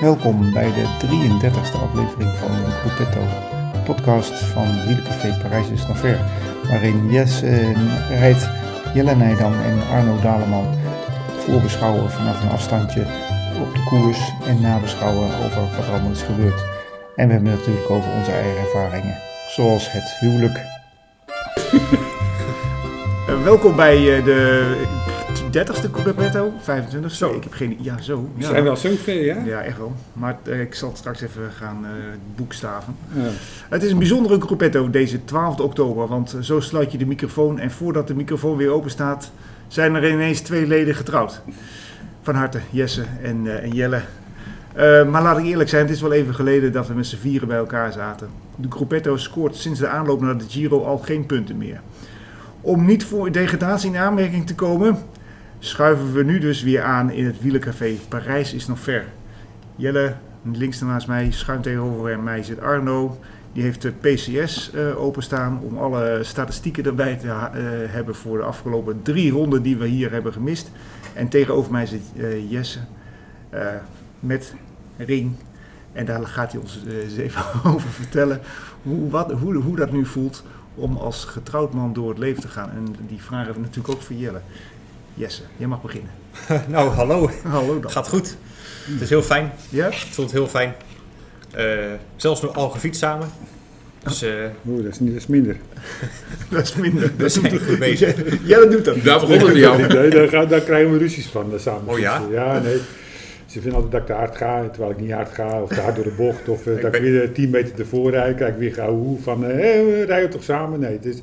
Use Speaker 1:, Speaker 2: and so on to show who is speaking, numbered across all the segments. Speaker 1: Welkom bij de 33e aflevering van Gruppetto, een podcast van Wielencafé Parijs is nog ver, waarin Jess eh, Rijt, Jelle Nijdam en Arno Daleman voorbeschouwen vanaf een afstandje op de koers en nabeschouwen over wat er allemaal is gebeurd. En we hebben het natuurlijk over onze eigen ervaringen, zoals het huwelijk.
Speaker 2: Eh, welkom bij eh de 30ste Corrupetto, 25
Speaker 3: Zo.
Speaker 2: zo. Ik heb geen. Ja, zo.
Speaker 3: Er
Speaker 2: Ja,
Speaker 3: zijn wel zoveel, ja?
Speaker 2: Ja, echt wel. Maar eh, ik zal het straks even gaan eh, boekstaven.
Speaker 3: Ja.
Speaker 2: Het is een bijzondere Corrupetto deze 12 oktober, want eh, zo sluit je de microfoon. En voordat de microfoon weer open staat, zijn er ineens twee leden getrouwd. Van harte, Jesse en, eh, en Jelle. Eh, maar laat ik eerlijk zijn, het is wel even geleden dat we met z'n vieren bij elkaar zaten. De Gruppetto scoort sinds de aanloop naar de Giro al geen punten meer. Om niet voor degradatie in aanmerking te komen, schuiven we nu dus weer aan in het wielencafé. Parijs is nog ver. Jelle, links naast mij, schuin tegenover mij zit Arno. Die heeft de PCS eh, openstaan om alle statistieken erbij te ha- eh, hebben voor de afgelopen drie ronden die we hier hebben gemist. En tegenover mij zit eh, Jesse eh, met Ring. En daar gaat hij ons eh, eens even over vertellen hoe, wat, hoe, hoe dat nu voelt om als getrouwd man door het leven te gaan. En die vragen hebben we natuurlijk ook voor Jelle. Jesse, jij mag beginnen.
Speaker 4: Nou, hallo.
Speaker 2: Hallo
Speaker 4: Het
Speaker 2: dan.
Speaker 4: gaat goed. Het is heel fijn.
Speaker 2: Ja?
Speaker 4: Het voelt heel fijn. Eh, zelfs nog al gefietst samen. Dus eh,
Speaker 3: Oeh, dat is, niet- dat is minder.
Speaker 2: Dat is minder.
Speaker 4: we zijn goed bezig.
Speaker 2: Jelle doet dat.
Speaker 5: Daar begon het niet aan.
Speaker 3: Nee, daar, ga- daar krijgen we ruzies van, dat samen.
Speaker 4: Oh ja?
Speaker 3: fietsen. Ja, nee. Ze vinden altijd dat ik te hard ga, terwijl ik niet hard ga. Of te hard door de bocht. Of eh,
Speaker 4: Ik
Speaker 3: dat ik
Speaker 4: ben-
Speaker 3: weer eh, 10 meter ervoor rijd. Kijk weer gauw hoe van, eh, hé, we rijden toch samen? Nee, het is...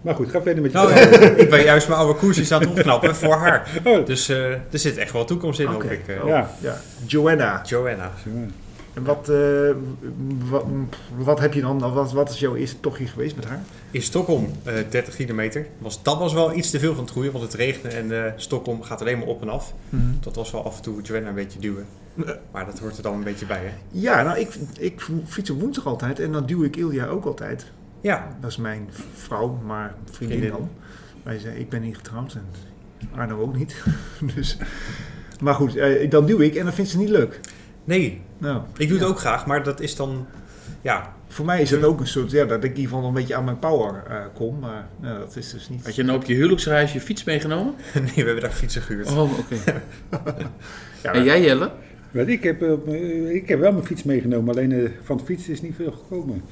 Speaker 3: Maar goed, ga verder met je
Speaker 4: Nou,
Speaker 3: verhaal.
Speaker 4: eh, ik ben juist mijn oude koersjes aan het opknappen voor haar.
Speaker 3: Oh,
Speaker 4: Dus eh, er zit echt wel toekomst in, hoop
Speaker 2: Oké.
Speaker 4: ik. eh.
Speaker 2: Oh.
Speaker 3: Ja,
Speaker 2: Ja, Joanna.
Speaker 4: Joanna.
Speaker 3: zo.
Speaker 2: En wat, eh, wat, wat heb je dan, wat, wat is jouw eerste tochtje geweest met haar?
Speaker 4: In Stockholm, eh, 30 kilometer. Was, dat was wel iets te veel van het goede, want het regende en eh, Stockholm gaat alleen maar op en af.
Speaker 2: Mhm.
Speaker 4: Dat was wel af en toe Joanna een beetje duwen. Maar dat hoort er dan een beetje bij, hè?
Speaker 2: Ja, nou, ik, ik fiets op woensdag altijd en dan duw ik Ilja ook altijd.
Speaker 4: Ja,
Speaker 2: Dat is mijn vrouw, maar vriendin
Speaker 4: Vriendin.
Speaker 2: dan. Wij zijn, ik ben niet getrouwd en Arno ook niet. dus, maar goed, eh, dan duw ik en dan vindt ze niet leuk.
Speaker 4: nee.
Speaker 2: Nou,
Speaker 4: Ik doe het
Speaker 2: Ja.
Speaker 4: ook graag, maar dat is dan... Ja,
Speaker 2: voor mij is het ook een soort, ja, dat ik in ieder geval een beetje aan mijn power eh, kom. Maar nou, dat is dus niet.
Speaker 5: Had je nou op je huwelijksreis je fiets meegenomen?
Speaker 4: nee, we hebben daar fietsen gehuurd.
Speaker 5: Oh, oké.
Speaker 2: Ja,
Speaker 5: En jij, Jelle?
Speaker 3: Want ik heb, eh, op mijn- ik heb wel mijn fiets meegenomen, alleen eh, van de fiets is niet veel gekomen.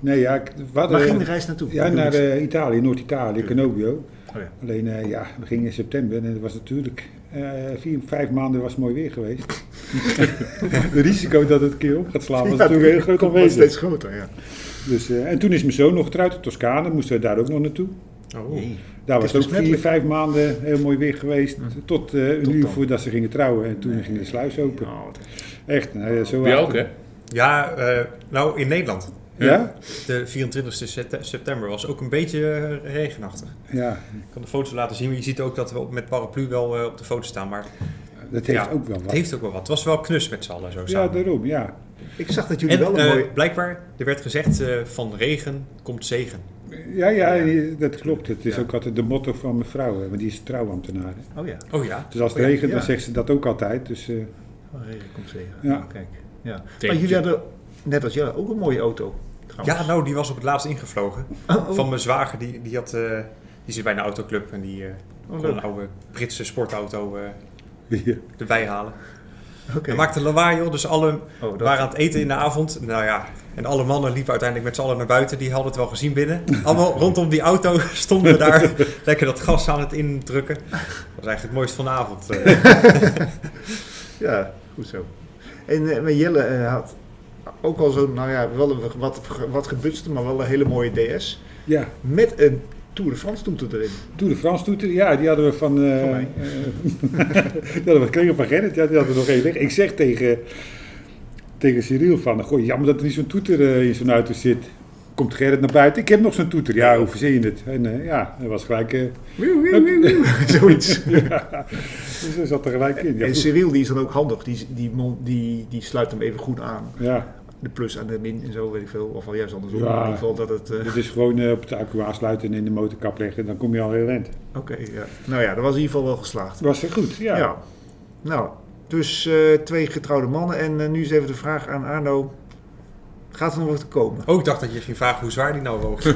Speaker 3: Nee, ja, ik, we hadden-
Speaker 2: Waar ging de reis naartoe?
Speaker 3: Ja, naar eh, Italië, Noord-Italië, Canobio.
Speaker 2: Oh ja.
Speaker 3: Alleen, eh, ja, we gingen in september en het was natuurlijk... eh, vier, vijf maanden was mooi weer geweest. Het risico dat het een keer op gaat slaan was
Speaker 2: Ja,
Speaker 3: natuurlijk heel groot
Speaker 2: komt wel
Speaker 3: aanwezig.
Speaker 2: steeds groter, ja.
Speaker 3: Dus, eh, en toen is mijn zoon nog getrouwd in Toscane, moesten we daar ook nog naartoe.
Speaker 4: Oh.
Speaker 3: Daar
Speaker 2: Het
Speaker 3: was
Speaker 2: is dus
Speaker 3: het ook vier,
Speaker 2: besmettelijk.
Speaker 3: vijf maanden heel mooi weer geweest. Tot eh, een
Speaker 2: Mm. Tot
Speaker 3: uur
Speaker 2: dan.
Speaker 3: voordat ze gingen trouwen en toen ging de sluis open.
Speaker 2: Nou, wat-
Speaker 3: Echt, nou, ja, zo
Speaker 5: Jij
Speaker 3: waren-
Speaker 5: ook, hè?
Speaker 4: Ja, eh, nou in Nederland.
Speaker 3: Ja?
Speaker 4: De 24 septe- september was ook een beetje eh, regenachtig.
Speaker 3: Ja,
Speaker 4: Ik kan de foto's laten zien, maar je ziet ook dat we op- met paraplu wel eh, op de foto staan. Maar het
Speaker 3: dat heeft
Speaker 4: Ja,
Speaker 3: ook wel wat.
Speaker 4: heeft ook wel wat. Het was wel knus met z'n allen zo
Speaker 3: Ja,
Speaker 4: samen.
Speaker 3: daarom, ja.
Speaker 2: Ik zag dat jullie
Speaker 4: en
Speaker 2: wel een
Speaker 4: eh,
Speaker 2: mooie...
Speaker 4: blijkbaar, er werd gezegd eh, van regen komt zegen.
Speaker 3: Ja, ja, dat klopt. Het is
Speaker 4: Ja.
Speaker 3: ook altijd de motto van mijn vrouw, hè, want die is trouwambtenaar. hè.
Speaker 2: Oh ja,
Speaker 4: Oh ja.
Speaker 3: Dus als het
Speaker 2: Oh ja,
Speaker 3: regent,
Speaker 2: ja.
Speaker 3: dan zegt ze dat ook altijd. Dus eh,
Speaker 2: oh, regen komt zegen.
Speaker 3: Ja.
Speaker 2: Ah, Kijk. Ja. Maar
Speaker 5: Tekentje.
Speaker 2: jullie hadden, net als jij, ook een mooie auto. Trouwens.
Speaker 4: Ja, nou die was op het laatst ingevlogen.
Speaker 2: Oh, oh.
Speaker 4: Van mijn zwager, die, die, had, eh, die zit bij een autoclub en die eh,
Speaker 2: Oh,
Speaker 4: kon
Speaker 2: leuk.
Speaker 4: een oude Britse sportauto eh,
Speaker 3: ja.
Speaker 4: erbij halen.
Speaker 2: Oké.
Speaker 4: Hij maakte lawaai joh, dus alle
Speaker 2: Oh, dat-
Speaker 4: We waren aan het eten in de avond. Nou ja, en alle mannen liepen uiteindelijk met z'n allen naar buiten. Die hadden het wel gezien binnen. Allemaal rondom die auto stonden we daar lekker dat gas aan het indrukken. Dat was eigenlijk het mooiste van de avond. Eh,
Speaker 2: Ja, goed zo. En eh, maar Jelle eh, had ook al zo'n, nou ja, wel een wat, wat gebutste, maar wel een hele mooie DS.
Speaker 3: ja,
Speaker 2: Met een Tour de France toeter erin.
Speaker 3: Tour de France toeter, ja, die hadden we van... eh,
Speaker 2: Van mij.
Speaker 3: eh, die hadden we gekregen van Gerrit, ja, die hadden we nog één liggen. Ik zeg tegen, tegen Cyril van, goh, jammer dat er niet zo'n toeter eh, in zo'n auto zit. Komt Gerrit naar buiten, ik heb nog zo'n toeter. Ja, hoe verzin je het? En eh, ja, dat was gelijk... eh,
Speaker 2: Wieuw, wieuw, wieuw, wieuw. Zoiets.
Speaker 3: dus dat zat er gelijk in. Ja,
Speaker 2: en
Speaker 3: goed.
Speaker 2: Cyril die is dan ook handig. Die, die, mon- die, die sluit hem even goed aan.
Speaker 3: ja,
Speaker 2: De plus aan de min en zo, weet ik veel. Of wel juist andersom.
Speaker 3: Ja.
Speaker 2: In ieder geval dat het... eh,
Speaker 3: dat is gewoon eh, op het accu aansluiten en in de motorkap leggen. Dan kom je al heel eind.
Speaker 2: Oké, ja. Nou ja, dat was in ieder geval wel geslaagd.
Speaker 3: Was het goed,
Speaker 2: Ja.
Speaker 3: ja.
Speaker 2: Nou, Dus eh, twee getrouwde mannen. En eh, nu is even de vraag aan Arno. Gaat er nog wat te komen?
Speaker 4: Ook dacht dat je ging vragen hoe zwaar die nou woog.
Speaker 2: Oké,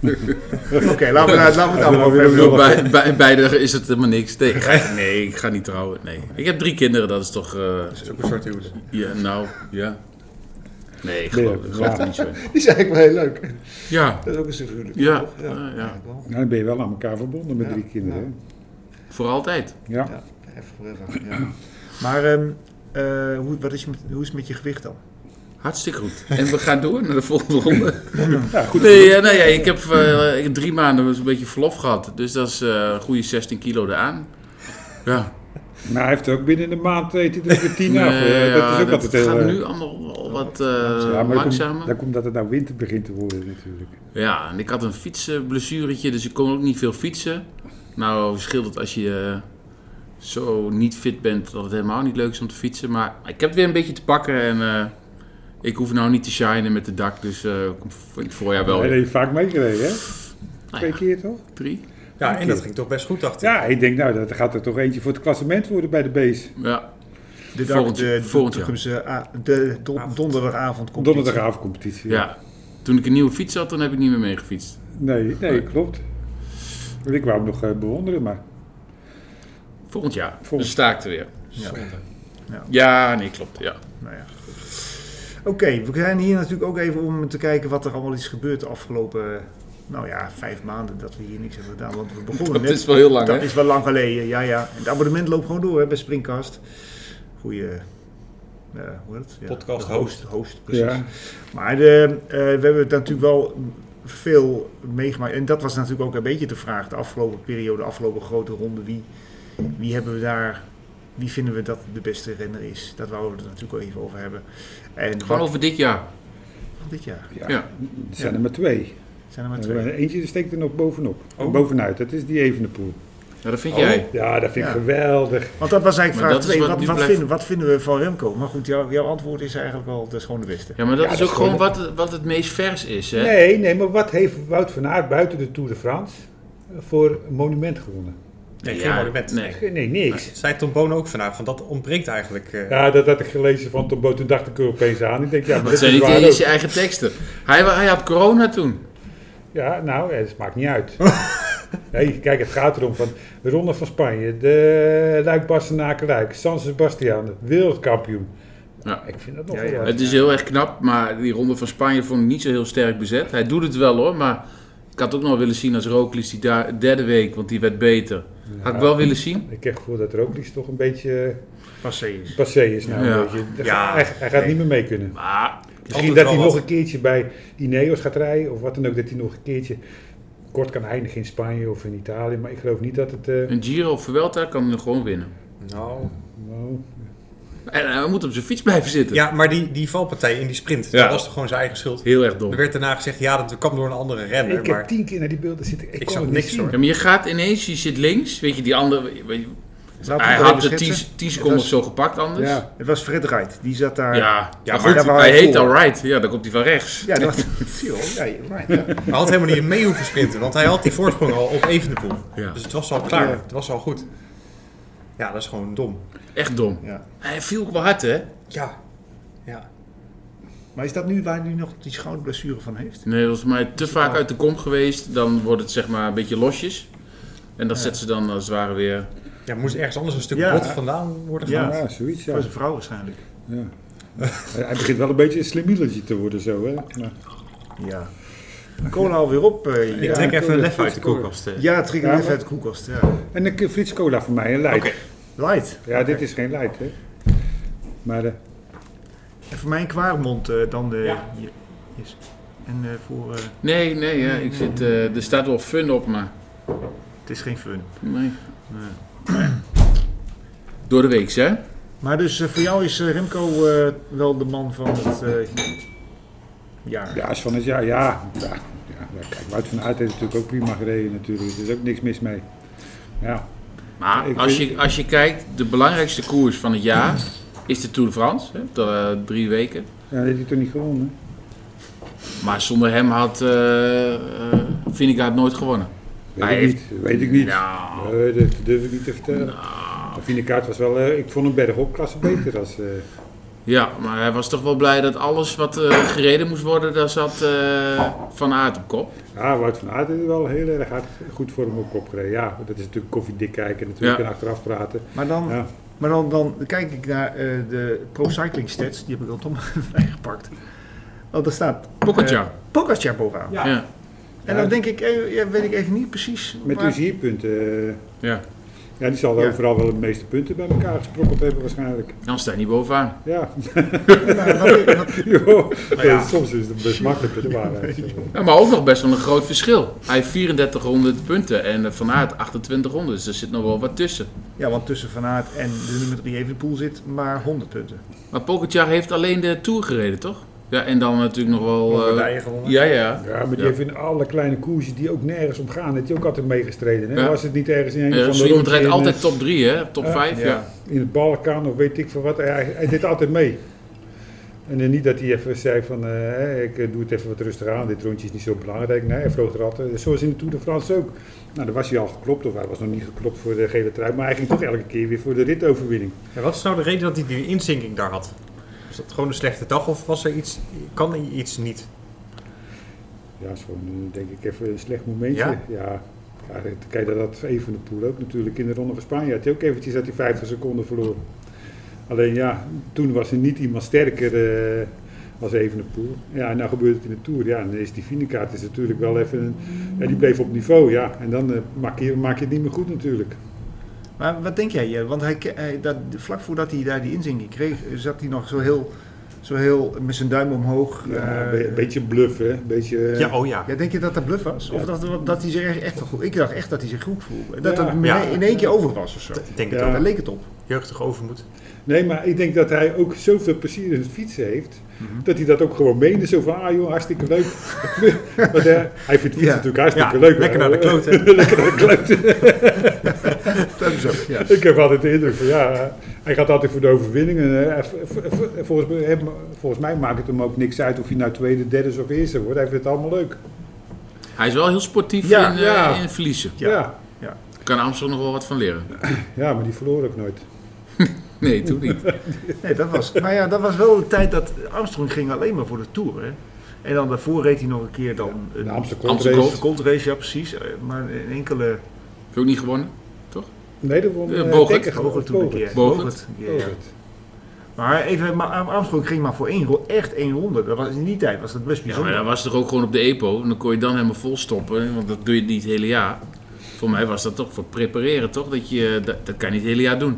Speaker 2: laten we, laten we het allemaal over
Speaker 3: Ja,
Speaker 2: hebben.
Speaker 3: wel
Speaker 5: bij, bij, beide is het helemaal niks. Nee, ik ga, nee, ik ga niet trouwen. Nee. Ik heb drie kinderen, dat is toch... eh,
Speaker 4: Dat is ook een soort huwelijk.
Speaker 5: ja, nou, ja. Nee, ik
Speaker 3: Nee,
Speaker 5: geloof, ik geloof er niet zo in.
Speaker 2: Die is eigenlijk wel heel leuk.
Speaker 5: Ja,
Speaker 2: Dat is ook een natuurlijk.
Speaker 5: Ja,
Speaker 2: toch?
Speaker 5: ja, ja.
Speaker 2: eigenlijk wel.
Speaker 3: Nou, dan ben je wel aan elkaar verbonden met
Speaker 2: Ja,
Speaker 3: drie kinderen. hè?
Speaker 5: voor altijd.
Speaker 3: Ja.
Speaker 2: Ja, even voor even, ja. Maar ehm, eh, hoe, wat is, je met- hoe is het met je gewicht dan?
Speaker 5: Hartstikke goed. En we gaan door naar de volgende ronde.
Speaker 3: Ja, goed.
Speaker 5: Nee, eh, nou ja, ik heb eh, ik heb drie maanden een beetje verlof gehad. Dus dat is eh, een goede 16 kilo eraan. Ja,
Speaker 3: Maar hij heeft ook binnen de maand eet hij er weer tien af.
Speaker 5: Nee,
Speaker 3: hè? dat is
Speaker 5: ja,
Speaker 3: ook altijd heel...
Speaker 5: gaat
Speaker 3: eh,
Speaker 5: nu allemaal wel wat eh,
Speaker 3: ja, maar dat komt-
Speaker 5: langzamer.
Speaker 3: Dat komt dat het nou winter begint te worden natuurlijk.
Speaker 5: Ja, en ik had een fietsblessuretje, dus ik kon ook niet veel fietsen. Nou, scheelt het als je eh, zo niet fit bent dat het helemaal niet leuk is om te fietsen. Maar ik heb het weer een beetje te pakken en eh, ik hoef nou niet te shinen met de dak. Dus eh, kom v- in het voorjaar wel.
Speaker 3: Hij heeft vaak meegereden, hè?
Speaker 5: Nou
Speaker 3: Twee
Speaker 5: ja,
Speaker 3: keer toch?
Speaker 5: drie.
Speaker 4: Ja, en dat ging toch best goed, dacht ik.
Speaker 3: Ja, ik denk nou, dat gaat er toch eentje voor het klassement worden bij de base.
Speaker 5: Ja,
Speaker 2: De dag,
Speaker 5: Volgend-
Speaker 2: de, de,
Speaker 5: volgend jaar.
Speaker 2: toekomstige a- de don-
Speaker 4: Avond.
Speaker 2: donderdagavond komt.
Speaker 3: Donderdagavondcompetitie.
Speaker 5: ja. Toen ik een nieuwe fiets had, dan heb ik niet meer meegefietst.
Speaker 3: Nee, nee, klopt. Want Ik wou hem nog eh, bewonderen, maar
Speaker 5: Volgend jaar. Dus
Speaker 3: Volgend-
Speaker 5: Dan sta ik er weer.
Speaker 2: Ja.
Speaker 5: Ja, nee, klopt. Ja.
Speaker 2: Nou ja. goed. Oké, we zijn hier natuurlijk ook even om te kijken wat er allemaal is gebeurd de afgelopen, nou ja, vijf maanden dat we hier niks hebben gedaan. Want we begonnen
Speaker 5: Dat
Speaker 2: net.
Speaker 5: is wel heel lang,
Speaker 2: dat
Speaker 5: hè?
Speaker 2: is wel lang geleden, ja, ja. En het abonnement loopt gewoon door hè, bij Springcast. Goeie, eh, hoe heet het? Ja,
Speaker 4: Podcast
Speaker 2: de host. Host, precies.
Speaker 3: ja.
Speaker 2: Maar de, eh, we hebben het natuurlijk wel veel meegemaakt. En dat was natuurlijk ook een beetje de vraag de afgelopen periode, de afgelopen grote ronde. Wie, wie hebben we daar, wie vinden we dat de beste renner is? Dat wouden we er natuurlijk wel even over hebben. En
Speaker 5: Gewoon
Speaker 2: wat
Speaker 5: over dit jaar.
Speaker 2: dit jaar?
Speaker 3: ja,
Speaker 5: Ja.
Speaker 3: er zijn er maar twee.
Speaker 2: Zijn er maar
Speaker 3: Er
Speaker 2: twee.
Speaker 3: zijn- Eentje steekt er nog bovenop.
Speaker 4: Oh.
Speaker 3: Bovenuit, dat is die Evenepoel.
Speaker 5: Oh, Ja, dat vind
Speaker 3: Oh.
Speaker 5: jij.
Speaker 3: Ja, dat vind ik
Speaker 2: Ja.
Speaker 3: geweldig.
Speaker 2: Want dat was eigenlijk
Speaker 5: Maar
Speaker 2: vraag
Speaker 5: dat is
Speaker 2: 2.
Speaker 5: wat
Speaker 2: Wat,
Speaker 5: nu
Speaker 2: wat,
Speaker 5: blijft-
Speaker 2: vinden, wat vinden we van Remco? Maar goed, jouw- jouw antwoord is eigenlijk wel, dat is gewoon de beste.
Speaker 5: Ja, maar dat
Speaker 3: Ja,
Speaker 5: is
Speaker 3: dat
Speaker 5: ook
Speaker 3: is
Speaker 5: gewoon
Speaker 3: gewoon-
Speaker 5: wat, wat het meest vers is, hè?
Speaker 3: Nee, nee, maar wat heeft Wout van Aert buiten de Tour de France voor monument gewonnen?
Speaker 4: Nee, geen
Speaker 5: Ja,
Speaker 4: monument.
Speaker 5: Nee.
Speaker 3: Nee, niks.
Speaker 4: Zei Tom Boon ook vandaag, van dat ontbreekt eigenlijk. eh,
Speaker 3: Ja, dat had ik gelezen van Tom Boot. Toen dacht ik er opeens aan. Ik denk, ja, maar
Speaker 5: Dat
Speaker 3: dat
Speaker 5: zijn
Speaker 3: is
Speaker 5: niet
Speaker 3: waar
Speaker 5: eens
Speaker 3: ook.
Speaker 5: je eigen teksten. Hij, wa- hij had corona toen.
Speaker 3: Ja, nou, ja, dat maakt niet uit. Nee, kijk, het gaat erom van de Ronde van Spanje, de luik bastenaken luik San Sebastian, wereldkampioen. Nou,
Speaker 5: Ja.
Speaker 3: Ik vind dat nog
Speaker 2: Ja,
Speaker 3: wel
Speaker 2: ja.
Speaker 3: wat.
Speaker 5: Het is heel erg knap, maar die ronde van Spanje vond ik niet zo heel sterk bezet. Hij doet het wel hoor, maar ik had ook nog willen zien als Roglic die da- derde week, want die werd beter. Had ik wel willen zien.
Speaker 3: Ik heb het gevoel dat Roglic toch een beetje
Speaker 2: Passé is.
Speaker 3: passé is. Nou,
Speaker 5: Ja.
Speaker 3: weet je.
Speaker 4: Ja,
Speaker 3: hij, hij gaat
Speaker 4: nee.
Speaker 3: niet meer mee kunnen.
Speaker 5: Maar
Speaker 3: Misschien
Speaker 4: wel
Speaker 3: dat hij
Speaker 4: wat.
Speaker 3: nog een keertje bij Ineos gaat rijden of wat dan ook. Dat hij nog een keertje kort kan eindigen in Spanje of in Italië. Maar ik geloof niet dat het... eh,
Speaker 5: een Giro of Vuelta kan hij nog gewoon winnen.
Speaker 4: Nou.
Speaker 3: nou,
Speaker 5: En eh, hij moet op zijn fiets blijven zitten.
Speaker 4: Ja, maar die, die valpartij in die sprint,
Speaker 5: Ja.
Speaker 4: dat was toch gewoon zijn eigen schuld?
Speaker 5: Heel erg dom.
Speaker 4: Er werd daarna gezegd, ja, dat kwam door een andere renner.
Speaker 3: ik heb
Speaker 4: maar
Speaker 3: tien keer naar die beelden zitten. Ik,
Speaker 4: Ik
Speaker 3: kon
Speaker 4: zag
Speaker 3: het niet
Speaker 4: niks,
Speaker 3: zien.
Speaker 4: hoor.
Speaker 5: Ja, maar je gaat ineens, je zit links, weet je, die andere... weet je-
Speaker 2: Laten we
Speaker 5: hij
Speaker 2: het
Speaker 5: had
Speaker 2: even
Speaker 5: de 10
Speaker 2: schetsen.
Speaker 5: 10 seconden
Speaker 2: Dat
Speaker 5: of zo gepakt anders. Ja,
Speaker 3: Ja.
Speaker 2: Het was Fred Wright, die zat daar.
Speaker 5: ja. maar
Speaker 4: maar
Speaker 5: goed,
Speaker 2: daar
Speaker 5: hij
Speaker 2: waren
Speaker 5: heet
Speaker 2: voor.
Speaker 5: al right. Ja, dan komt hij van rechts.
Speaker 2: Ja, dat zie je wel. Ja, Wright, ja.
Speaker 4: hij had helemaal niet mee hoeven sprinten, want hij had die voorsprong al op Evenepoel.
Speaker 5: Ja.
Speaker 4: Dus het was al klaar,
Speaker 2: Ja.
Speaker 4: het was al goed. Ja, dat is gewoon dom.
Speaker 5: Echt dom.
Speaker 2: Ja.
Speaker 5: Hij viel ook wel hard, hè?
Speaker 4: Ja. Ja.
Speaker 2: Maar is dat nu waar hij nu nog die schouderblessure van heeft?
Speaker 5: Nee, volgens mij te vaak uit de kom geweest. Dan wordt het zeg maar een beetje losjes. En dat zet ze dan als het ware weer...
Speaker 4: Ja, moest ergens anders een stuk
Speaker 2: Ja.
Speaker 4: bot vandaan worden
Speaker 2: Ja.
Speaker 4: gehaald.
Speaker 3: Ja, zoiets, ja.
Speaker 2: Voor zijn vrouw waarschijnlijk.
Speaker 3: Ja. Hij begint wel een beetje een slimmieletje te worden zo, hè? Maar,
Speaker 2: Ja. Cola alweer op. eh,
Speaker 4: Ik
Speaker 2: ja.
Speaker 4: trek
Speaker 3: dat
Speaker 4: even een
Speaker 3: is
Speaker 4: lef
Speaker 3: goed
Speaker 4: uit de
Speaker 3: scoren.
Speaker 4: koelkast. eh.
Speaker 2: ja, trek hem
Speaker 3: Ja,
Speaker 2: even
Speaker 3: maar-
Speaker 2: uit de koelkast. Ja.
Speaker 3: en een Frits Cola voor mij, een light.
Speaker 4: Oké.
Speaker 2: Light.
Speaker 3: Ja, dit is geen light, hè? Maar eh,
Speaker 2: En voor mij een kwaarmond eh, dan de...
Speaker 4: Ja.
Speaker 2: je- Yes. En eh, voor... eh,
Speaker 5: Nee, nee, ja, ik zit, eh, er staat wel fun op, maar...
Speaker 2: het is geen fun.
Speaker 5: Nee. Door de week, hè?
Speaker 2: Maar dus eh, voor jou is eh, Remco eh, wel de man van het eh, jaar.
Speaker 3: ja, is van het jaar, ja. ja, ja maar kijk, Wout van Aert heeft natuurlijk ook prima gereden natuurlijk. dus Er is ook niks mis mee. Ja,
Speaker 5: Maar
Speaker 3: Ik
Speaker 5: als
Speaker 3: weet-
Speaker 5: je, als je kijkt, de belangrijkste koers van het jaar is de Tour de France. Hè? De, eh, drie weken.
Speaker 3: ja dat heeft hij toch niet gewonnen?
Speaker 5: Maar zonder hem had eh eh, Vingegaard nooit gewonnen.
Speaker 3: Weet
Speaker 5: Hij
Speaker 3: ik
Speaker 5: heeft-
Speaker 3: niet, weet ik niet.
Speaker 5: Nou,
Speaker 3: Nee, dat durf ik niet te vertellen. Maar Vinderkaart was wel, eh, ik vond hem bij de hopklasse beter als... eh,
Speaker 5: Ja, maar hij was toch wel blij dat alles wat eh, gereden moest worden, daar zat eh, Van Aert op kop.
Speaker 3: Ja, Wout van Aert heeft wel heel erg hard, goed voor hem op kop gereden. Ja, dat is natuurlijk koffiedik kijken natuurlijk
Speaker 5: Ja.
Speaker 3: en achteraf praten.
Speaker 2: Maar dan,
Speaker 3: Ja.
Speaker 2: maar dan, dan kijk ik naar eh, de Pro Cycling Stats. Die heb ik altom bijgepakt. Want daar staat eh,
Speaker 5: Pocketjar.
Speaker 2: Pogacar bovenaan.
Speaker 4: Ja.
Speaker 5: ja.
Speaker 2: En dan denk ik, eh, ja, weet ik even niet precies.
Speaker 3: Met
Speaker 2: maar-
Speaker 3: plezierpunten. eh,
Speaker 5: ja.
Speaker 3: ja, die zal
Speaker 2: Ja.
Speaker 3: overal wel de meeste punten bij elkaar gesprokkeld hebben waarschijnlijk.
Speaker 5: Dan sta je niet bovenaan.
Speaker 3: Ja,
Speaker 2: Nou, wat- wat-
Speaker 3: Joh, Eh,
Speaker 4: ja.
Speaker 3: soms is het best makkelijk de waarheid.
Speaker 5: Ja, maar ook nog best wel een groot verschil. Hij heeft 3400 punten en eh, Van Aert 2800, dus er zit nog wel wat tussen.
Speaker 2: Ja, want tussen Van Aert en de nummer 3 even de pool zit maar 100 punten.
Speaker 5: Maar Pogacar heeft alleen de Tour gereden, toch? Ja, en dan natuurlijk nog wel... eh, ja, ja.
Speaker 3: Ja, maar die
Speaker 5: Ja.
Speaker 3: heeft in alle kleine koersen die ook nergens om gaan, heeft hij ook altijd meegestreden. Hè?
Speaker 5: Ja.
Speaker 3: Was het niet ergens in een
Speaker 5: Eh,
Speaker 3: van
Speaker 5: zo
Speaker 3: de
Speaker 5: iemand
Speaker 3: rondjes
Speaker 5: rijdt
Speaker 3: in,
Speaker 5: altijd
Speaker 3: eh,
Speaker 5: top 3, hè? Top
Speaker 3: Ja,
Speaker 5: 5, ja.
Speaker 3: in het Balkan of weet ik veel wat. Hij, hij deed altijd mee. En eh, niet dat hij even zei van, eh, hè, ik eh, doe het even wat rustig aan, dit rondje is niet zo belangrijk. Nee, hij vloog er altijd. Zoals in de Tour de France ook. Nou, dan was hij al geklopt of hij was nog niet geklopt voor de gele trui. Maar hij ging toch elke keer weer voor de ritoverwinning.
Speaker 4: Ja, wat is nou de reden dat hij die inzinking daar had? Is dat gewoon een slechte dag of was er iets, kan hij iets niet?
Speaker 3: Ja, dat is gewoon eh, denk ik even een slecht momentje.
Speaker 4: Ja?
Speaker 3: Ja. ja. dat- kijk, dat had Even de Poel ook natuurlijk in de Ronde van Spanje. Had hij ook eventjes dat hij 50 seconden verloren. Alleen ja, toen was er niet iemand sterker eh, als Even de Poel. Ja, en nou gebeurt het in de Tour. Ja, en dan is die Vinekaart is natuurlijk wel even... Een, ja, die bleef op niveau, ja. En dan eh, maak, je, maak je het niet meer goed natuurlijk.
Speaker 2: Maar wat denk jij, Jelle? Want hij, ke- hij, dat, vlak voordat hij daar die inzinking kreeg, eh, zat hij nog zo heel, zo heel met zijn duim omhoog.
Speaker 3: Ja,
Speaker 2: eh,
Speaker 3: een be- beetje bluff, hè. Een beetje... eh,
Speaker 4: Ja, oh ja.
Speaker 2: ja, denk je dat dat bluff was? Of
Speaker 3: Ja.
Speaker 2: dat, dat hij zich echt- echt wel goed... Ik dacht echt dat hij zich goed voelde. Dat
Speaker 3: Ja.
Speaker 2: het
Speaker 4: Ja.
Speaker 2: in één keer over was of zo.
Speaker 4: Ik denk
Speaker 3: Ja.
Speaker 4: het
Speaker 2: Daar
Speaker 4: ook.
Speaker 2: leek het op.
Speaker 4: Jeugdig overmoed.
Speaker 3: Nee, maar ik denk dat hij ook zoveel plezier in het fietsen heeft. Dat hij dat ook gewoon meende. Zo van, ah joh, hartstikke leuk. Want eh, hij vindt fietsen
Speaker 2: Ja.
Speaker 3: natuurlijk hartstikke
Speaker 4: Ja,
Speaker 3: leuk.
Speaker 4: lekker naar de kloot, hè?
Speaker 3: lekker naar de kloot.
Speaker 2: Dat is ook, ja.
Speaker 3: ik heb altijd de indruk van, ja, hij gaat altijd voor de overwinning. En, eh, v- v- v- volgens, mij- hem- volgens mij maakt het hem ook niks uit of hij nou tweede, derde is of eerste wordt. Hij vindt het allemaal leuk.
Speaker 5: Hij is wel heel sportief
Speaker 3: Ja,
Speaker 5: in, eh,
Speaker 3: ja.
Speaker 5: in verliezen.
Speaker 2: Ja.
Speaker 3: Ja, ja.
Speaker 5: Kan Amsterdam nog wel wat van leren?
Speaker 3: maar die verloor ook nooit.
Speaker 5: Nee, toen niet.
Speaker 2: Nee, dat was, maar ja, dat was wel de tijd dat Armstrong ging alleen maar voor de Tour. Hè? En dan daarvoor reed hij nog een keer dan
Speaker 3: De
Speaker 2: een
Speaker 3: Amsterdam
Speaker 5: Amstel
Speaker 3: race.
Speaker 5: Gold.
Speaker 2: Colt race, ja precies. Eh, Maar een enkele
Speaker 5: Heb je ook niet gewonnen?
Speaker 3: Nee, dat won
Speaker 5: Eh,
Speaker 3: eh,
Speaker 5: Bogert.
Speaker 3: Dekker.
Speaker 2: Bogert toen een keer.
Speaker 5: Bogert.
Speaker 2: Bogert, ja, ja.
Speaker 3: Bogert.
Speaker 2: Maar even, maar Ar- Armstrong ging maar voor één ro- echt één ronde. Dat was, in die tijd was dat best
Speaker 5: Ja,
Speaker 2: bijzonder.
Speaker 5: maar dat was toch ook gewoon op de EPO. En dan kon je dan helemaal vol stoppen, want dat doe je niet het hele jaar. Voor mij was dat toch voor prepareren, toch? Dat, je, eh, dat, dat kan je niet het hele jaar doen.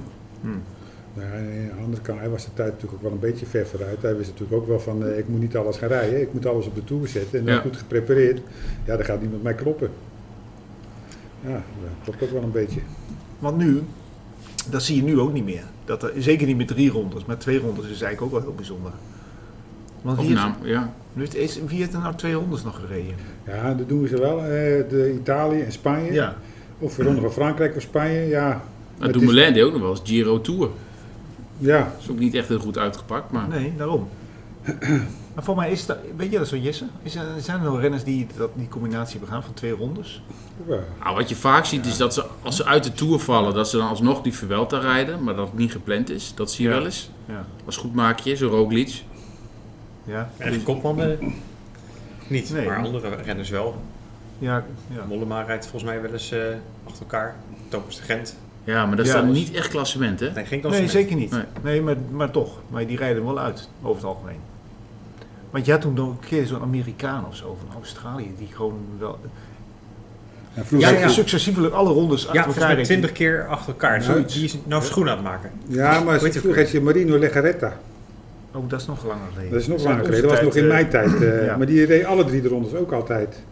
Speaker 3: Nou, aan de andere kant, hij was de tijd natuurlijk ook wel een beetje ver vooruit. Hij wist natuurlijk ook wel van, eh, ik moet niet alles gaan rijden. Ik moet alles op de toer zetten en dan
Speaker 5: Ja.
Speaker 3: goed geprepareerd. Ja, dan gaat niemand mij kloppen. Ja, dat klopt ook wel een beetje.
Speaker 2: Want nu, dat zie je nu ook niet meer. Dat er, zeker niet met drie rondes, maar twee rondes is eigenlijk ook wel heel bijzonder. Want
Speaker 5: Of
Speaker 2: wie heeft,
Speaker 5: naam, ja.
Speaker 2: nu is- is, wie heeft er nou twee rondes nog gereden?
Speaker 3: Ja, dat doen ze wel. eh, de Italië en Spanje.
Speaker 2: Ja,
Speaker 3: Of de Ronde van Frankrijk of Spanje. Ja,
Speaker 5: Nou,
Speaker 3: Het is-
Speaker 5: Dumoulin deed ook nog wel eens Giro Tour.
Speaker 3: ja.
Speaker 5: Is ook niet echt heel goed uitgepakt, maar...
Speaker 2: nee, daarom. Maar voor mij is dat, weet je dat zo Jesse? Is er, zijn er nog renners die dat, die combinatie begaan van twee rondes?
Speaker 3: ja.
Speaker 5: Nou, wat je vaak ziet is dat ze, als ze uit de Tour vallen, dat ze dan alsnog die Vuelta rijden, maar dat het niet gepland is. Dat zie je
Speaker 2: Ja.
Speaker 5: wel eens.
Speaker 2: Ja.
Speaker 5: Als goed maak je, zo Roglic.
Speaker 2: Ja,
Speaker 4: En de kopman eh, niet,
Speaker 2: Nee.
Speaker 4: maar andere renners wel.
Speaker 2: ja, ja.
Speaker 4: Mollema rijdt volgens mij wel eens eh, achter elkaar. Thomas de Gent.
Speaker 5: Ja, maar dat
Speaker 2: Ja,
Speaker 5: is dan
Speaker 2: dat is-
Speaker 5: niet echt klassement, hè?
Speaker 4: Nee, geen klasse.
Speaker 2: Nee, zeker niet. Nee,
Speaker 5: Nee.
Speaker 2: maar, maar toch. Maar die rijden wel uit, over het algemeen. Want je had toen nog een keer zo'n Amerikaan of zo van Australië, die gewoon wel...
Speaker 3: En
Speaker 2: Ja,
Speaker 3: vroeger,
Speaker 2: ja. successievelijk alle rondes
Speaker 4: Ja,
Speaker 2: achter
Speaker 4: volgens
Speaker 2: elkaar
Speaker 4: mij
Speaker 2: reed.
Speaker 4: 20 keer achter elkaar. Zo,
Speaker 2: Zoiets.
Speaker 4: die is nou schoen aan het maken.
Speaker 3: ja, maar
Speaker 4: Weet je
Speaker 3: vroeger had je Marino Legaretta.
Speaker 2: Oh, dat is nog langer geleden.
Speaker 3: Dat is nog
Speaker 2: Zijn
Speaker 3: langer
Speaker 2: onze
Speaker 3: geleden. Dat was
Speaker 2: tijd,
Speaker 3: nog in
Speaker 2: eh,
Speaker 3: mijn tijd. eh,
Speaker 2: ja.
Speaker 3: Maar die reed alle drie de rondes ook altijd.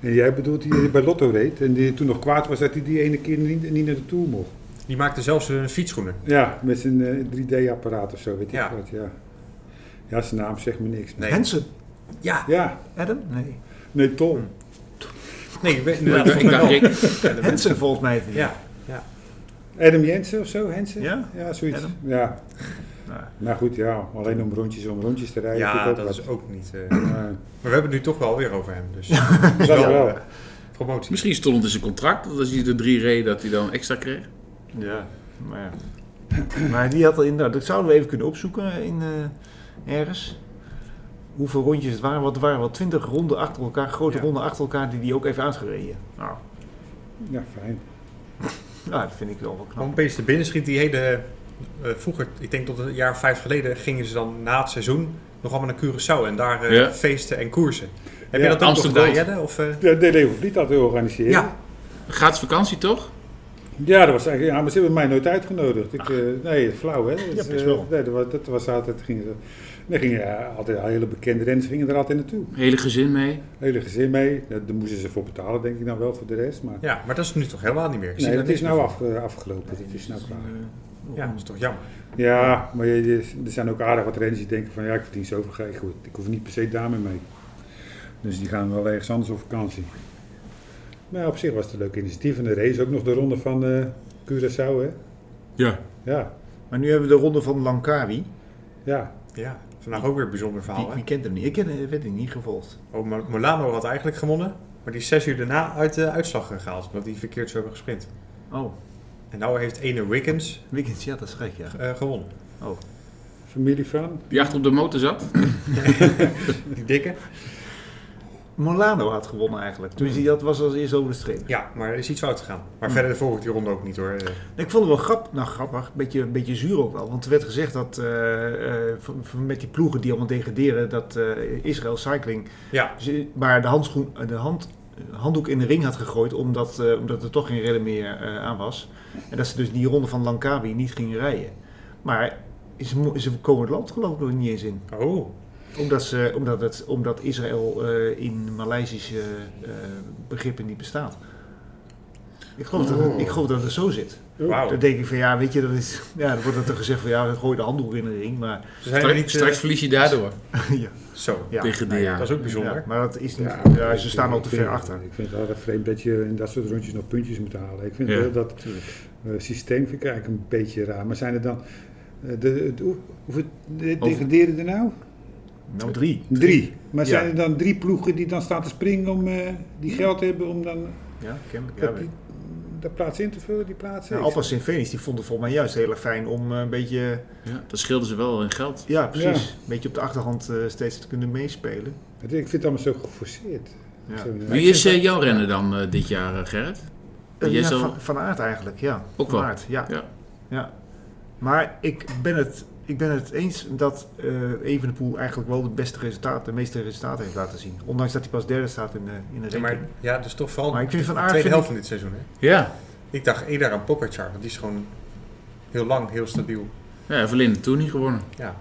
Speaker 3: En jij bedoelt die bij Lotto reed. En die toen nog kwaad was dat hij die ene keer niet, niet naar de Tour mocht.
Speaker 4: Die maakte zelfs hun fietsschoenen.
Speaker 3: Ja, met zijn eh, 3D-apparaat of zo, weet ik
Speaker 4: Ja.
Speaker 3: wat. Ja. ja, zijn naam zegt me niks.
Speaker 4: Nee.
Speaker 2: Hansen,
Speaker 4: Ja,
Speaker 3: Ja,
Speaker 2: Adam? Nee.
Speaker 3: nee, Tom.
Speaker 4: nee, ik ben-
Speaker 5: Ja,
Speaker 4: inderdaad,
Speaker 5: ik dacht,
Speaker 4: volgens mij
Speaker 5: Rick,
Speaker 4: wel. Ja,
Speaker 2: Hansen volgens mij. heeft hij.
Speaker 4: Ja,
Speaker 3: Adam Jensen of zo, Hensen?
Speaker 2: Ja?
Speaker 3: zoiets.
Speaker 2: Adam?
Speaker 3: Ja.
Speaker 2: Nou,
Speaker 3: Maar goed, ja, alleen om rondjes om rondjes te rijden. vind ik
Speaker 4: ja
Speaker 3: ook
Speaker 4: dat
Speaker 3: wat.
Speaker 4: is ook niet... eh,
Speaker 3: Eh,
Speaker 4: maar we hebben het nu toch wel weer over hem. Dus
Speaker 3: dat wel.
Speaker 4: promotie.
Speaker 5: misschien stond het in zijn contract dat als hij er drie reed, dat hij dan extra kreeg.
Speaker 2: ja. Maar, ja. maar die had al inderdaad, dat zouden we even kunnen opzoeken in, eh, ergens. Hoeveel rondjes het waren, want er waren wel twintig ronden achter elkaar, grote
Speaker 4: Ja.
Speaker 2: ronden achter elkaar, die die ook even uitgereden. Nou,
Speaker 3: Ja, fijn.
Speaker 2: nou, dat vind ik wel wel
Speaker 4: Om
Speaker 2: knap.
Speaker 4: opeens te binnen schiet die hele... eh, vroeger, ik denk tot een jaar of vijf geleden, gingen ze dan na het seizoen nog allemaal naar Curaçao en daar eh,
Speaker 5: Ja.
Speaker 4: feesten en koersen. Heb
Speaker 3: Ja,
Speaker 4: je dat ook nog
Speaker 5: Amsterdam.
Speaker 4: gedaan, Jelle? Of, eh?
Speaker 3: Ja, de Leo Vliet had georganiseerd.
Speaker 4: Ja.
Speaker 5: Gaat vakantie toch?
Speaker 3: Ja, dat was eigenlijk, ja, maar ze hebben mij nooit uitgenodigd. Ik, eh, nee, flauw hè. Dat, is,
Speaker 2: best
Speaker 3: eh,
Speaker 2: wel.
Speaker 3: nee, dat, was, dat was altijd, gingen, ze- nee, gingen ja, altijd hele bekende renners gingen er altijd naartoe.
Speaker 5: Hele gezin mee.
Speaker 3: Hele gezin mee, daar, daar moesten ze voor betalen denk ik nou wel voor de rest. Maar
Speaker 4: ja, maar dat is nu toch helemaal niet meer. Ik zie
Speaker 3: nee,
Speaker 4: daar
Speaker 3: dat
Speaker 4: niks
Speaker 3: is nou af, eh, afgelopen, dat is nou klaar.
Speaker 4: meer. Ja, dat is toch jammer.
Speaker 3: Ja, maar je- je- er zijn ook aardig wat renners die denken van ja, ik verdien zoveel geld, goed, ik hoef niet per se daarmee mee. Dus die gaan wel ergens anders op vakantie. Maar op zich was het een leuk initiatief en de race ook nog de ronde van eh Curaçao hè.
Speaker 5: Ja.
Speaker 3: Ja,
Speaker 2: Maar nu hebben we de ronde van Langkawi.
Speaker 3: ja.
Speaker 4: Ja, vandaag ook weer een bijzonder
Speaker 2: Wie,
Speaker 4: verhaal. hè?
Speaker 2: wie kent hem niet? Ik ken hem, weet ik niet gevolgd.
Speaker 4: Oh, Mo- Molano had eigenlijk gewonnen, maar die is zes uur daarna uit de uitslag gehaald, omdat die verkeerd zou hebben gesprint.
Speaker 2: Oh,
Speaker 4: En nou heeft ene Wiggins
Speaker 2: Wiggins, ja, dat is gek, ja.
Speaker 4: eh, gewonnen.
Speaker 3: familie van.
Speaker 5: Die achter op de motor zat.
Speaker 4: Die dikke.
Speaker 2: Molano had gewonnen eigenlijk. Toen hij dat was als eerste over de streep.
Speaker 4: Ja, maar er is iets fout gegaan. Maar
Speaker 2: Hm.
Speaker 4: verder volg ik die ronde ook niet hoor. Eh,
Speaker 2: Ik vond het wel grap, nou grappig, een beetje, een beetje zuur ook wel. Want er werd gezegd dat eh, eh, van- van met die ploegen die allemaal degraderen, dat eh, Israël Cycling
Speaker 4: Ja,
Speaker 2: ze- maar de, handschoen, eh, de hand, handdoek in de ring had gegooid, omdat, eh, omdat er toch geen redder meer eh, aan was. En dat ze dus die ronde van Langkawi niet gingen rijden. Maar ze, mo- ze komen het land geloof ik nog niet eens in.
Speaker 4: oh.
Speaker 2: Omdat, ze, omdat, het, omdat Israël eh, in Maleisische eh, begrippen niet bestaat. Ik geloof, dat, het- ik geloof dat het zo zit.
Speaker 4: Wauw.
Speaker 2: Dan denk ik van ja, weet je, dat is, ja, dan wordt er toch gezegd van ja, gooi de handdoek in de ring. Maar,
Speaker 4: Ze zijn er niet... eh,
Speaker 5: Straks verlies je daardoor.
Speaker 2: ja,
Speaker 4: Zo.
Speaker 2: ja,
Speaker 5: Degraderen.
Speaker 4: Dat is ook
Speaker 2: ja,
Speaker 4: bijzonder.
Speaker 2: maar dat is niet. Ja, ze
Speaker 3: ik
Speaker 2: staan al
Speaker 3: vind-
Speaker 2: te
Speaker 3: ik
Speaker 2: ver
Speaker 3: vind-
Speaker 2: achter.
Speaker 3: Ik vind het altijd vreemd dat je in dat soort rondjes nog puntjes moet halen. Ik vind
Speaker 5: Ja,
Speaker 3: heel dat eh, systeem vind ik eigenlijk een beetje raar. Maar zijn er dan... eh, de, de, hoe- hoeveel de-
Speaker 5: Over-
Speaker 3: degraderen er nou?
Speaker 2: Nou, drie.
Speaker 3: Drie. Maar
Speaker 2: Ja.
Speaker 3: zijn er dan drie ploegen die dan staan te springen om eh, die geld hebben om dan
Speaker 2: Ja, kennelijk. Ja,
Speaker 3: dat,
Speaker 2: weet
Speaker 3: die,
Speaker 2: ik.
Speaker 3: dat plaats in te vullen, die plaatsen?
Speaker 2: ja,
Speaker 3: Ik-
Speaker 2: Alpha Sint Phoenix, die vonden volgens mij juist heel erg fijn om eh, een beetje,
Speaker 5: Ja, dat scheelde ze wel in geld.
Speaker 2: ja precies, een beetje op de achterhand eh, steeds te kunnen meespelen.
Speaker 3: ik vind het allemaal zo geforceerd.
Speaker 2: Ja.
Speaker 3: Zo, ja.
Speaker 5: Wie is eh, jouw renner dan eh, dit jaar, eh, Gerrit?
Speaker 2: Eh,
Speaker 5: Jij
Speaker 2: ja,
Speaker 5: zal-
Speaker 2: van, van aard eigenlijk, ja.
Speaker 5: Ook
Speaker 2: van
Speaker 5: wel.
Speaker 2: Aert, ja.
Speaker 5: Ja.
Speaker 2: ja. Maar ik ben het, ik ben het eens dat eh Evenepoel eigenlijk wel de beste resultaten, de meeste resultaten heeft laten zien. Ondanks dat hij pas derde staat in de, in de
Speaker 4: Ja,
Speaker 2: ranking.
Speaker 4: maar ja, dus toch vooral
Speaker 2: Maar ik vind Van
Speaker 4: de
Speaker 2: Aert
Speaker 4: tweede
Speaker 2: vind
Speaker 4: helft van dit seizoen. Hè?
Speaker 5: Ja.
Speaker 4: Ik dacht eerder aan Pogacar, want die is gewoon heel lang, heel stabiel.
Speaker 5: Ja, Verlinde toen niet gewonnen.
Speaker 4: Ja.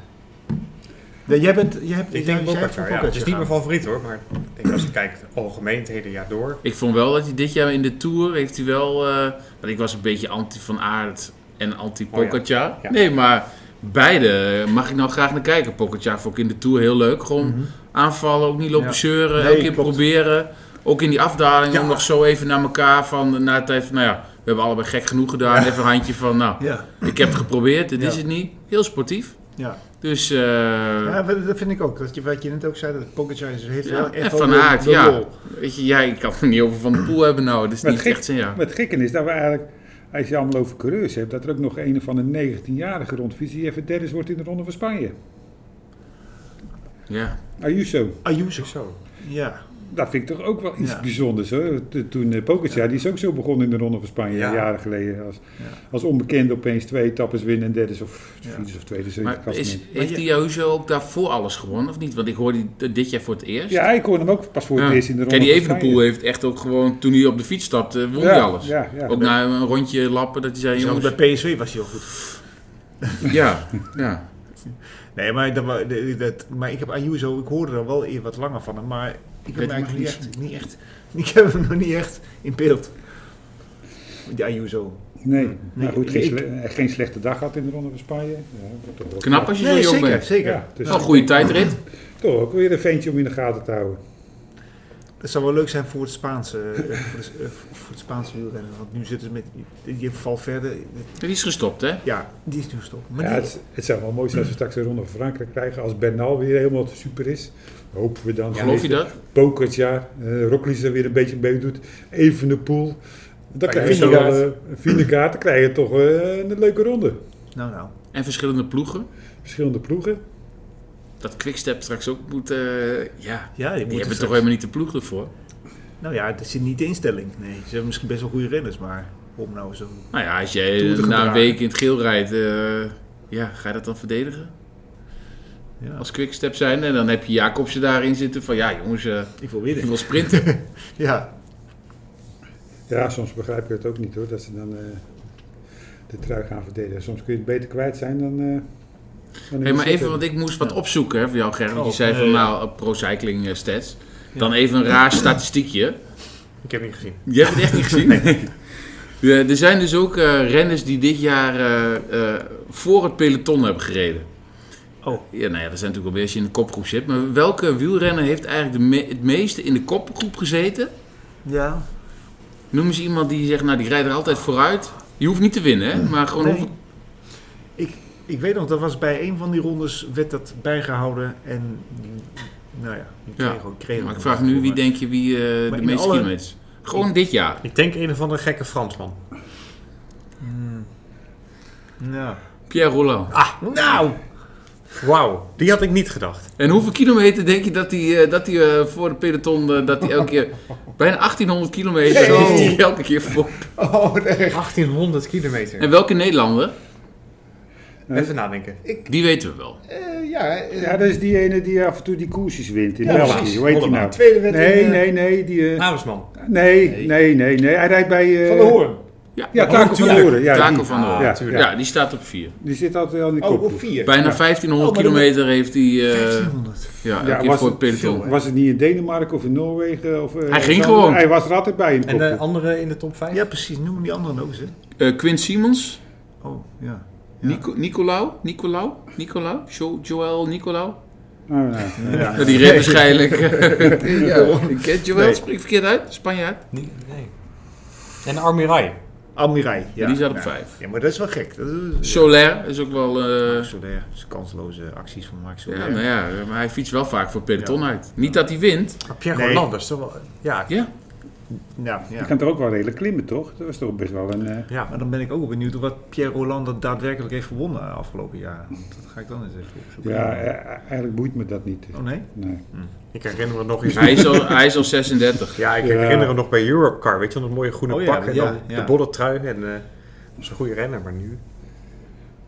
Speaker 2: Ja, jij bent, jij hebt,
Speaker 4: Ik
Speaker 2: jij-
Speaker 4: denk
Speaker 2: jij hebt
Speaker 4: Pogacar,
Speaker 2: voor
Speaker 4: ja. Het is niet
Speaker 2: gegaan.
Speaker 4: mijn favoriet hoor, maar ik denk als je kijkt algemeen het hele jaar door.
Speaker 5: Ik vond wel dat hij dit jaar in de Tour heeft hij wel... eh, want ik was een beetje anti-Van Aert en
Speaker 2: Oh
Speaker 5: anti-Pogacar.
Speaker 4: ja.
Speaker 5: Nee, maar beide mag ik nou graag naar kijken. Pogacar vond ik in de Tour heel leuk. Gewoon
Speaker 2: Mhm.
Speaker 5: aanvallen, ook niet lopen
Speaker 2: Ja.
Speaker 5: zeuren.
Speaker 2: Nee,
Speaker 5: elke keer
Speaker 2: klopt.
Speaker 5: proberen. Ook in die afdaling
Speaker 4: Ja.
Speaker 5: ook nog zo even naar elkaar van... Na het even, nou ja, we hebben allebei gek genoeg gedaan. Even een handje van, nou,
Speaker 2: Ja,
Speaker 5: ik heb het geprobeerd. Dit
Speaker 2: Ja.
Speaker 5: is het niet. Heel sportief.
Speaker 2: ja.
Speaker 5: Dus... eh,
Speaker 2: ja, dat vind ik ook. Dat je, wat je net ook zei, dat Pogacar is- heeft
Speaker 5: Ja,
Speaker 2: wel
Speaker 5: en
Speaker 2: echt wel
Speaker 5: Van
Speaker 2: de-
Speaker 5: Aert,
Speaker 2: de
Speaker 5: ja.
Speaker 2: lol.
Speaker 5: Weet je, ja, ik kan het niet over Van de Poel hebben nou. Dat is
Speaker 3: Maar
Speaker 5: niet
Speaker 3: het
Speaker 5: echt zijn jaar.
Speaker 3: Maar het gekke is dat we eigenlijk, als je allemaal over coureurs hebt, dat er ook nog een of andere 19-jarige rondfiets die even derde wordt in de Ronde van Spanje.
Speaker 5: Ja.
Speaker 3: Ayuso.
Speaker 2: Ayuso.
Speaker 4: Zo.
Speaker 2: Ja,
Speaker 3: Dat vind ik toch ook wel iets
Speaker 2: Ja.
Speaker 3: bijzonders hoor. T- Toen eh, Pogacar, die is ook zo begonnen in de Ronde van Spanje
Speaker 4: Ja.
Speaker 3: jaren geleden. Als,
Speaker 2: Ja.
Speaker 3: als onbekende opeens twee etappes winnen en derde is of
Speaker 2: Ja.
Speaker 3: vierde is of tweede. Zo in het
Speaker 5: Maar is,
Speaker 3: klassement.
Speaker 5: heeft die Ayuso ook daarvoor alles gewonnen of niet? Want ik hoorde die dit jaar voor het eerst.
Speaker 3: Ja, ik hoorde hem ook pas voor het
Speaker 5: Ja.
Speaker 3: eerst in de Ronde
Speaker 5: Kijk, die
Speaker 3: van
Speaker 5: Evenepoel heeft echt ook gewoon, toen hij op de fiets stapte, won hij
Speaker 3: Ja,
Speaker 5: alles.
Speaker 3: Ja, ja.
Speaker 5: Ook na een rondje lappen, dat hij zei,
Speaker 2: Zelfs
Speaker 5: jongens...
Speaker 2: bij PSV was hij al goed.
Speaker 5: Ja, ja.
Speaker 2: Nee, maar, dat, wa- de- dat, maar ik heb Ayuso, ik hoorde er wel eer wat langer van hem, maar ik heb
Speaker 5: Weet
Speaker 2: hem
Speaker 5: je
Speaker 2: eigenlijk
Speaker 5: nog
Speaker 2: niet echt, niet echt, ik heb hem nog niet echt in beeld. Die Ayuso.
Speaker 3: Nee, maar
Speaker 2: Nee,
Speaker 3: goed, geen,
Speaker 2: ik-
Speaker 3: sle- eh, geen slechte dag gehad in de Ronde van Spanje. Ja, toch wel-
Speaker 5: Knap Nou, als je zo
Speaker 2: Nee,
Speaker 5: jong
Speaker 2: zeker,
Speaker 5: bent.
Speaker 2: zeker.
Speaker 3: Ja, dus
Speaker 5: Wel een goede tijdrit.
Speaker 3: toch ook weer een ventje om in de gaten te houden.
Speaker 2: Het zou wel leuk zijn voor het Spaanse, eh, voor, de, eh, voor het Spaanse wielrennen, want nu zitten ze met, je valt verder.
Speaker 5: Die is gestopt, hè?
Speaker 2: Ja, die is nu stop. Maar
Speaker 3: Ja,
Speaker 2: die-
Speaker 3: het, het zou wel mooi zijn als we straks een Ronde van Frankrijk krijgen. Als Bernal weer helemaal super is. Hopen we dan.
Speaker 4: Ja,
Speaker 5: Geloof je dat?
Speaker 3: Pokertjaar, eh Roglic er weer een beetje mee doet. Evenepoel, Dan
Speaker 2: Kan
Speaker 3: krijg
Speaker 2: je
Speaker 3: je zo'n
Speaker 2: Vingegaard.
Speaker 3: eh, Vingegaard, dan krijg je toch eh, een leuke ronde.
Speaker 2: Nou, nou.
Speaker 5: En verschillende ploegen.
Speaker 3: Verschillende ploegen.
Speaker 5: Dat Quickstep straks ook moet... eh, ja,
Speaker 2: Ja,
Speaker 5: die
Speaker 2: moeten
Speaker 5: hebben toch
Speaker 2: straks-
Speaker 5: helemaal niet de ploeg ervoor.
Speaker 2: Nou ja, dat zit niet de instelling. Nee, ze hebben misschien best wel goede renners, maar om nou zo...
Speaker 5: Nou ja, als jij
Speaker 2: Toer te
Speaker 5: na een
Speaker 2: gedragen.
Speaker 5: week in het geel rijdt... eh, ja, ga je dat dan verdedigen?
Speaker 2: Ja,
Speaker 5: Als Quickstep zijn. En dan heb je Jacobsen daarin zitten van... Ja, jongens, eh
Speaker 2: ik wil
Speaker 5: ik
Speaker 2: winnen.
Speaker 5: wil sprinten.
Speaker 2: Ja,
Speaker 3: Ja, soms begrijp ik het ook niet hoor, dat ze dan eh, de trui gaan verdedigen. Soms kun je het beter kwijt zijn dan... eh, dan in
Speaker 5: Hey,
Speaker 3: de
Speaker 5: maar
Speaker 3: zet
Speaker 5: even, want
Speaker 3: hebben.
Speaker 5: ik moest wat
Speaker 2: Ja.
Speaker 5: opzoeken hè, voor jou, Gerrit. want je
Speaker 2: Oh,
Speaker 5: zei van,
Speaker 2: eh,
Speaker 5: nou, eh, pro-cycling eh, stats. Dan even een raar statistiekje.
Speaker 4: Ik heb niet gezien.
Speaker 5: Je hebt het echt niet gezien. Eh, er zijn dus ook eh, renners die dit jaar eh, eh, voor het peloton hebben gereden.
Speaker 2: Oh.
Speaker 5: Ja, nou ja, dat zijn natuurlijk wel weer als je in de kopgroep zit. Maar welke wielrenner heeft eigenlijk de me- het meeste in de kopgroep gezeten?
Speaker 2: ja.
Speaker 5: Noem eens iemand die zegt, nou, die rijdt er altijd vooruit. Je hoeft niet te winnen, hè? Maar gewoon...
Speaker 2: Nee.
Speaker 5: hoeveel-
Speaker 2: Ik, ik weet nog, dat was bij een van die rondes werd dat bijgehouden en... Nou ja, ik
Speaker 5: Ja,
Speaker 2: kreeg ook... Kreeg ook
Speaker 5: Maar Nou, ik
Speaker 2: nog
Speaker 5: vraag
Speaker 2: wat
Speaker 5: nu,
Speaker 2: voor,
Speaker 5: wie
Speaker 2: maar-
Speaker 5: denk je wie eh,
Speaker 2: Maar
Speaker 5: de
Speaker 2: in
Speaker 5: meeste
Speaker 2: alle-
Speaker 5: kilometers? Gewoon dit jaar.
Speaker 4: Ik denk een of andere gekke Fransman.
Speaker 2: Hmm. Nou.
Speaker 5: Pierre Rolland.
Speaker 4: Ah, nou! Wauw, die had ik niet gedacht.
Speaker 5: En hoeveel kilometer denk je dat hij eh, dat hij, eh, voor de peloton, eh, dat hij elke keer, bijna 1800 kilometer
Speaker 2: Zo.
Speaker 5: heeft hij elke keer voor.
Speaker 2: Oh, nee.
Speaker 4: 1800 kilometer.
Speaker 5: En welke Nederlander?
Speaker 4: Even nadenken.
Speaker 5: Die weten we wel.
Speaker 2: Eh, ja, eh,
Speaker 3: Ja, dat is die ene die af en toe die koersjes wint in
Speaker 2: Ja,
Speaker 3: België.
Speaker 2: precies.
Speaker 3: Hoe heet die
Speaker 4: Hollema.
Speaker 3: nou?
Speaker 2: tweede wedstrijd.
Speaker 3: Nee,
Speaker 2: eh,
Speaker 3: nee, nee. Die, eh,
Speaker 4: Namensman.
Speaker 3: nee, nee, nee, nee. Hij rijdt bij... eh,
Speaker 2: Van de Hoorn.
Speaker 4: Oh,
Speaker 5: Ja,
Speaker 3: Ja, Taco van de Hoorn. Ja,
Speaker 5: Taco
Speaker 3: die.
Speaker 5: van de Hoorn.
Speaker 3: Ja,
Speaker 5: Ja,
Speaker 3: tuurlijk.
Speaker 5: die staat op 4.
Speaker 3: Die zit altijd aan die
Speaker 2: Oh,
Speaker 3: kop.
Speaker 2: op vier.
Speaker 5: Bijna 1500
Speaker 2: Oh, maar dan-
Speaker 5: kilometer heeft hij eh,
Speaker 2: 1500.
Speaker 5: ja, elke
Speaker 3: Ja,
Speaker 5: keer
Speaker 3: was
Speaker 5: voor het
Speaker 3: het
Speaker 5: peloton.
Speaker 3: Was het niet in Denemarken of in Noorwegen? Of, eh,
Speaker 5: Hij ging
Speaker 3: zo?
Speaker 5: gewoon.
Speaker 3: Hij was er altijd bij in de
Speaker 4: En eh, de
Speaker 3: kopgroep.
Speaker 4: andere in de top 5?
Speaker 2: Ja, precies. Noem die anderen ook eens, hè.
Speaker 5: Eh Quint Simons,
Speaker 2: Oh, ja.
Speaker 5: Nico, Nicolau, Nicolau, Nicolau, Jo- Joël Nicolau.
Speaker 3: Oh, nou.
Speaker 2: Ja.
Speaker 5: Nou, die reed waarschijnlijk. ja, ik ken Joël,
Speaker 2: Nee.
Speaker 5: spreek verkeerd uit, Spanjaard.
Speaker 4: Nee. nee. En Armirai.
Speaker 2: Almirai, ja.
Speaker 5: Die staat op
Speaker 2: Ja.
Speaker 5: 5.
Speaker 2: Ja, maar dat is wel gek. Dat is,
Speaker 5: Soler is ook wel... eh,
Speaker 2: Soler, dat is kansloze acties van Max
Speaker 5: Ja,
Speaker 2: Soler.
Speaker 5: nou ja, maar hij fietst wel vaak voor peloton
Speaker 2: Ja.
Speaker 5: uit. Niet dat hij wint.
Speaker 4: Maar Pierre
Speaker 2: Nee.
Speaker 4: Roland, dat is toch wel... Ja,
Speaker 5: Ja.
Speaker 2: Nou, ja.
Speaker 3: Je kan toch ook wel redelijk klimmen, toch? Dat was toch best wel een... eh,
Speaker 4: ja.
Speaker 2: Maar dan ben ik ook benieuwd wat Pierre Hollande daadwerkelijk heeft gewonnen de afgelopen jaar. Want Dat ga ik dan eens even opzoeken.
Speaker 3: ja, eh, eigenlijk boeit me dat niet.
Speaker 2: Oh nee?
Speaker 3: Nee.
Speaker 4: Ik herinner me nog eens...
Speaker 5: Hij is al, hij is al 36.
Speaker 4: Ja, ik
Speaker 3: Ja.
Speaker 4: herinner me nog bij Europe Car, weet je wel, dat mooie groene
Speaker 2: Oh ja,
Speaker 4: pak en
Speaker 2: ja,
Speaker 4: dan
Speaker 2: ja.
Speaker 4: de bolletrui en eh, dat was een goede renner, maar nu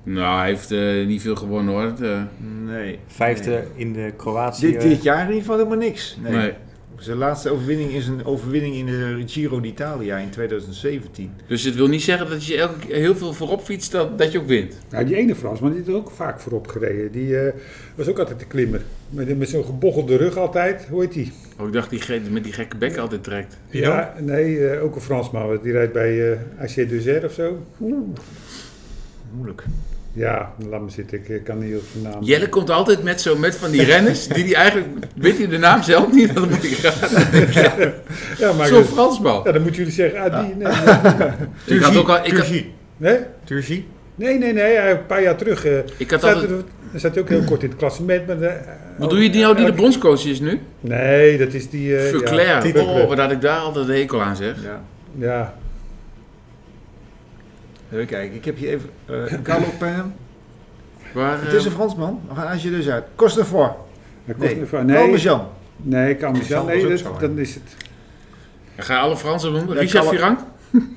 Speaker 5: Nou, hij heeft eh, niet veel gewonnen hoor. Het, eh,
Speaker 2: Nee.
Speaker 4: vijfde in de Kroatië.
Speaker 2: Dit, dit jaar in ieder geval helemaal niks. eh, Nee.
Speaker 5: nee.
Speaker 2: Zijn laatste overwinning is een overwinning in de Giro d'Italia in 2017.
Speaker 5: Dus het wil niet zeggen dat als je elke keer heel veel voorop fietst, dat, dat je ook wint.
Speaker 3: Ja, die ene Fransman die had ook vaak voorop gereden. Die eh, was ook altijd de klimmer. Met, met zo'n gebochelde rug altijd. Hoe heet die?
Speaker 5: Oh, ik dacht die ge- met die gekke bek altijd trekt.
Speaker 3: Ja, nee, eh, ook een Fransman. Die rijdt bij eh AC Duzer of zo.
Speaker 2: Moeilijk.
Speaker 3: Ja, laat me zitten. Ik eh, kan niet op zijn naam.
Speaker 5: Jelle komt altijd met, zo, met van die renners, die die eigenlijk, weet hij de naam zelf niet, dat moet ik gaan.
Speaker 3: Ja, maar
Speaker 5: Zo'n
Speaker 3: dus-
Speaker 5: Fransman.
Speaker 3: ja, dan moeten jullie zeggen, ah, die. Nee, nee.
Speaker 5: Ik
Speaker 3: Dus
Speaker 5: had ook al, ik had,
Speaker 2: Turgie.
Speaker 3: nee,
Speaker 4: Turgie.
Speaker 3: nee, nee, nee, hij- een paar jaar terug. eh
Speaker 5: ik had
Speaker 3: zat,
Speaker 5: altijd,
Speaker 3: er- dan zat hij ook heel kort in het klassement. Maar, eh,
Speaker 5: wat doe je die nou die de bondscoach is nu?
Speaker 3: Nee, dat is die... eh, Ja,
Speaker 5: Fuclair.
Speaker 3: Fuclair.
Speaker 5: Oh, wat had ik daar altijd een hekel aan zeg.
Speaker 2: Ja.
Speaker 3: ja.
Speaker 2: Even kijken, ik heb hier even eh Carlo Perm.
Speaker 5: Waar,
Speaker 2: Het is
Speaker 5: eh,
Speaker 2: een Fransman. We gaan als je dus uit. Costefort.
Speaker 3: Dat kost
Speaker 2: Nee.
Speaker 3: me-
Speaker 2: Nee.
Speaker 3: nee,
Speaker 2: Jean.
Speaker 3: nee, kan
Speaker 4: Dat zal
Speaker 3: Nee,
Speaker 4: ook
Speaker 3: dat-
Speaker 4: zo zijn.
Speaker 3: dan is het...
Speaker 5: ga je alle Fransen noemen?
Speaker 2: Ja,
Speaker 5: Richard
Speaker 2: Kalle-
Speaker 5: Virank?
Speaker 3: Mm,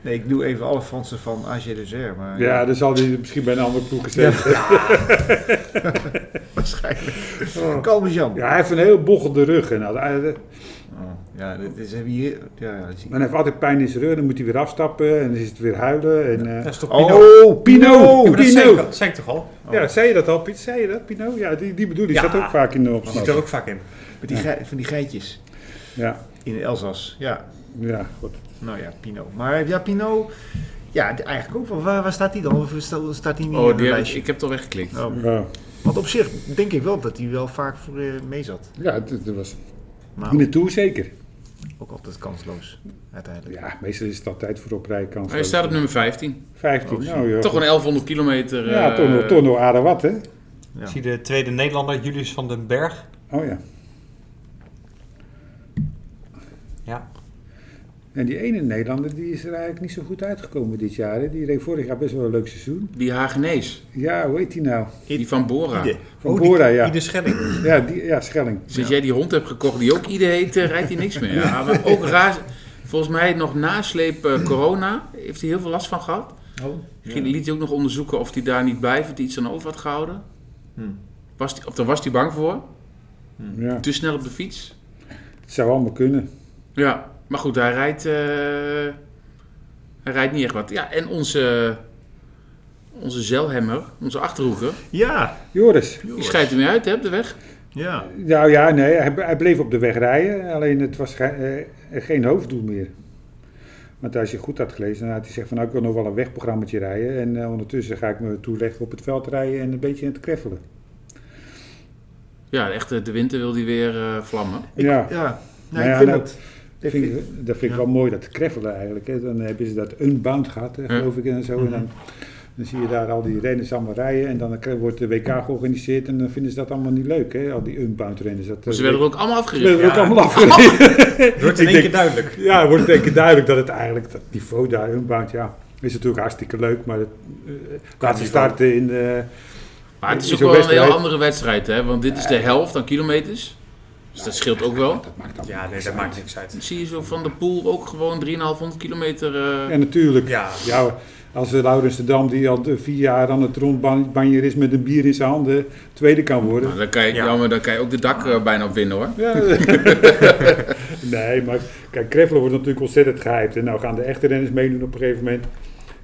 Speaker 2: Nee, ik doe even alle Fransen van AG Deser, maar
Speaker 3: Ja, dan zal hij misschien bij een andere ploeg gezeten.
Speaker 2: waarschijnlijk.
Speaker 3: Oh.
Speaker 2: Kalmejan.
Speaker 3: Ja, hij heeft een heel bochelde rug. En, al. Hij-
Speaker 2: Oh, ja, dat is hebben we hier. Ja, ja, dat zie ik.
Speaker 3: maar hij heeft altijd pijn in zijn rug. Dan moet hij weer afstappen. En dan is het weer huilen. En, eh,
Speaker 4: Dat is toch Pino?
Speaker 2: Oh,
Speaker 3: Pino!
Speaker 2: Pino!
Speaker 4: maar dat zei
Speaker 3: Pino!
Speaker 4: ik, al- zei ik toch al?
Speaker 3: Ja, zei je dat al, Piet? Zei je dat, Pino? Ja, die, die bedoel ik.
Speaker 4: Ja.
Speaker 3: zat ook vaak in de
Speaker 4: Dat zit er
Speaker 3: opslag.
Speaker 4: ook vaak in.
Speaker 2: Met die gei- van die geitjes
Speaker 3: Ja,
Speaker 2: in Elzas. Ja,
Speaker 3: ja, goed.
Speaker 2: nou ja, Pino. Maar ja, Pino. Ja, de- eigenlijk ook wel. Waar, waar staat hij dan? Of sta- staat hij niet
Speaker 5: Oh,
Speaker 2: in het
Speaker 5: die heb ik,
Speaker 2: lijstje?
Speaker 5: ik heb het al weggeklikt.
Speaker 2: Oh.
Speaker 3: Ja,
Speaker 2: Want op zich denk ik wel dat hij wel vaak voor eh, mee zat.
Speaker 3: ja dat, dat was...
Speaker 2: Maar
Speaker 5: Nou.
Speaker 3: In de Tour zeker.
Speaker 2: ook altijd kansloos, uiteindelijk.
Speaker 3: Ja, meestal is het altijd voorop rijden. Kan
Speaker 5: Hij staat op nummer 15.
Speaker 3: 15.
Speaker 2: Oh,
Speaker 3: nou, joh.
Speaker 5: Toch een 1100 kilometer.
Speaker 3: Ja,
Speaker 5: eh,
Speaker 3: toch nog- toch nog aardig wat, hè?
Speaker 2: Ja.
Speaker 4: Ik zie de tweede Nederlander, Julius van den Berg.
Speaker 3: Oh ja.
Speaker 4: Ja.
Speaker 3: En die ene Nederlander die is er eigenlijk niet zo goed uitgekomen dit jaar. Hè? Die reed vorig jaar best wel een leuk seizoen.
Speaker 5: Die Hagenees,
Speaker 3: Ja, hoe heet die nou?
Speaker 5: die van Bora.
Speaker 2: Ide.
Speaker 3: Van
Speaker 4: Oh,
Speaker 3: Bora, ja.
Speaker 4: Ieder Schelling.
Speaker 3: Ja, die, ja, Schelling.
Speaker 5: Sinds jij die hond hebt gekocht die ook ieder heet, eh, rijdt hij niks meer. Ja, maar ook raar. Volgens mij nog nasleep eh, corona heeft hij heel veel last van gehad.
Speaker 4: Oh.
Speaker 5: Ging, liet hij ook nog onderzoeken of hij daar niet blijvend iets aan over had gehouden.
Speaker 4: Hmm.
Speaker 5: Was die, of daar was hij bang voor.
Speaker 3: Ja,
Speaker 5: Te snel op de fiets.
Speaker 3: het zou allemaal kunnen.
Speaker 5: Ja, maar goed, hij rijdt, eh, hij rijdt niet echt wat. Ja, en onze, onze zeilhemmer, onze achterhoeker,
Speaker 2: Ja,
Speaker 3: Joris.
Speaker 5: die scheidt hem weer uit hè, op de weg.
Speaker 2: ja.
Speaker 3: Nou ja, nee, hij, hij bleef op de weg rijden, alleen het was ge- eh, geen hoofddoel meer. Want als je goed had gelezen, dan had hij gezegd van nou, ik wil nog wel een wegprogrammaatje rijden. En eh, ondertussen ga ik me toeleggen op het veld rijden en een beetje aan het kreffelen.
Speaker 5: Ja, echt, eh, de winter wil hij weer eh, vlammen.
Speaker 3: ja,
Speaker 2: Ja, nee,
Speaker 3: Nou ja,
Speaker 2: ik vind
Speaker 3: nou,
Speaker 2: het.
Speaker 3: dat vind ik, dat vind ik
Speaker 2: Ja.
Speaker 3: wel mooi, dat kreffelen eigenlijk. Hè. Dan hebben ze dat unbound gehad, hè,
Speaker 5: Ja. Mhm.
Speaker 3: geloof ik, en zo. En dan, dan zie je daar al die renners allemaal rijden en dan krijg- wordt de WK georganiseerd. En dan vinden ze dat allemaal niet leuk, hè, al die unbound renners. Dat,
Speaker 5: Maar ze werden er ook allemaal
Speaker 3: ze werden
Speaker 5: afgericht.
Speaker 3: er ook
Speaker 4: Ja.
Speaker 3: allemaal afgereden.
Speaker 4: Wordt in
Speaker 3: Ik
Speaker 4: één
Speaker 3: denk-
Speaker 4: keer duidelijk.
Speaker 3: Ja, het wordt denk ik duidelijk dat het eigenlijk, dat niveau daar unbound, ja, is natuurlijk hartstikke leuk, maar het, eh, laat ze
Speaker 4: niveau.
Speaker 3: starten in eh, de...
Speaker 5: Maar het is
Speaker 3: Is
Speaker 5: ook
Speaker 3: zo'n
Speaker 5: wel een
Speaker 3: wedstrijd.
Speaker 5: heel andere wedstrijd, hè? Want dit is de helft aan kilometers. Dus dat scheelt ook wel.
Speaker 3: Dat maakt allemaal
Speaker 4: Ja, nee,
Speaker 3: niks
Speaker 4: dat
Speaker 3: uit.
Speaker 4: maakt niks uit.
Speaker 5: Dan zie je zo van de pool ook gewoon 3,500 kilometer. eh,
Speaker 3: En natuurlijk, ja.
Speaker 4: Ja.
Speaker 3: als eh, Laurens de Dam, die al eh, vier jaar aan het rondbanjer is met een bier in zijn handen, tweede kan worden.
Speaker 5: nou, dan, kan je,
Speaker 4: Ja.
Speaker 5: jammer, dan kan je ook de dak eh, bijna op winnen hoor.
Speaker 3: Ja. nee, maar kijk, Kreffelen wordt natuurlijk ontzettend gehyped. En nou gaan de echte renners meedoen op een gegeven moment.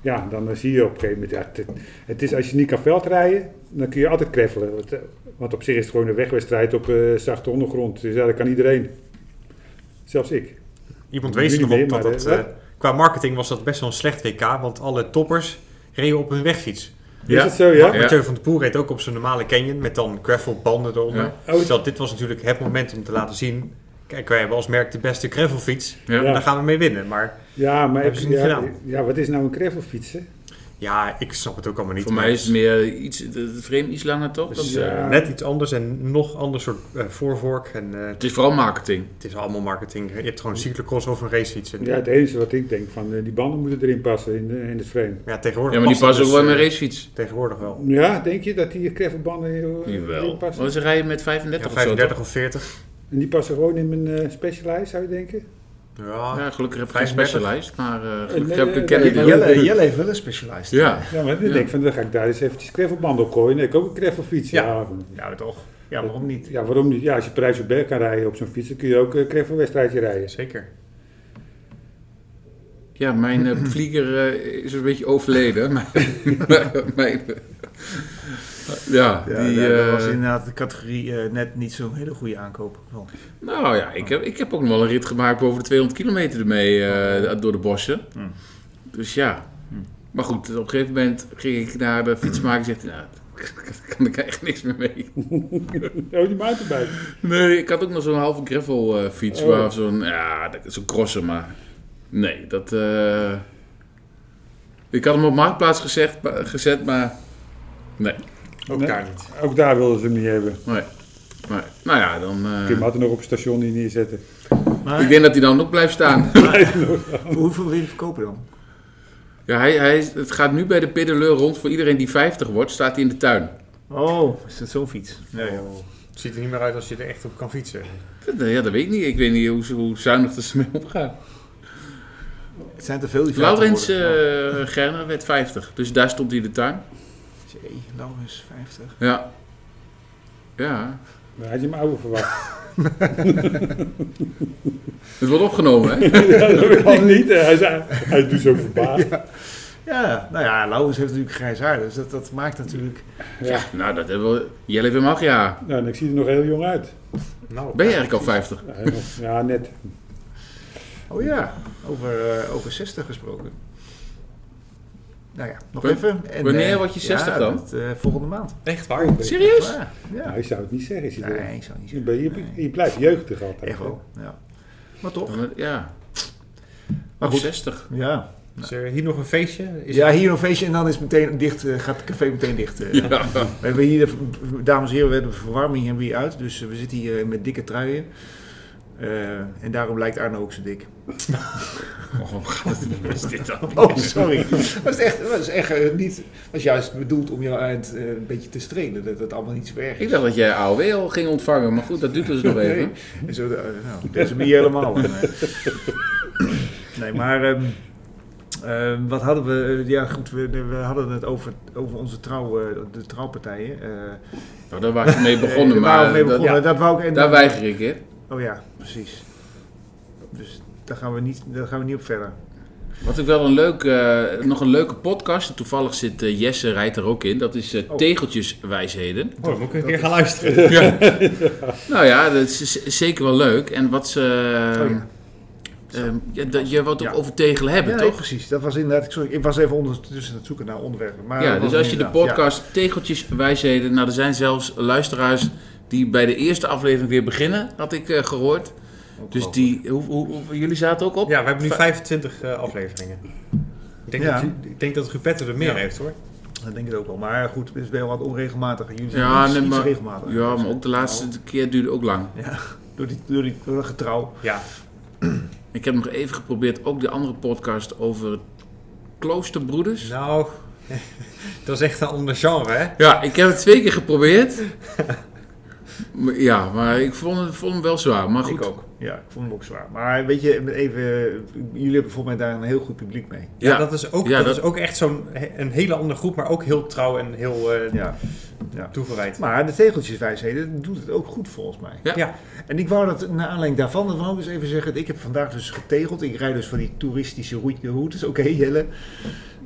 Speaker 3: Ja, dan eh, zie je op een gegeven moment. Ja, het, het is, als je niet kan veldrijden, dan kun je altijd kreffelen. Want, eh, want op zich is het gewoon een wegwedstrijd op eh, zachte ondergrond. Dus ja, dat kan iedereen. Zelfs ik.
Speaker 4: Iemand
Speaker 3: Ik
Speaker 4: wees
Speaker 3: weet
Speaker 4: erop
Speaker 3: niet meer,
Speaker 4: dat
Speaker 3: maar,
Speaker 4: het,
Speaker 3: eh,
Speaker 4: eh, qua marketing was dat best wel een slecht WK, want alle toppers reden op hun wegfiets.
Speaker 3: Is het zo, Oh, ja?
Speaker 5: Ja.
Speaker 4: Mathieu van der Poel reed ook op zijn normale canyon met dan gravelbanden eronder.
Speaker 5: Ja.
Speaker 3: Oh.
Speaker 4: Terwijl dit was natuurlijk het moment om te laten zien, kijk wij hebben als merk de beste gravelfiets
Speaker 5: Ja.
Speaker 4: en daar gaan we mee winnen. Maar
Speaker 3: Ja, maar
Speaker 4: Hebben ze niet
Speaker 3: ja,
Speaker 4: gedaan.
Speaker 3: ja, wat is nou een kreffelfietsen?
Speaker 4: ja, ik snap het ook allemaal niet.
Speaker 5: Voor mij is het meer iets, het frame iets langer toch? Dat,
Speaker 4: Dus,
Speaker 5: eh,
Speaker 4: eh, net iets anders en nog ander soort eh, voorvork. En, eh,
Speaker 5: het is vooral marketing.
Speaker 4: het is allemaal marketing. Je hebt gewoon cyclocross of een racefiets. En,
Speaker 3: Ja, het enige wat ik denk van eh, die banden moeten erin passen in, de- in het frame.
Speaker 4: ja, tegenwoordig
Speaker 5: Ja, maar
Speaker 4: past
Speaker 5: die passen
Speaker 4: het
Speaker 5: ook wel in
Speaker 4: dus,
Speaker 5: mijn
Speaker 4: eh,
Speaker 5: racefiets.
Speaker 4: Tegenwoordig wel.
Speaker 3: Ja, denk je dat die kreffelbanden eh, erin
Speaker 5: Jawel.
Speaker 3: passen?
Speaker 5: Want ze rijden met
Speaker 4: Ja,
Speaker 5: 35 of zo.
Speaker 4: 35 of 40.
Speaker 3: En die passen gewoon in mijn eh, specialized, zou je denken?
Speaker 5: toch?
Speaker 4: Ja,
Speaker 5: Ja, gelukkig heb ik geen
Speaker 4: 35.
Speaker 5: specialist, maar eh, gelukkig
Speaker 3: Nee,
Speaker 5: heb ik een
Speaker 3: nee,
Speaker 5: Kennedy.
Speaker 3: nee,
Speaker 5: hoor.
Speaker 3: nee.
Speaker 2: Jelle, Jelle heeft wel een specialist.
Speaker 5: Ja,
Speaker 3: Ja, maar dan
Speaker 5: Ja.
Speaker 3: denk ik van, dan ga ik daar eens eventjes kreffelbanden op gooien. Dan heb ik ook een kreffelfiets. Ja.
Speaker 4: Ja.
Speaker 3: Ja.
Speaker 2: Ja, Nou, toch? Ja, waarom niet?
Speaker 3: ja, waarom niet? Ja, als je prijs op berg kan rijden op zo'n fiets, dan kun je ook een kreffelwedstrijdje rijden.
Speaker 4: zeker.
Speaker 5: ja mijn eh, vlieger eh, is een beetje overleden. Mijn- mijn- mijn- ja,
Speaker 2: Ja,
Speaker 5: die,
Speaker 2: daar- dat was
Speaker 5: eh,
Speaker 2: inderdaad de categorie eh, net niet zo'n hele goede aankoop. Van.
Speaker 5: Nou ja, ik heb, ik heb ook nog wel een rit gemaakt boven de 200 kilometer ermee eh, door de bossen.
Speaker 2: Hmm.
Speaker 5: Dus ja.
Speaker 2: Hm.
Speaker 5: Maar goed, op een gegeven moment ging ik naar de fietsmaker en zegt hij, nou, daar kan ik echt niks meer mee.
Speaker 3: Oh, die mountainbike.
Speaker 5: Nee, ik had ook nog zo'n halve gravel eh, fiets,
Speaker 3: Oh.
Speaker 5: waar zo'n, ja, dat- zo'n crosser, maar nee, dat... eh, ik had hem op marktplaats gezegd, maar- gezet, maar nee,
Speaker 4: Ook
Speaker 3: Nee.
Speaker 4: daar niet.
Speaker 3: Ook daar wilden ze hem niet hebben.
Speaker 5: nee. Maar, nou ja, dan... eh,
Speaker 3: Kun je hem altijd nog op het station hier neerzetten.
Speaker 2: Maar
Speaker 5: ik denk dat hij dan ook blijft staan.
Speaker 2: hoeveel wil je verkopen dan?
Speaker 5: Ja, hij, hij, is- het gaat nu bij de pedaleur rond. Voor iedereen die 50 wordt, staat hij in de tuin.
Speaker 2: Oh, is dat zo'n fiets? Nee, joh.
Speaker 4: Het ziet er niet meer uit als je er echt op kan fietsen.
Speaker 5: Dat, eh, ja, dat weet ik niet. Ik weet niet hoe, ze- hoe zuinig dat ze mee omgaan.
Speaker 2: het zijn te veel die
Speaker 5: Laurens
Speaker 2: verhaal te
Speaker 5: eh, Gerner werd 50. Dus daar stond hij in de tuin. eh,
Speaker 2: worden. Jee, Laurens, 50.
Speaker 5: Ja. Ja.
Speaker 3: Dan had je hem oude verwacht.
Speaker 5: Het wordt opgenomen, hè?
Speaker 3: ja, dat wil ik niet. Hij, is, hij doet zo verbaasd. Ja.
Speaker 2: Ja, nou ja, Laurens heeft natuurlijk grijs haar, dus dat, dat maakt natuurlijk...
Speaker 5: Nou, dat hebben we... Jelle Wim Ach, ja.
Speaker 3: Nou, en ik zie er nog heel jong uit.
Speaker 4: Nou,
Speaker 5: Ben je eigenlijk al 50?
Speaker 3: Ja, heel- Ja, net.
Speaker 2: Oh ja, over, eh, over 60 gesproken. Nou ja, nog
Speaker 5: Wa-
Speaker 2: even. En,
Speaker 5: wanneer
Speaker 2: eh,
Speaker 5: word je 60
Speaker 2: ja,
Speaker 5: dan?
Speaker 2: dat, eh, volgende maand.
Speaker 4: Echt waar?
Speaker 5: Oh, Serieus?
Speaker 2: Ja, ja.
Speaker 3: Nou, ik zou het niet zeggen. Als je,
Speaker 2: Nee, ik zou niet
Speaker 3: er- je,
Speaker 2: zeggen.
Speaker 3: bent- je, je blijft jeugdig altijd.
Speaker 2: Echt wel, ja. Maar toch.
Speaker 5: Dan- Ja.
Speaker 2: Maar goed.
Speaker 5: 60.
Speaker 2: Ja.
Speaker 4: Is er hier nog een feestje? Is
Speaker 2: ja, hier een feestje en dan is het meteen dicht, eh, gaat het café meteen dicht. eh.
Speaker 5: Ja. Oh,
Speaker 2: We hebben hier, de- dames en heren, we hebben de verwarming hebben we hier uit. Dus eh, we zitten hier eh, met dikke truien. Eh, en daarom lijkt Arno ook zo dik.
Speaker 5: Oh, wat is dit dan?
Speaker 2: Oh, sorry. Dat was echt, was echt eh, niet. was juist bedoeld om je eh, het, eh, een beetje te strelen. Dat het allemaal niet zo erg
Speaker 5: Ik
Speaker 2: is.
Speaker 5: dacht dat jij AOW al ging ontvangen, maar goed, dat duurt dus nog even.
Speaker 2: En zo, eh, nou, dat is hem niet helemaal. maar- nee, maar ehm, ehm, wat hadden we? Ja, goed, we, we hadden het over, over onze trouw, eh, de trouwpartijen. eh
Speaker 5: Nou, daar was je mee begonnen,
Speaker 2: eh, waar we
Speaker 5: maar
Speaker 2: mee
Speaker 5: dat-
Speaker 2: begonnen. Dat wou ik. En
Speaker 5: daar
Speaker 2: dan-
Speaker 5: weiger ik in.
Speaker 2: Oh ja, precies. Dus daar gaan we niet, daar gaan we niet op verder.
Speaker 5: Wat ik wel een leuk, eh, nog een leuke podcast, toevallig zit eh, Jesse rijdt er ook in, dat is eh,
Speaker 2: Oh.
Speaker 5: Tegeltjeswijsheden.
Speaker 4: Oh, dan moet ik een keer gaan luisteren.
Speaker 5: Nou ja, dat is z- zeker wel leuk. En wat ze... eh,
Speaker 2: Oh ja.
Speaker 5: ehm, ja, dat- je wou het ook
Speaker 2: Ja.
Speaker 5: over tegelen hebben,
Speaker 2: ja, nee,
Speaker 5: toch?
Speaker 2: precies. Dat was inderdaad. Sorry, ik was even ondertussen aan het zoeken naar onderwerpen. Maar
Speaker 5: Ja,
Speaker 2: dat
Speaker 5: dus
Speaker 2: was
Speaker 5: als je de
Speaker 2: inderdaad, ja.
Speaker 5: podcast Tegeltjeswijsheden... Nou, er zijn zelfs luisteraars die bij de eerste aflevering weer beginnen, had ik eh, gehoord. Dus die, hoe, hoe, hoe- jullie zaten ook op?
Speaker 4: Ja, we hebben nu 25 eh, afleveringen. Ik denk,
Speaker 2: Ja.
Speaker 4: dat, ik denk dat Gupette er meer
Speaker 2: Ja.
Speaker 4: heeft hoor.
Speaker 2: Dat denk ik ook wel. Maar goed, het is wel wat onregelmatig. Jullie zijn
Speaker 5: Ja,
Speaker 2: iets,
Speaker 5: nee,
Speaker 2: iets
Speaker 5: maar,
Speaker 2: regelmatig.
Speaker 5: ja, maar ook de laatste keer duurde ook lang.
Speaker 2: Ja, door die, door die door dat getrouw.
Speaker 4: Ja,
Speaker 5: Ik heb nog even geprobeerd, ook de andere podcast over kloosterbroeders.
Speaker 4: nou, dat is echt een ander genre hè.
Speaker 5: Ja, ik heb het twee keer geprobeerd. Maar ja, maar ik vond, het, vond hem wel zwaar. Maar goed.
Speaker 2: Ik ook. Ja, ik vond hem ook zwaar. Maar weet je, even, jullie hebben volgens mij daar een heel goed publiek mee.
Speaker 4: Ja,
Speaker 5: Ja,
Speaker 4: dat is ook,
Speaker 5: Ja,
Speaker 4: dat
Speaker 5: dat-
Speaker 4: is ook echt zo'n he- een hele andere groep, maar ook heel trouw en heel eh,
Speaker 2: Ja.
Speaker 4: toegewijd.
Speaker 2: Maar de tegeltjeswijsheden doet het ook goed volgens mij.
Speaker 5: Ja.
Speaker 4: Ja.
Speaker 2: En ik wou dat, naar aanleiding daarvan, dat wou ik eens even zeggen. Ik heb vandaag dus getegeld. Ik rijd dus van die toeristische route- routes. Oké, Jelle.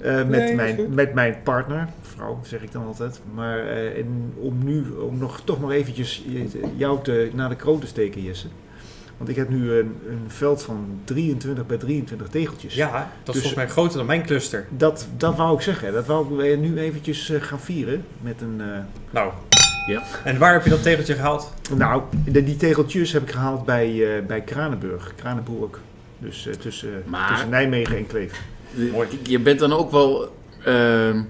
Speaker 2: Eh, met,
Speaker 3: Nee, dat is
Speaker 2: mijn,
Speaker 3: goed.
Speaker 2: met mijn partner, vrouw zeg ik dan altijd. Maar eh, en om nu om nog, toch maar eventjes je- jou te, naar de kroon te steken, Jesse. Want ik heb nu een, een veld van 23 bij 23 tegeltjes.
Speaker 4: Ja, dat is
Speaker 2: Dus-
Speaker 4: volgens mij groter dan mijn cluster.
Speaker 2: Dat, dat wou ik zeggen. Dat wou ik nu eventjes eh, gaan vieren met een... eh,
Speaker 4: Nou,
Speaker 5: Ja.
Speaker 4: en waar heb je dat tegeltje gehaald?
Speaker 2: Nou, de, die tegeltjes heb ik gehaald bij, eh, bij Kranenburg, Kranenburg. Dus eh, tussen, eh,
Speaker 5: Maar-
Speaker 2: tussen Nijmegen en Kleef.
Speaker 4: Mooi.
Speaker 5: Je bent dan ook wel ehm,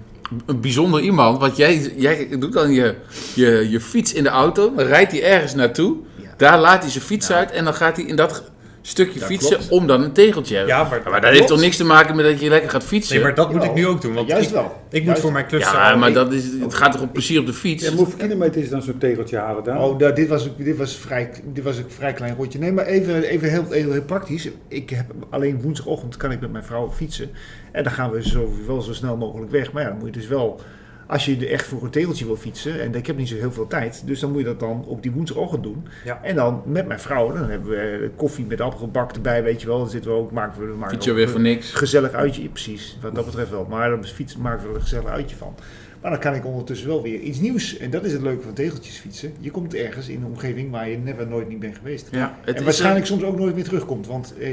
Speaker 5: een bijzonder iemand. Want jij, jij doet dan je, je, je fiets in de auto. Dan rijdt hij ergens naartoe.
Speaker 2: Ja.
Speaker 5: Daar laat hij zijn fiets uit. En dan gaat hij in dat stukje
Speaker 2: Dat
Speaker 5: fietsen
Speaker 2: klopt.
Speaker 5: om dan een tegeltje te
Speaker 2: Eh,
Speaker 5: hebben.
Speaker 4: Ja, maar,
Speaker 5: Maar dat heeft
Speaker 4: Klopt.
Speaker 5: toch niks te maken met dat je lekker gaat fietsen?
Speaker 4: Nee, maar dat moet
Speaker 3: Ja.
Speaker 4: ik nu ook doen, want
Speaker 2: Juist
Speaker 4: ik,
Speaker 2: wel.
Speaker 4: ik moet
Speaker 2: Juist.
Speaker 4: voor mijn cluster...
Speaker 5: Ja,
Speaker 4: al-
Speaker 5: maar
Speaker 4: ik-
Speaker 5: dat is, het gaat toch om plezier op de fiets?
Speaker 3: Ja, maar hoeveel kilometer is dan zo'n tegeltje halen dan?
Speaker 2: Oh, nou, dit, was, dit, was vrij, dit was een vrij klein rondje. Nee, maar even, even heel, heel, heel praktisch. Ik heb, alleen woensdagochtend kan ik met mijn vrouw fietsen. En dan gaan we zo, wel zo snel mogelijk weg. Maar ja, dan moet je dus wel... Als je er echt voor een tegeltje wil fietsen, en ik heb niet zo heel veel tijd, dus dan moet je dat dan op die woensdagochtend doen.
Speaker 4: Ja.
Speaker 2: En dan met mijn vrouw, dan hebben we eh, koffie met appelgebak erbij, weet je wel. Dan zitten we ook, maken we, maken
Speaker 5: Fiets je weer
Speaker 2: we-
Speaker 5: voor niks.
Speaker 2: gezellig uitje, ja, precies, wat dat betreft wel. Maar dan fietsen maken we er een gezellig uitje van. Maar dan kan ik ondertussen wel weer iets nieuws. En dat is het leuke van tegeltjes fietsen. Je komt ergens in een omgeving waar je never nooit niet bent geweest.
Speaker 5: Ja, het
Speaker 2: en
Speaker 5: is
Speaker 2: waarschijnlijk soms ook nooit meer terugkomt. Want eh,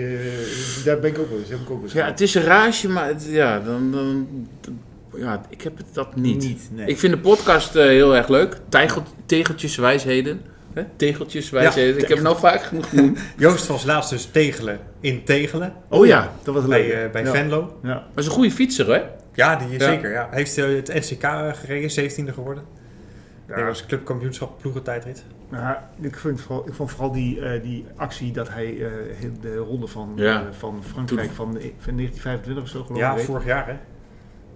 Speaker 2: daar ben ik ook wel eens. Heb ik ook wel eens
Speaker 5: een- ja,
Speaker 2: gehad.
Speaker 5: het is een raasje, maar het- ja, dan, dan, ja, ik heb het dat niet.
Speaker 2: nee.
Speaker 5: Ik vind de podcast eh, heel erg leuk. Tegel, tegeltjeswijsheden. Hè? Tegeltjeswijsheden. ik heb het nou vaak genoeg genoemd.
Speaker 4: Joost was laatst dus tegelen in tegelen,
Speaker 2: Oh ja, dat was leuk.
Speaker 4: bij, eh, bij
Speaker 2: ja.
Speaker 4: Venlo.
Speaker 2: Ja.
Speaker 5: Maar is een goede fietser, hè?
Speaker 4: Ja, die
Speaker 5: Ja.
Speaker 4: zeker. Ja. Hij Heeft eh, het NCK gereden, 17e geworden.
Speaker 2: Ja.
Speaker 4: Dat was clubkampioenschap ploegentijdrit.
Speaker 2: Maar ik, vind vooral, ik vond vooral die, eh, die actie dat hij eh, heel- de ronde van,
Speaker 5: Ja.
Speaker 2: eh, van Frankrijk van, eh, van 1925 of zo geloof ik.
Speaker 4: Ja,
Speaker 2: weet.
Speaker 4: vorig jaar hè.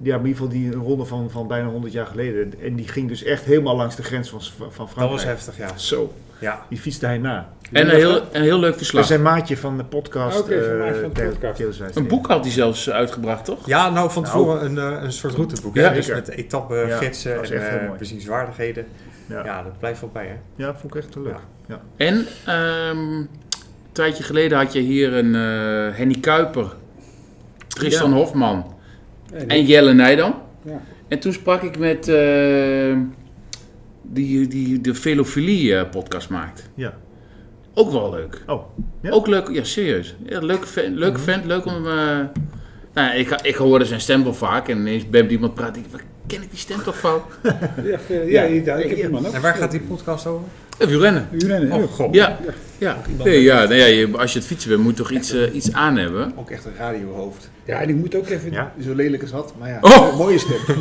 Speaker 2: Ja, maar in ieder geval die ronde van, van bijna 100 jaar geleden. En die ging dus echt helemaal langs de grens van, van Frankrijk.
Speaker 4: Dat was heftig, ja.
Speaker 2: Zo,
Speaker 4: Ja,
Speaker 2: die fietste hij na.
Speaker 5: En een heel, een heel leuk
Speaker 2: Dat
Speaker 5: verslag.
Speaker 2: is zijn maatje van de podcast.
Speaker 3: Ah, Oké, zijn
Speaker 2: eh,
Speaker 3: maatje van de
Speaker 2: Tele-
Speaker 3: podcast.
Speaker 2: Telezijds.
Speaker 5: Een boek had hij zelfs uitgebracht, toch?
Speaker 4: ja nou van
Speaker 2: Nou.
Speaker 4: tevoren een, eh, een soort routeboek.
Speaker 5: Ja,
Speaker 4: hè? dus
Speaker 2: zeker.
Speaker 4: met etappen,
Speaker 2: Ja,
Speaker 4: gidsen
Speaker 2: dat is
Speaker 4: en
Speaker 2: echt heel
Speaker 4: eh,
Speaker 2: mooi.
Speaker 4: bezienswaardigheden.
Speaker 2: Ja.
Speaker 4: Ja. dat blijft wel bij hè.
Speaker 2: Ja, vond ik echt leuk.
Speaker 4: Ja.
Speaker 2: Ja.
Speaker 5: En ehm, een tijdje geleden had je hier een eh, Henny Kuiper, Tristan Hofman
Speaker 3: En-
Speaker 5: en Jelle Nijdam.
Speaker 3: Ja.
Speaker 5: En toen sprak ik met eh, die, die de Velofilie eh, podcast maakt.
Speaker 2: Ja.
Speaker 5: Ook wel leuk.
Speaker 2: Oh, ja? Mhm.
Speaker 5: Ook leuk, ja serieus. Ja, leuke vent, leuke vent leuk om... eh, nou, ik, ik hoorde zijn stem wel vaak en ineens bij iemand praat. Ik, waar ken ik die stem toch van?
Speaker 3: Ja, eh, ja, ja, ik heb die man ook.
Speaker 4: En waar gaat die podcast over?
Speaker 5: Eh, Wielrennen.
Speaker 3: Wielrennen, ja.
Speaker 4: Oh god.
Speaker 5: Ja, ja. Nee, ja, nee, ja je- als je het fietsen bent, moet je toch iets, eh, iets aan hebben.
Speaker 2: Ook echt een radiohoofd.
Speaker 3: Ja, en ik moet ook even...
Speaker 2: Ja? Zo lelijk als dat, maar ja.
Speaker 5: Oh!
Speaker 2: Mooie stem.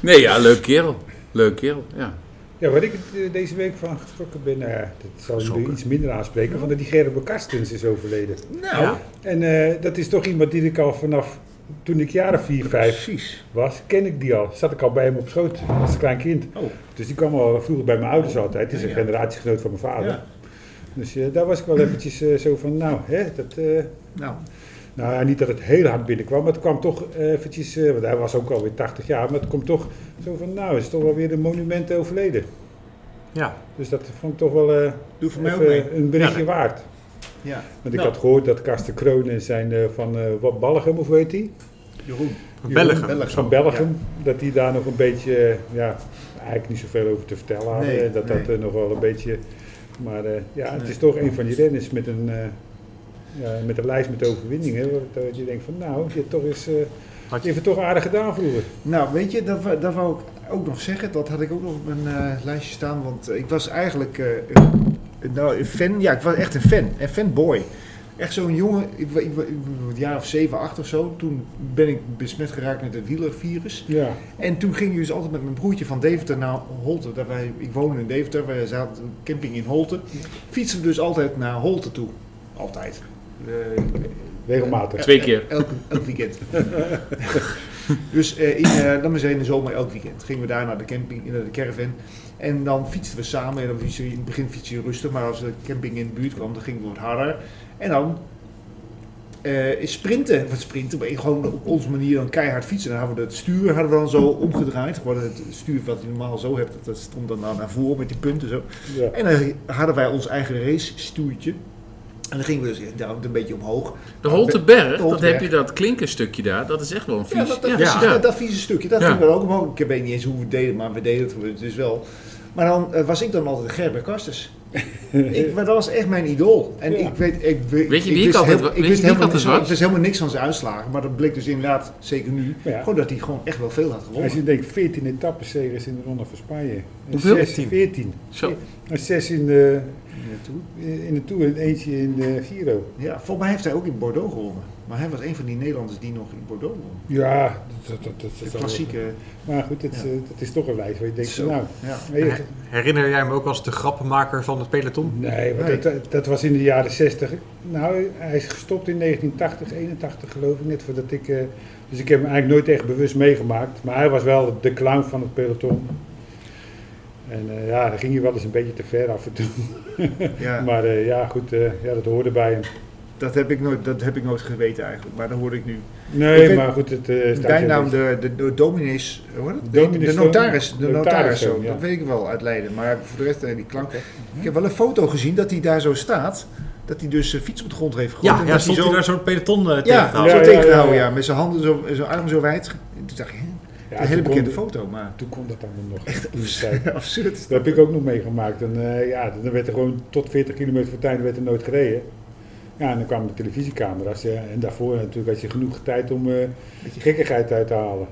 Speaker 5: Nee, ja, leuk kerel. Leuk kerel, ja.
Speaker 3: Ja, waar ik eh, deze week van geschrokken ben, nou ja, dat zal jullie
Speaker 5: Geschrokken.
Speaker 3: iets minder aanspreken, want dat die Gerben Karstens is overleden.
Speaker 2: Nou,
Speaker 5: Ja.
Speaker 3: En eh, dat is toch iemand die ik al vanaf toen ik jaren 4, 5
Speaker 2: precies.
Speaker 3: was, ken ik die al. Zat ik al bij hem op schoot als klein kind.
Speaker 2: Oh.
Speaker 3: Dus die kwam al vroeger bij mijn ouders altijd. Het is een
Speaker 2: Ja, ja.
Speaker 3: generatiegenoot van mijn vader.
Speaker 2: Ja.
Speaker 3: Dus eh, daar was ik wel eventjes eh, zo van, nou, hè, dat, eh,
Speaker 2: Nou,
Speaker 3: nou ja, niet dat het heel hard binnenkwam, maar het kwam toch eh, eventjes, eh, want hij was ook alweer 80 jaar, maar het komt toch zo van, nou, is toch wel weer een monument overleden.
Speaker 4: Ja.
Speaker 3: Dus dat vond ik toch wel eh,
Speaker 2: doe voor mij ook mee.
Speaker 3: even een berichtje waard.
Speaker 2: Ja,
Speaker 3: Want ik
Speaker 5: Nou.
Speaker 3: had gehoord dat Karsten Kroon en zijn eh, van eh wat Ballegem, of hoe heet die?
Speaker 2: Jeroen.
Speaker 4: Belgen.
Speaker 2: Belgen.
Speaker 3: Van Belgium, dat die daar nog een beetje, eh, ja, eigenlijk niet zoveel over te vertellen hadden.
Speaker 2: Nee,
Speaker 3: eh, dat dat
Speaker 2: nee.
Speaker 3: eh, nog wel een beetje, maar eh, ja, het
Speaker 2: Nee.
Speaker 3: is toch een van die renners met een, eh, ja, met een lijst met overwinningen. waar- Dat je denkt van, nou, die heeft toch eens, eh, die heeft het toch aardig gedaan vroeger.
Speaker 2: Nou, weet je, dat, wa- dat wou ik ook nog zeggen. Dat had ik ook nog op mijn eh, lijstje staan. Want eh, ik was eigenlijk eh, een- nou, een fan. Ja, ik was echt een fan. Een fanboy. Echt zo'n jongen. Ik, wa- ik, wa- ik was een jaar of zeven, acht of zo. Toen ben ik besmet geraakt met het wielervirus.
Speaker 3: Ja,
Speaker 2: En toen gingen we dus altijd met mijn broertje van Deventer naar Holte. Daar wij, ik woonde in Deventer. Wij zaten een camping in Holte. Fietsen we dus altijd naar Holte toe. Altijd. Eh,
Speaker 3: regelmatig.
Speaker 5: Twee keer.
Speaker 2: Elk, elk weekend. dus eh in, eh, dan maar in de zomer elk weekend. Gingen we daar naar de camping, eh, naar de caravan. En dan fietsten we samen. En dan fietsen we, in het begin fietsen je rustig. Maar als de camping in de buurt kwam, dan gingen we wat harder. En dan eh, is sprinten. Wat sprinten? Maar gewoon op onze manier dan keihard fietsen. Dan hadden we het stuur hadden we dan zo omgedraaid. Gewoon het stuur wat je normaal zo hebt. Dat stond dan nou naar voren met die punten zo.
Speaker 3: Ja.
Speaker 2: En dan hadden wij ons eigen race stuurtje. En dan gingen we dus eh, daar een beetje omhoog.
Speaker 5: De Holteberg,
Speaker 2: De
Speaker 5: dat
Speaker 2: Holteberg.
Speaker 5: heb je dat klinkerstukje daar. Dat is echt wel een
Speaker 2: Ja,
Speaker 5: vies.
Speaker 2: dat, dat,
Speaker 5: ja.
Speaker 2: precies, dat, dat vieze stukje, dat
Speaker 5: Ja.
Speaker 2: ging wel ook omhoog. Ik weet niet eens hoe we het deden, maar we deden het dus wel. Maar dan eh, was ik dan altijd Gerber Kasters. ik, maar dat was echt mijn idool. En
Speaker 3: Ja.
Speaker 2: ik weet, ik, weet
Speaker 5: wie ik
Speaker 2: wist
Speaker 5: altijd
Speaker 2: heel-
Speaker 5: wa- weet
Speaker 2: ik
Speaker 5: je
Speaker 2: wist
Speaker 5: wie ik
Speaker 2: helemaal
Speaker 5: altijd
Speaker 2: niks van-
Speaker 5: was?
Speaker 2: ik wist helemaal niks van zijn uitslagen, maar dat bleek dus inderdaad, zeker nu,
Speaker 3: Ja.
Speaker 2: gewoon dat hij gewoon echt wel veel had
Speaker 3: Als
Speaker 2: gewonnen.
Speaker 3: je denkt, 14 etappeseries in de Ronde van Spanje. En
Speaker 5: Hoeveel?
Speaker 3: zes- 14.
Speaker 5: Zo.
Speaker 3: En zes in de,
Speaker 2: Naartoe.
Speaker 3: in de Tour en eentje in de Giro.
Speaker 2: Ja, volgens mij heeft hij ook in Bordeaux gewonnen. Maar hij was een van die Nederlanders die nog in Bordeaux won.
Speaker 3: Ja, dat, dat, dat, dat
Speaker 2: De klassieke.
Speaker 3: Maar goed, dat, is,
Speaker 2: Ja.
Speaker 3: eh, dat is toch een lijst waar je denkt,
Speaker 2: Zo.
Speaker 3: nou...
Speaker 2: Ja.
Speaker 3: weet je,
Speaker 4: Herinner jij hem ook als de grappenmaker van het peloton?
Speaker 3: Nee, want
Speaker 2: Nee.
Speaker 3: Dat, dat- dat was in de jaren 60. Nou, hij is gestopt in 1980, 81 geloof ik, net voordat ik... eh, dus ik heb hem eigenlijk nooit echt bewust meegemaakt. Maar hij was wel de clown van het peloton. En eh, ja, dan ging hij wel eens een beetje te ver af en toe.
Speaker 2: Ja,
Speaker 3: Maar eh, ja, goed, eh, ja, dat hoorde bij hem.
Speaker 2: dat heb, ik nooit, dat heb ik nooit geweten eigenlijk, maar dat hoor ik nu. Ik
Speaker 3: Nee,
Speaker 2: vind-
Speaker 3: maar goed, het eh staat
Speaker 2: bijnaam
Speaker 3: hier
Speaker 2: de, de, de dominees, hoe heet het?
Speaker 3: Dominees-
Speaker 2: de notaris, de
Speaker 3: notaris,
Speaker 2: notaris zo,
Speaker 3: ja.
Speaker 2: dat weet ik wel uit Leiden. Maar voor de rest, eh, die klanken. Ik heb wel een foto gezien dat hij daar zo staat, dat hij dus eh, fiets op de grond heeft gegooid.
Speaker 4: Ja,
Speaker 2: en
Speaker 4: ja
Speaker 2: dat
Speaker 4: stond hij
Speaker 2: zo,
Speaker 4: daar zo'n peloton eh, tegen te
Speaker 2: ja,
Speaker 4: houden?
Speaker 2: zo
Speaker 3: Ja, ja,
Speaker 2: tegenhouden,
Speaker 3: ja,
Speaker 2: ja,
Speaker 3: ja.
Speaker 2: met zijn handen zo, en zijn arm zo wijd. Toen dacht ik, hè,
Speaker 3: niet.
Speaker 2: een
Speaker 3: Ja,
Speaker 2: hele
Speaker 3: toen
Speaker 2: bekende
Speaker 3: kon-
Speaker 2: foto, maar
Speaker 3: Toen kon dat allemaal nog echt niet zijn.
Speaker 2: absurd. is
Speaker 3: Dat
Speaker 2: dat.
Speaker 3: heb ik ook nog meegemaakt. En eh, ja, dan werd er gewoon tot 40 kilometer voor tijd werd er nooit gereden. Ja, en dan kwamen de televisiecamera's. eh, en daarvoor natuurlijk had je genoeg tijd om eh gekkigheid uit te halen.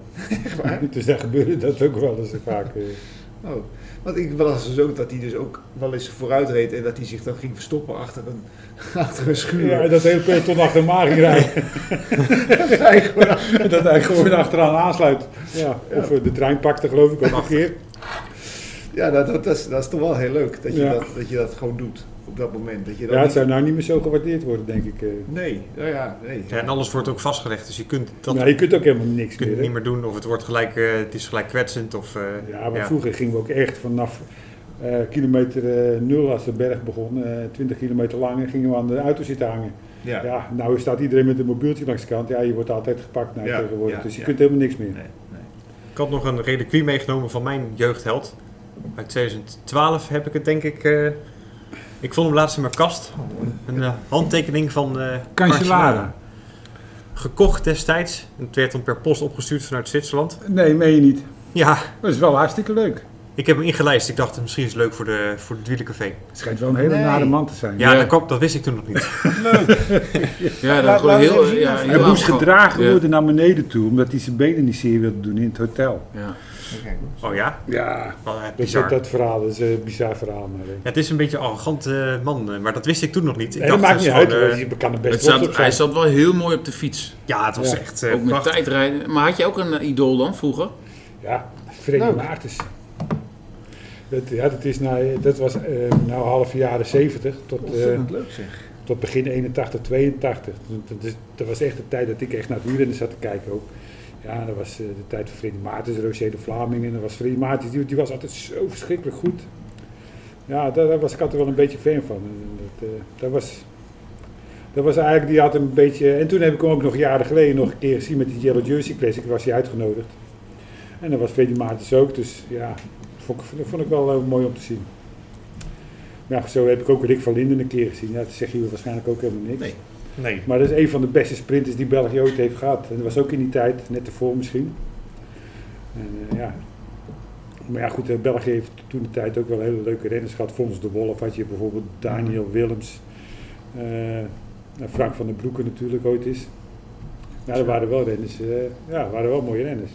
Speaker 3: dus daar gebeurde dat ook wel eens vaak. eh.
Speaker 2: Oh. Want ik las dus ook dat hij dus ook wel eens vooruit reed en dat hij zich dan ging verstoppen achter een, achter een schuur.
Speaker 3: Ja, en dat hele peloton achter hem aan ging rijden. dat hij gewoon achteraan aansluit. Ja, of eh, de trein pakte geloof ik ook een keer.
Speaker 2: Ja, dat, dat, dat, is, dat is toch wel heel leuk dat je,
Speaker 3: Ja.
Speaker 2: dat, dat, je dat gewoon doet op dat moment. Dat je dat
Speaker 3: Ja, het
Speaker 2: niet-
Speaker 3: zou nou niet meer zo gewaardeerd worden, denk ik. eh.
Speaker 2: Nee, nou ja, nee.
Speaker 4: Ja, en alles wordt ook vastgelegd, dus je kunt dat
Speaker 3: Nou, je kunt ook helemaal niks
Speaker 4: je kunt
Speaker 3: meer.
Speaker 4: het
Speaker 3: hè.
Speaker 4: niet meer doen. Of het, wordt gelijk, eh, het is gelijk kwetsend. Of, eh,
Speaker 3: Ja, maar vroeger gingen we ook echt vanaf eh, kilometer eh, nul als de berg begon, eh, 20 kilometer lang, en gingen we aan de auto zitten hangen. Ja.
Speaker 2: Ja.
Speaker 3: nou staat iedereen met een mobieltje langs de kant. Ja, je wordt altijd gepakt nou,
Speaker 2: Ja,
Speaker 3: tegenwoordig,
Speaker 2: ja,
Speaker 3: dus je
Speaker 2: ja.
Speaker 3: kunt helemaal niks meer.
Speaker 2: Nee, nee.
Speaker 4: Ik had nog een reliquie meegenomen van mijn jeugdheld. Uit 2012 heb ik het denk ik... eh, ik vond hem laatst in mijn kast. Een eh, handtekening van eh Cancellara. Gekocht destijds. En het werd dan per post opgestuurd vanuit Zwitserland.
Speaker 3: Nee, meen je niet.
Speaker 4: Ja,
Speaker 3: Dat is wel hartstikke leuk.
Speaker 4: ik heb hem ingelijst. Ik dacht misschien is het leuk voor, de, voor het wielercafé.
Speaker 3: Het schijnt wel een
Speaker 2: hele Nee. nare man
Speaker 3: te zijn.
Speaker 4: Ja,
Speaker 5: Ja.
Speaker 4: Dat, kwam- dat wist ik toen nog niet.
Speaker 5: Ja,
Speaker 2: Laat-
Speaker 5: dat
Speaker 2: laat
Speaker 5: gewoon
Speaker 2: eens
Speaker 5: heel...
Speaker 2: even zien
Speaker 5: ja,
Speaker 2: of-
Speaker 5: heel
Speaker 3: Hij moest
Speaker 5: afge-
Speaker 3: gedragen
Speaker 5: Ja.
Speaker 3: worden naar beneden toe, omdat hij zijn benen niet zeer wilde doen in het hotel.
Speaker 5: Ja.
Speaker 2: Oké.
Speaker 4: Oh ja?
Speaker 3: Ja,
Speaker 4: Wel, eh,
Speaker 3: dat,
Speaker 4: bizar.
Speaker 3: dat, dat verhaal dat is een bizar verhaal. Maar, eh.
Speaker 4: Ja, het is een beetje een arrogant eh, man, eh, maar dat wist ik toen nog niet. Ik
Speaker 3: Nee, dat maakt
Speaker 4: het
Speaker 3: niet
Speaker 4: is
Speaker 3: uit,
Speaker 4: gewoon,
Speaker 3: hoor.
Speaker 4: eh,
Speaker 3: je kan er
Speaker 5: Het
Speaker 3: best trots op
Speaker 5: zat, hij
Speaker 3: zijn.
Speaker 5: zat wel heel mooi op de fiets.
Speaker 4: ja, het was
Speaker 3: Ja.
Speaker 4: echt eh,
Speaker 5: ook met
Speaker 4: prachtig.
Speaker 5: tijdrijden. Maar had je ook een eh, idool dan vroeger?
Speaker 3: Ja, Freddy
Speaker 2: Leuk.
Speaker 3: Maartens. Het, ja, dat, is nou, dat was eh, nou half jaren 70 tot, eh,
Speaker 2: Ontzettend leuk zeg.
Speaker 3: tot begin 81, 82. Dat, is- dat was echt de tijd dat ik echt naar het wielrennen zat te kijken ook. Ja, dat was eh, de tijd van Freddy Maartens, Roger de Vlaming. En dat was Freddy Maartens, die, die was altijd zo verschrikkelijk goed. Ja, daar, daar was ik altijd wel een beetje fan van. En Dat, eh, dat, was, dat was eigenlijk, die had een beetje... En toen heb ik hem ook nog jaren geleden nog een keer gezien met die Yellow Jersey Classic. was hij uitgenodigd. En dat was Freddy Maartens ook, dus ja, dat vond ik, dat vond ik wel eh, mooi om te zien. Ja, zo heb ik ook Rick van Linden een keer gezien. Ja, dat zeg je waarschijnlijk ook helemaal niks.
Speaker 2: Nee.
Speaker 4: Nee.
Speaker 3: Maar dat is een van de beste sprinters die België ooit heeft gehad. En dat was ook in die tijd, net ervoor misschien. En, eh, ja. Maar ja, goed, eh, België heeft toen de tijd ook wel hele leuke renners gehad. Fons de Wolf had je bijvoorbeeld, Daniel Willems, eh, en Frank van den Broeke natuurlijk ooit is. Ja, dat waren wel renners. eh, ja, dat waren wel mooie renners.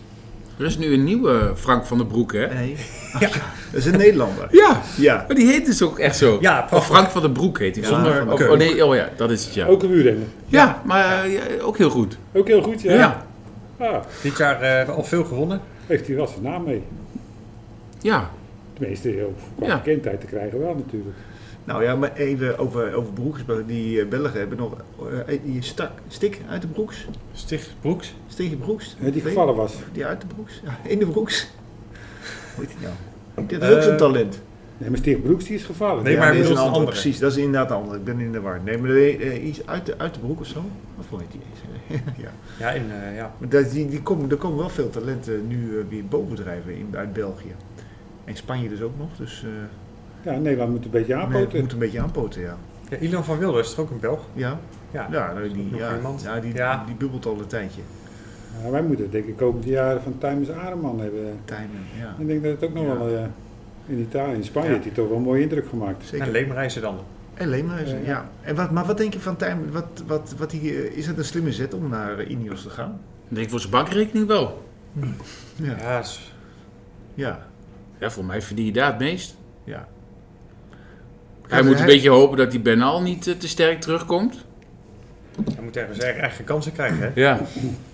Speaker 5: Er is nu een nieuwe Frank van den Broek, hè?
Speaker 2: Nee. Dat is een Nederlander.
Speaker 5: Ja,
Speaker 2: Ja.
Speaker 5: maar die heet dus ook echt zo.
Speaker 4: Ja,
Speaker 5: Of Frank van den Broek heet hij.
Speaker 2: Ja, Van
Speaker 5: zonder,
Speaker 2: den
Speaker 5: of-
Speaker 4: Broek.
Speaker 5: oh nee, oh ja, dat is het ja.
Speaker 3: Ook een wielrenner.
Speaker 5: ja, maar eh, ja, ook heel goed.
Speaker 3: Ook heel goed, ja.
Speaker 5: Ja,
Speaker 3: Ah,
Speaker 4: Dit jaar eh, al veel gewonnen.
Speaker 3: heeft hij wel zijn naam mee.
Speaker 5: ja.
Speaker 3: Tenminste, heel qua
Speaker 5: Ja.
Speaker 3: bekendheid te krijgen wel natuurlijk.
Speaker 2: Nou ja, maar even over, over Broeks. Die eh, Belgen hebben nog eh, die stak, stik uit de Broeks.
Speaker 4: Stig Broeks.
Speaker 2: Stigje Broeks.
Speaker 3: Eh, Die gevallen was.
Speaker 2: Die uit de Broeks. Ja, in de Broeks. Hoe heet die nou? Dit is ook zo'n
Speaker 4: Eh,
Speaker 2: talent.
Speaker 3: Nee, maar Steeg Broeks die is gevallen.
Speaker 4: Nee, maar hij
Speaker 2: dit is
Speaker 4: bedoelt een andere.
Speaker 2: Precies, dat is inderdaad een andere. Ik ben in de war. Nee, maar eh, iets uit de, uit de broek of zo. Of hoe heet die eens? ja.
Speaker 4: Ja, in, eh, ja.
Speaker 2: Maar dat, die, die komen, er komen wel veel talenten nu eh, weer bovendrijven in, uit België. En Spanje dus ook nog. Dus eh
Speaker 3: Ja, Nederland moet een beetje
Speaker 2: nee, het
Speaker 3: aanpoten.
Speaker 2: moet een beetje aanpoten, ja.
Speaker 4: ja. Ilan van Wilder is toch ook een Belg?
Speaker 2: Ja,
Speaker 4: Ja.
Speaker 2: ja, nou,
Speaker 4: ook
Speaker 2: die,
Speaker 4: nog
Speaker 2: ja,
Speaker 4: iemand?
Speaker 2: ja, die,
Speaker 4: Ja.
Speaker 2: die bubbelt al een tijdje.
Speaker 3: Ja, wij moeten denk ik komende jaren van Times Areman hebben.
Speaker 2: Tijmen, ja.
Speaker 3: Ik denk dat het ook nog
Speaker 2: Ja.
Speaker 3: wel eh, in Italië, in Spanje
Speaker 4: Ja.
Speaker 3: heeft hij toch wel een mooie indruk gemaakt.
Speaker 2: Zeker.
Speaker 4: En Leemreizen dan.
Speaker 2: En Leemhuizen,
Speaker 3: Eh,
Speaker 2: ja. En wat, maar wat denk je van Tijmen? Wat, wat, wat die, eh, is het een slimme zet om naar eh, Ineos te gaan?
Speaker 5: Ik denk voor zijn bankrekening wel.
Speaker 2: Ja.
Speaker 4: Ja, is-
Speaker 2: Ja.
Speaker 5: Ja, voor mij verdien je daar het meest.
Speaker 2: ja.
Speaker 5: Hij moet een beetje hopen dat die Bernal niet eh, te sterk terugkomt.
Speaker 4: hij moet ergens erg eigen kansen krijgen. Hè?
Speaker 5: Ja.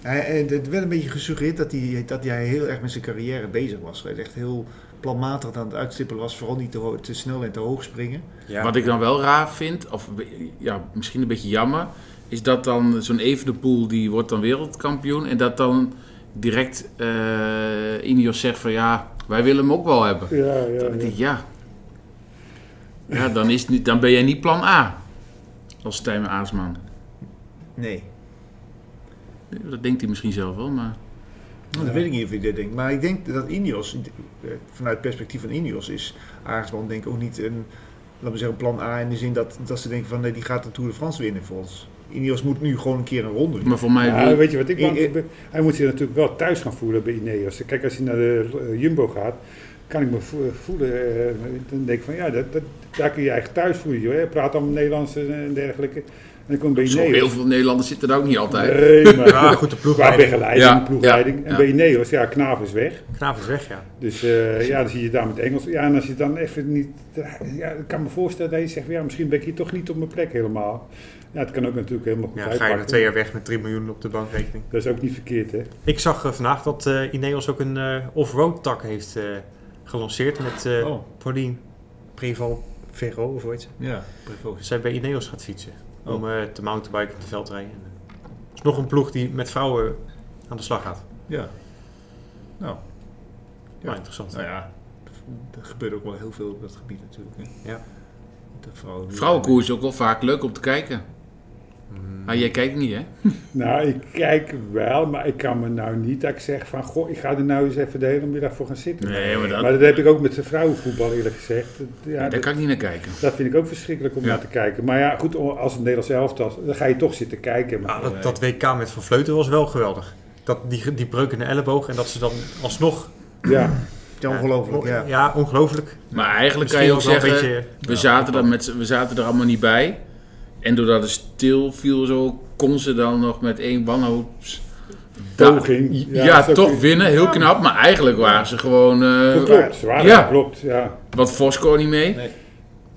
Speaker 2: Hij, eh, het werd een beetje gesuggereerd dat hij, dat hij heel erg met zijn carrière bezig was. Hij is echt heel planmatig aan het uitstippelen was. Vooral niet te, ho- te snel en te hoog springen.
Speaker 4: Ja.
Speaker 5: Wat ik dan wel raar vind, of ja, misschien een beetje jammer, is dat dan zo'n Evenepoel die wordt dan wereldkampioen en dat dan direct eh Ineos zegt van ja, wij willen hem ook wel hebben.
Speaker 3: Ja, ja,
Speaker 5: Dan denk
Speaker 3: ja.
Speaker 5: ik ja, ja dan, is het niet, dan ben jij niet plan A als Stijn Aasman.
Speaker 2: Nee.
Speaker 5: Dat denkt hij misschien zelf wel, maar
Speaker 2: Oh, Dat weet ik niet of hij dit denkt. Maar ik denk dat Ineos, eh, vanuit het perspectief van Ineos, is Arendsman denk ik ook niet een, laten we zeggen, plan A. In de zin dat, dat ze denken van nee, die gaat de Tour de France winnen voor ons. Ineos moet nu gewoon een keer een ronde doen.
Speaker 5: maar voor mij
Speaker 3: Ja, weet je wat ik
Speaker 2: Ik-
Speaker 3: bang voor ben? Hij moet zich natuurlijk wel thuis gaan voelen bij Ineos. Kijk, als hij naar de eh, Jumbo gaat, kan ik me vo- voelen. eh, dan denk ik van ja, dat, dat, daar kun je eigenlijk thuis voelen. Joh. Hij praat allemaal Nederlands en dergelijke. En dan kom je bij
Speaker 5: zo heel
Speaker 3: Ineos.
Speaker 5: veel Nederlanders zitten daar ook niet altijd.
Speaker 3: Nee, maar
Speaker 4: Ja, goed, de ploeg.
Speaker 3: qua begeleiding,
Speaker 5: Ja,
Speaker 3: ploegleiding.
Speaker 5: ja,
Speaker 3: en
Speaker 5: ja.
Speaker 3: bij Ineos, ja, Knaaf is weg.
Speaker 4: Knaap is weg, ja.
Speaker 3: Dus eh, ja, dan zie je daar met Engels. Ja, en als je dan even niet. Ja, ik kan me voorstellen dat je zegt: ja, misschien ben ik hier toch niet op mijn plek helemaal. Ja, het kan ook natuurlijk helemaal goed
Speaker 4: ja ga je
Speaker 3: uitpakken.
Speaker 4: na twee jaar weg met 3 miljoen op de bankrekening.
Speaker 3: Dat is ook niet verkeerd, hè?
Speaker 4: Ik zag eh, vandaag dat eh, Ineos ook een eh, off-road tak heeft eh, gelanceerd met eh
Speaker 2: Oh.
Speaker 4: Pauline Prival Vero of ooit.
Speaker 2: Ja, precies.
Speaker 4: Zij bij Ineos gaat fietsen.
Speaker 2: Oh.
Speaker 4: Om eh, te mountainbiken op de veldrijden. En, eh, er is nog een ploeg die met vrouwen aan de slag gaat.
Speaker 2: Ja. Nou, Ja.
Speaker 4: Maar interessant.
Speaker 2: nou ja. Er gebeurt ook wel heel veel op dat gebied natuurlijk. Hè.
Speaker 4: Ja.
Speaker 2: De vrouwen.
Speaker 5: Vrouwenkoers is ook wel vaak leuk om te kijken. Maar jij kijkt niet, hè?
Speaker 3: Nou, ik kijk wel, maar ik kan me nou niet dat ik zeg: van goh, ik ga er nou eens even de hele middag voor gaan zitten.
Speaker 5: Nee, maar dat,
Speaker 3: Maar dat heb ik ook met de vrouwenvoetbal eerlijk gezegd. Dat- Ja,
Speaker 5: daar
Speaker 3: dat,
Speaker 5: kan ik niet naar kijken.
Speaker 3: dat vind ik ook verschrikkelijk om
Speaker 2: Ja.
Speaker 3: naar te kijken. Maar ja, goed, als het Nederlands elftal, dan ga je toch zitten kijken. Maar,
Speaker 4: Ah, dat, dat WK met Van Vleuten was wel geweldig. Dat, die, die breuk in de elleboog en dat ze dan alsnog...
Speaker 3: ja,
Speaker 2: Ja, ongelooflijk, ja.
Speaker 4: ja. ongelooflijk.
Speaker 5: Maar eigenlijk
Speaker 4: Misschien
Speaker 5: kan je ook
Speaker 4: ook wel een
Speaker 5: zeggen,
Speaker 4: beetje-
Speaker 5: we, zaten er met, z'n- we zaten er allemaal niet bij. En doordat het stil viel, zo kon ze dan nog met één wanhoops...
Speaker 3: Poging.
Speaker 5: Ja,
Speaker 3: Ja, dat is ook
Speaker 5: toch
Speaker 3: niet-
Speaker 5: winnen. Heel knap. Maar eigenlijk waren ze gewoon... eh,
Speaker 3: dat klopt. Zwaar,
Speaker 5: Ja.
Speaker 3: dat klopt. Ja.
Speaker 5: Wat Fosco niet mee.
Speaker 2: Nee.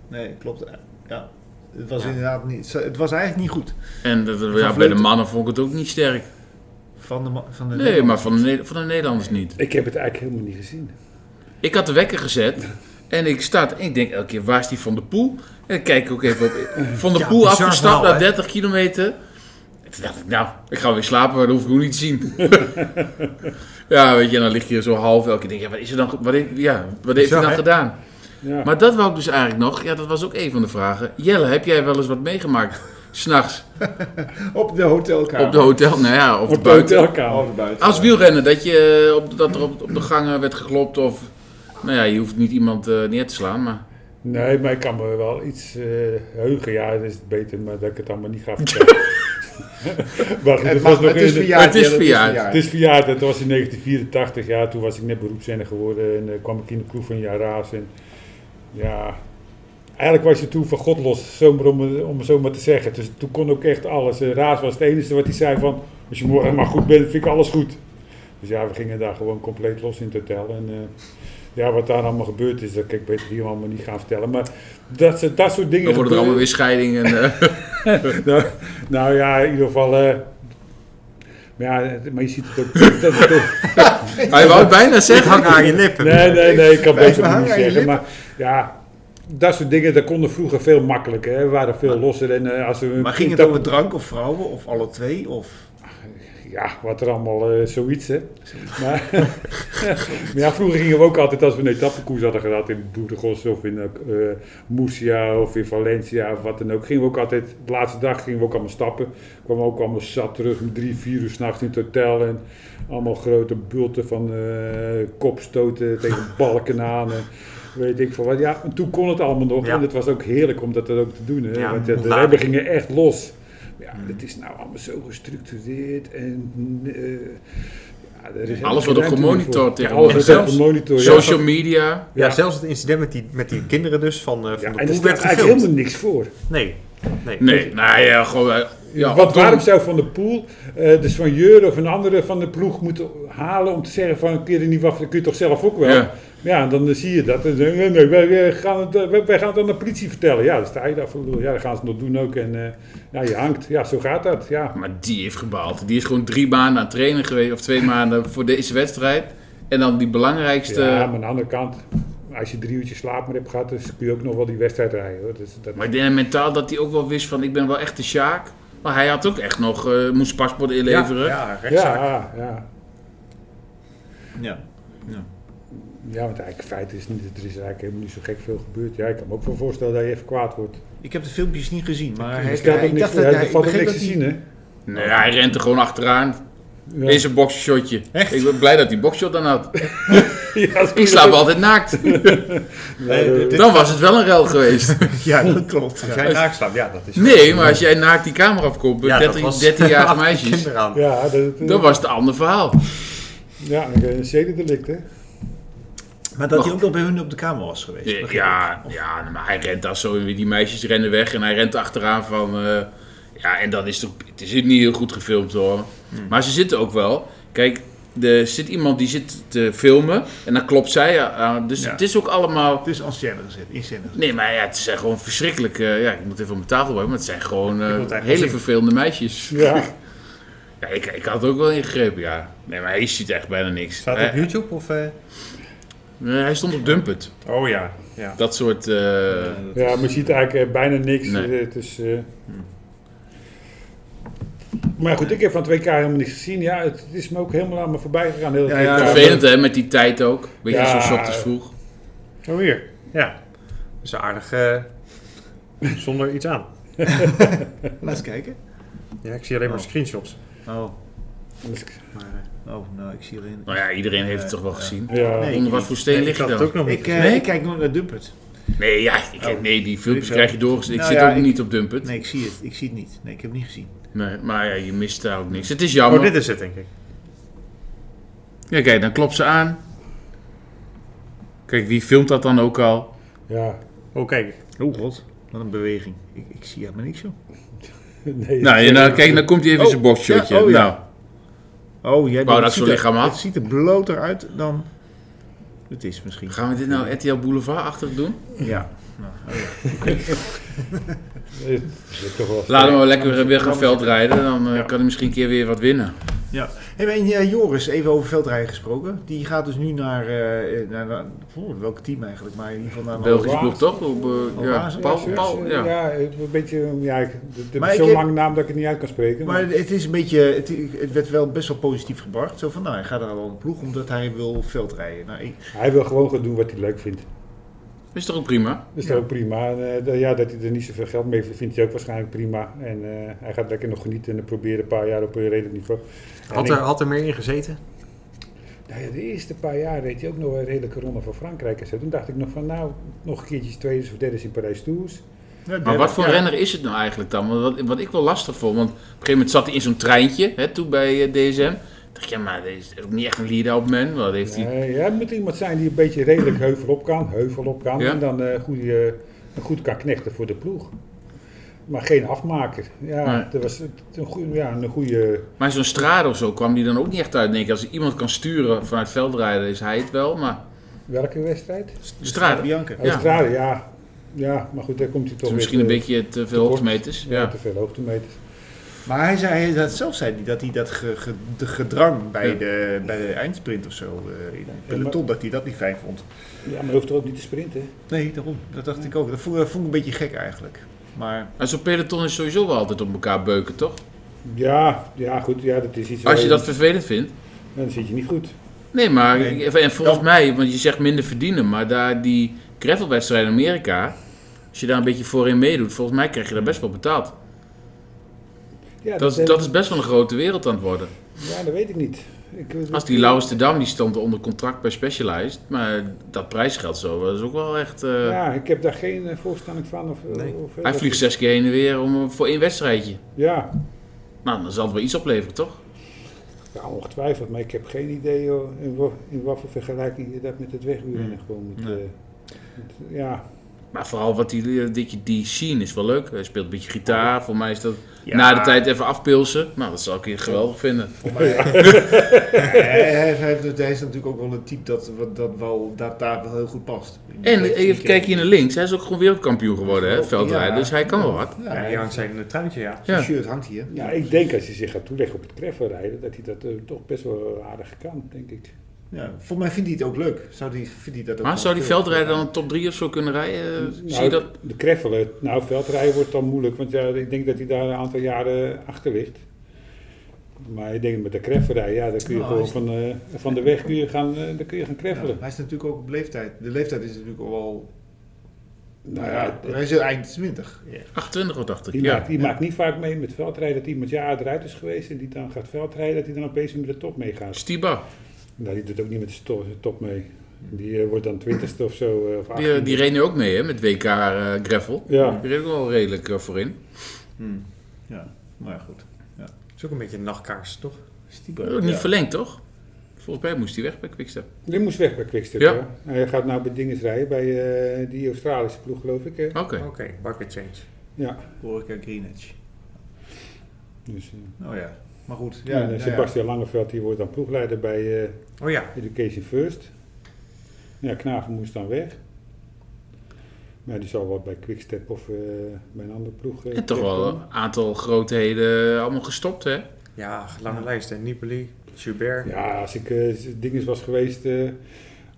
Speaker 2: Nee, klopt. Eh, Ja. Het was inderdaad niet. Het was eigenlijk niet goed.
Speaker 5: En dat, ja, bij de
Speaker 2: Vleuten.
Speaker 5: mannen vond ik het ook niet sterk.
Speaker 2: Van de, ma- van de
Speaker 5: Nee, maar van de, Ne- van de Nederlanders niet.
Speaker 3: Ik heb het eigenlijk helemaal niet gezien.
Speaker 5: Ik had de wekker gezet. En ik start en ik denk elke keer, waar is die Van de Poel? En ik kijk ook even op. Van de
Speaker 4: Ja,
Speaker 5: Poel
Speaker 4: bizar
Speaker 5: afgestapt
Speaker 4: verhaal,
Speaker 5: na
Speaker 4: hè?
Speaker 5: 30 kilometer. En Toen dacht ik, nou, ik ga weer slapen, maar dat hoef ik ook niet te zien. ja, weet je, en dan lig je zo half elke keer. Denk, ja, wat is er dan, ge- wat heeft, ja, wat heeft hij
Speaker 4: Bizar,
Speaker 5: dan
Speaker 4: hè?
Speaker 5: gedaan?
Speaker 3: Ja.
Speaker 5: Maar dat wou ik dus eigenlijk nog, ja, dat was ook een van de vragen. Jelle, heb jij wel eens wat meegemaakt? S'nachts
Speaker 2: Op de hotelkamer.
Speaker 5: op de hotel, nou ja, of
Speaker 3: op de
Speaker 5: buiten.
Speaker 3: hotelkamer.
Speaker 2: Over de buiten.
Speaker 5: Als wielrenner, dat, je eh, op, dat er op, op de gangen werd geklopt of... Nou ja, je hoeft niet iemand eh, neer te slaan, maar...
Speaker 3: Nee, maar ik kan me wel iets eh, heugen. Ja, dat is beter maar dat ik het allemaal niet ga vertellen. maar
Speaker 2: Het,
Speaker 3: goed, het,
Speaker 2: mag,
Speaker 3: was nog
Speaker 2: het is
Speaker 3: in de-
Speaker 2: verjaard.
Speaker 5: Het is
Speaker 2: Jelle,
Speaker 5: verjaard.
Speaker 3: Het is verjaard, dat was in 1984, ja, toen was ik net beroepszenner geworden en eh, kwam ik in de proef van Jaraas. En ja, eigenlijk was je toen van God los, zomaar om, eh, om het zo maar te zeggen. Dus toen kon ook echt alles. Eh, Raas was het enige wat hij zei van, als je morgen maar goed bent, vind ik alles goed. Dus ja, we gingen daar gewoon compleet los in het hotel. En eh, ja, wat daar allemaal gebeurd is, dat kan ik beter hier allemaal niet gaan vertellen. Maar dat, ze- dat soort dingen
Speaker 5: Dan
Speaker 3: gebeuren-
Speaker 5: worden er allemaal weer scheidingen. en, eh,
Speaker 3: nou, nou ja, in ieder geval... eh, maar ja, eh, maar je ziet het ook... dat- dat,
Speaker 5: Hij wou het bijna
Speaker 4: Zeg,
Speaker 5: zeggen.
Speaker 4: hang aan je lippen.
Speaker 3: Nee, nee, nee, ik kan
Speaker 2: Blijf
Speaker 3: beter
Speaker 2: maar
Speaker 3: niet
Speaker 2: hangen aan je
Speaker 3: zeggen. Maar ja, dat soort dingen, dat konden vroeger veel makkelijker. Hè. We waren veel losser. En, eh, als we
Speaker 2: Maar ging het over drank of vrouwen of alle twee? Of...
Speaker 3: Ja, wat er allemaal eh, zoiets, hè. Maar, maar ja, vroeger gingen we ook altijd, als we een etappekoers hadden gehad in Boedegos of in eh Moesia of in Valencia of wat dan ook, gingen we ook altijd, de laatste dag gingen we ook allemaal stappen. Kwamen we ook allemaal zat terug om drie, vier uur s'nachts in het hotel en allemaal grote bulten van eh, kopstoten tegen balken aan en weet ik veel wat. Ja, en toen kon het allemaal nog
Speaker 4: Ja.
Speaker 3: en het was ook heerlijk om dat dan ook te doen, hè.
Speaker 4: Ja,
Speaker 3: Want ja, de
Speaker 4: later.
Speaker 3: remmen gingen echt los. Ja, het is nou allemaal zo gestructureerd en... eh, ja, er is helemaal
Speaker 5: Alles
Speaker 3: geen
Speaker 5: wordt ook
Speaker 3: ruimte
Speaker 5: gemonitord
Speaker 3: meer voor. Ja,
Speaker 5: tegenwoordig.
Speaker 3: alles wordt
Speaker 5: En
Speaker 3: ook
Speaker 5: zelfs
Speaker 3: gemonitord. ja.
Speaker 5: Social media.
Speaker 4: Ja,
Speaker 3: Ja.
Speaker 4: zelfs het incident met die, met die kinderen dus van, eh van
Speaker 3: Ja,
Speaker 4: de
Speaker 3: en er
Speaker 4: Poel
Speaker 3: staat
Speaker 4: werd
Speaker 3: eigenlijk
Speaker 4: gefilmd.
Speaker 3: helemaal niks voor.
Speaker 4: Nee, nee.
Speaker 5: Nee, nou ja, gewoon... eh, Ja,
Speaker 3: Wat
Speaker 5: Otton-
Speaker 3: waarom zou Van de Poel eh de soigneur of een andere van de ploeg moeten halen om te zeggen van een keer in die wacht, dat kun je toch zelf ook wel.
Speaker 5: Ja.
Speaker 3: Ja, dan eh, zie je dat. En dan, nee, nee, wij, wij gaan het, eh, wij, wij gaan het aan de politie vertellen. Ja, dan sta je daar voor. lul. Ja, dat gaan ze het nog doen ook. En eh, ja, je hangt. Ja, zo gaat dat. Ja.
Speaker 5: Maar die heeft gebaald. Die is gewoon drie maanden aan het trainen geweest. Of twee maanden voor deze wedstrijd. En dan die belangrijkste...
Speaker 3: Ja, maar aan de andere kant, als je drie uurtjes slaap maar hebt gehad, dan kun je ook nog wel die wedstrijd rijden. Hoor. Dus dat,
Speaker 5: Maar ik denk mentaal dat hij ook wel wist van... Ik ben wel echt de Sjaak. Maar hij had ook echt nog... eh, moest paspoort inleveren.
Speaker 4: Ja, rechtszaak.
Speaker 3: ja, ja.
Speaker 2: Ja.
Speaker 3: ja, want eigenlijk feit is niet, er is eigenlijk helemaal niet zo gek veel gebeurd. Ja, ik kan me ook wel voorstellen dat je even kwaad wordt.
Speaker 2: Ik heb de filmpjes niet gezien, maar
Speaker 3: Er
Speaker 2: hij,
Speaker 3: staat ook
Speaker 2: hij
Speaker 3: niks
Speaker 2: dacht
Speaker 3: voor.
Speaker 2: dat
Speaker 3: Ja,
Speaker 2: hij...
Speaker 3: Er valt ook
Speaker 2: ik begreep
Speaker 3: niks
Speaker 2: dat
Speaker 3: te
Speaker 2: hij-
Speaker 3: zien, hè?
Speaker 5: Nee, hij rent er gewoon achteraan.
Speaker 3: Ja.
Speaker 5: Is een boxshotje.
Speaker 4: Echt?
Speaker 5: Ik ben blij dat hij boxshot dan had.
Speaker 3: Ja, dat
Speaker 5: Ik
Speaker 3: is-
Speaker 5: slaap altijd naakt.
Speaker 4: Nee,
Speaker 2: eh,
Speaker 4: dit- dit-
Speaker 5: Dan was het wel een rel geweest.
Speaker 2: Ja, dat klopt. ja.
Speaker 4: Als jij naakt slaapt, ja, dat is...
Speaker 5: Nee, maar als jij naakt die camera afkomt met
Speaker 4: ja,
Speaker 5: 13,
Speaker 4: was-
Speaker 5: 13-jarige
Speaker 4: achter
Speaker 5: meisjes,
Speaker 4: kinderen aan.
Speaker 3: Ja, dat,
Speaker 5: dan was het een ander verhaal.
Speaker 3: ja, een zedendelict, hè?
Speaker 2: Maar dat hij ook nog bij hun op de kamer was geweest. begreep ik.
Speaker 5: Ja, ja, maar hij rent daar zo, die meisjes rennen weg en hij rent achteraan van... eh, ja, en dan is het, ook- het is niet heel goed gefilmd hoor. Maar ze zitten ook wel. Kijk, er zit iemand die zit te filmen en dan klopt zij aan. Dus
Speaker 2: Ja.
Speaker 5: het is ook allemaal...
Speaker 2: Het is als scène gezet, in scène gezet.
Speaker 5: Nee, maar ja, het zijn gewoon verschrikkelijk. eh, ja, ik moet even op mijn tafel blijven, maar het zijn gewoon
Speaker 4: wil
Speaker 5: eh,
Speaker 4: het eigenlijk
Speaker 5: hele
Speaker 4: zien.
Speaker 5: vervelende meisjes.
Speaker 3: Ja.
Speaker 5: Ja, ik, ik had ook wel ingegrepen, ja. Nee, maar hij ziet echt bijna niks.
Speaker 4: Staat het
Speaker 5: hij,
Speaker 4: op YouTube of... eh?
Speaker 5: Nee, hij stond op Dumpet.
Speaker 4: Oh ja, ja.
Speaker 5: Dat soort. eh,
Speaker 3: ja, maar je ziet eigenlijk eh, bijna niks.
Speaker 5: Nee.
Speaker 3: eh, Het is, eh, Maar goed, ik heb van 2K helemaal niks gezien. Ja, het, het is me ook helemaal aan me voorbij gegaan. Heel
Speaker 2: Ja, ja,
Speaker 3: het WK.
Speaker 5: vervelend hè, met die tijd ook. Weet je,
Speaker 3: Ja.
Speaker 5: zo'n ochtends vroeg.
Speaker 4: Oh hier, ja. Dat is aardig eh, zonder iets aan.
Speaker 2: Laat eens kijken.
Speaker 4: Ja, ik zie alleen maar
Speaker 2: Oh.
Speaker 4: screenshots.
Speaker 2: Oh,
Speaker 3: Dus-
Speaker 4: Maar, eh,
Speaker 2: oh nou, ik zie alleen...
Speaker 5: Nou ja, iedereen heeft het toch wel gezien.
Speaker 3: Ja.
Speaker 2: Nee.
Speaker 5: Onder wat voor steen
Speaker 4: nee,
Speaker 5: ligt
Speaker 4: ik
Speaker 5: je
Speaker 4: had
Speaker 5: dan?
Speaker 4: het ook Oh. nog niet.
Speaker 2: Ik, eh,
Speaker 5: Nee?
Speaker 2: ik kijk nooit naar Dumpert.
Speaker 5: Nee, ja, ik, nee, die filmpjes
Speaker 2: wel.
Speaker 5: krijg je door. Ik
Speaker 2: Nou
Speaker 5: zit
Speaker 2: ja,
Speaker 5: ook
Speaker 2: ik-
Speaker 5: niet op Dumpet. Nee.
Speaker 2: Nee, ik zie het. Ik zie het niet. Nee, ik heb het niet gezien.
Speaker 5: maar ja, je mist daar ook niks. Het is
Speaker 4: Oh,
Speaker 5: jammer.
Speaker 4: dit is het denk ik.
Speaker 5: Ja, kijk, dan klopt ze aan. Kijk, wie filmt dat dan ook al?
Speaker 3: ja.
Speaker 4: Oh, kijk.
Speaker 2: Oh god, wat een beweging. Ik, ik zie helemaal niks, joh.
Speaker 3: Nee,
Speaker 5: Nou, en dan, kijk, dan komt hij even
Speaker 2: Oh,
Speaker 5: zijn boxshotje.
Speaker 2: ja, oh ja.
Speaker 5: Nou,
Speaker 2: Oh, jij
Speaker 5: dat
Speaker 2: het
Speaker 5: zo'n
Speaker 2: ziet er-
Speaker 5: lichaam af.
Speaker 2: Het ziet er bloter uit dan het is misschien.
Speaker 5: gaan we dit nou RTL Boulevard-achtig doen?
Speaker 2: Ja.
Speaker 3: het is toch wel...
Speaker 5: eh, Laten we maar lekker weer gaan veldrijden. Dan eh, kan hij misschien een keer weer wat winnen.
Speaker 2: Ja. Hey, en eh, Joris, even over veldrijden gesproken. Die gaat dus nu naar, eh, naar, naar oeh, welk team eigenlijk, maar in ieder geval naar een
Speaker 5: Belgisch
Speaker 2: hoog-
Speaker 3: Hoogwaarts.
Speaker 5: ploeg toch? Op, eh,
Speaker 2: Hoogwaarts,
Speaker 5: ja,
Speaker 2: ja,
Speaker 5: Paul,
Speaker 2: zeker.
Speaker 5: Paul, ja.
Speaker 3: ja, een beetje. Ja, ik, het
Speaker 2: Maar
Speaker 3: is
Speaker 2: ik
Speaker 3: zo'n
Speaker 2: heb-
Speaker 3: lange naam dat ik het niet uit kan spreken.
Speaker 2: Maar het is een beetje, het, het werd wel best wel positief gebracht. Zo van, nou, hij gaat naar een ploeg omdat hij wil veldrijden. Nou, ik,
Speaker 3: Hij wil gewoon gaan doen wat hij leuk vindt.
Speaker 5: Is toch ook prima?
Speaker 3: Dat is
Speaker 2: Ja.
Speaker 3: ook prima. En, eh, d- ja, dat hij er niet zoveel geld mee verdient, vindt hij ook waarschijnlijk prima. En eh, hij gaat lekker nog genieten en proberen een paar jaar op een redelijk niveau.
Speaker 4: Had
Speaker 3: En
Speaker 4: er,
Speaker 3: ik-
Speaker 4: had er meer in gezeten?
Speaker 3: nou ja, de eerste paar jaar reed hij ook nog een redelijke ronde voor Frankrijk. En zo. Toen dacht ik nog van, nou, nog een keertjes tweede of derde in Parijs-Tours.
Speaker 5: Maar wat voor renner is het nou eigenlijk dan? Want wat, wat ik wel lastig vond, want op een gegeven moment zat hij in zo'n treintje hè, toen bij eh, DSM. Ik dacht, ja, maar dit is ook niet echt een lead-out man. Wat heeft hij?
Speaker 3: Nee, Eh, ja, het moet iemand zijn die een beetje redelijk heuvel op kan, heuvel op kan
Speaker 5: Ja.
Speaker 3: en dan eh, goed, eh, goed kan knechten voor de ploeg. Maar geen afmaker. Ja,
Speaker 5: Nee.
Speaker 3: dat was het- een goede, ja, een goede
Speaker 5: Maar zo'n straat of zo kwam die dan ook niet echt uit. Denk ik, als iemand kan sturen vanuit veldrijden, is hij het wel. Maar
Speaker 3: welke wedstrijd?
Speaker 5: straat, dat
Speaker 2: Bianca.
Speaker 5: Ja.
Speaker 3: Australië, ja. Ja, maar goed, daar komt hij toch
Speaker 5: is
Speaker 3: weer
Speaker 5: misschien een
Speaker 3: te-
Speaker 5: beetje te veel
Speaker 3: kort.
Speaker 5: hoogtemeters.
Speaker 3: Ja,
Speaker 5: Ja.
Speaker 3: te veel hoogtemeters.
Speaker 2: Maar hij zei, hij, dat zelf zei hij dat hij dat ge- ge- de gedrang bij,
Speaker 5: Ja.
Speaker 2: de, bij de eindsprint of zo, eh, in het peloton, dat hij dat niet fijn vond.
Speaker 3: Ja, maar hij hoeft er ook niet te sprinten.
Speaker 2: Nee, daarom. Dat dacht ik ook. Dat vond, dat vond ik een beetje gek eigenlijk. Maar
Speaker 5: En zo'n peloton is sowieso wel altijd op elkaar beuken, toch?
Speaker 3: Ja, ja, goed, ja, dat is iets.
Speaker 5: Als je
Speaker 3: waar-
Speaker 5: dat vervelend vindt.
Speaker 3: dan zit je niet goed.
Speaker 5: Nee, maar
Speaker 2: Nee.
Speaker 5: en volgens
Speaker 2: Ja.
Speaker 5: mij, want je zegt minder verdienen, maar daar die gravelwedstrijd in Amerika, als je daar een beetje voorin meedoet, volgens mij krijg je daar best wel betaald.
Speaker 3: Ja,
Speaker 5: Dat, is-
Speaker 3: eh,
Speaker 5: dat is best wel een grote wereld aan het worden.
Speaker 3: Ja, dat weet ik niet. Ik,
Speaker 5: Als die Laurens de Dam, die stond onder contract bij Specialized, maar dat prijsgeld zo, dat is ook wel echt... eh,
Speaker 3: Ja, ik heb daar geen eh, voorstelling van. Of,
Speaker 4: Nee.
Speaker 3: of-
Speaker 5: hij vliegt zes keer heen en weer om, eh, voor één wedstrijdje.
Speaker 3: Ja,
Speaker 5: Nou, dan zal het wel iets opleveren, toch?
Speaker 3: Ja, ongetwijfeld, maar ik heb geen idee hoor, in, wa- in wat voor vergelijking je dat met het wegwielrennen gewoon moet...
Speaker 2: Nee.
Speaker 3: eh, moet- eh, ja,
Speaker 5: Maar vooral wat die, die, die scene is wel leuk. Hij speelt een beetje gitaar, voor mij is dat
Speaker 2: Ja.
Speaker 5: na de tijd even afpilsen. Nou, dat zal ik hier geweldig vinden.
Speaker 2: hij, hij- hij heeft- hij is natuurlijk ook wel een type dat, wat- dat, wel, dat daar wel heel goed past.
Speaker 5: En
Speaker 2: eh,
Speaker 5: even kijken hier naar links. Hij is ook gewoon wereldkampioen geworden, hè, veldrijden.
Speaker 2: Ja.
Speaker 5: Dus hij kan wel wat.
Speaker 2: Ja,
Speaker 4: Ja,
Speaker 2: hij
Speaker 4: die hangt
Speaker 2: hangt-
Speaker 4: zijn eh, truitje, ja.
Speaker 2: zijn
Speaker 5: Ja.
Speaker 2: shirt hangt hier.
Speaker 3: ja, ik denk als je zich gaat toeleggen op het trefferrijden, dat hij dat eh, toch best wel aardig kan, denk ik.
Speaker 2: Ja, volgens mij vindt hij het ook leuk. Zou die, vindt hij dat ook
Speaker 5: Maar
Speaker 2: wel
Speaker 5: zou die
Speaker 2: leuk?
Speaker 5: veldrijder dan een top 3 of zo kunnen rijden?
Speaker 3: Nou,
Speaker 5: Eh, Zie je dat?
Speaker 3: De kreffelen, nou veldrijden wordt dan moeilijk, want ja, ik denk dat hij daar een aantal jaren achter ligt. Maar ik denk met de kreffelrijden, ja, dan kun je
Speaker 2: Nou,
Speaker 3: gewoon
Speaker 2: is-
Speaker 3: van, eh, van de weg kun je gaan, eh, dan kun je gaan kreffelen.
Speaker 2: Ja, hij is natuurlijk ook op leeftijd. De leeftijd is natuurlijk al wel... eh,
Speaker 3: Nou ja,
Speaker 2: hij is eind 20.
Speaker 5: 28 of dacht ik.
Speaker 3: Die,
Speaker 5: Ja.
Speaker 3: maakt, die maakt niet vaak mee met veldrijden dat iemand jaar eruit is geweest en die dan gaat veldrijden, dat hij dan opeens met de top meegaat.
Speaker 5: Stiba,
Speaker 3: Nou, die doet ook niet met de sto- top mee. Die eh, wordt dan twintigste of zo. eh, of
Speaker 5: die, eh,
Speaker 3: 18e.
Speaker 5: die reed nu ook mee hè, met WK eh Gravel.
Speaker 3: Ja.
Speaker 5: Die reed ook wel redelijk eh, voorin.
Speaker 2: Ja, maar goed.
Speaker 4: Dat is ook een beetje een nachtkaars, toch?
Speaker 2: Stieber.
Speaker 5: Ook niet verlengd, toch? Volgens mij moest hij weg bij Quickstep.
Speaker 3: Die moest weg bij Quickstep.
Speaker 5: Ja.
Speaker 3: Ja. Hij gaat nou bij dinges rijden, bij eh, die Australische ploeg geloof ik. hè.
Speaker 5: Oké.
Speaker 4: Oké, bucket change.
Speaker 3: Ja.
Speaker 2: Orica Greenwich.
Speaker 3: Dus, eh,
Speaker 2: Nou ja, maar goed.
Speaker 3: ja,
Speaker 2: Ja,
Speaker 3: en, eh,
Speaker 2: nou ja.
Speaker 3: Sebastian Langeveld die wordt dan ploegleider bij eh,
Speaker 4: Oh ja,
Speaker 3: Education First. Ja, Knaven moest dan weg. Maar die zal wel bij Quickstep of eh, bij een andere ploeg. eh,
Speaker 5: En toch wel
Speaker 3: terechtkomen.
Speaker 5: een aantal grootheden eh, allemaal gestopt, hè?
Speaker 4: ja, lange lijst. En Nibali, Schubert.
Speaker 3: Ja, als ik eh dinges was geweest, eh,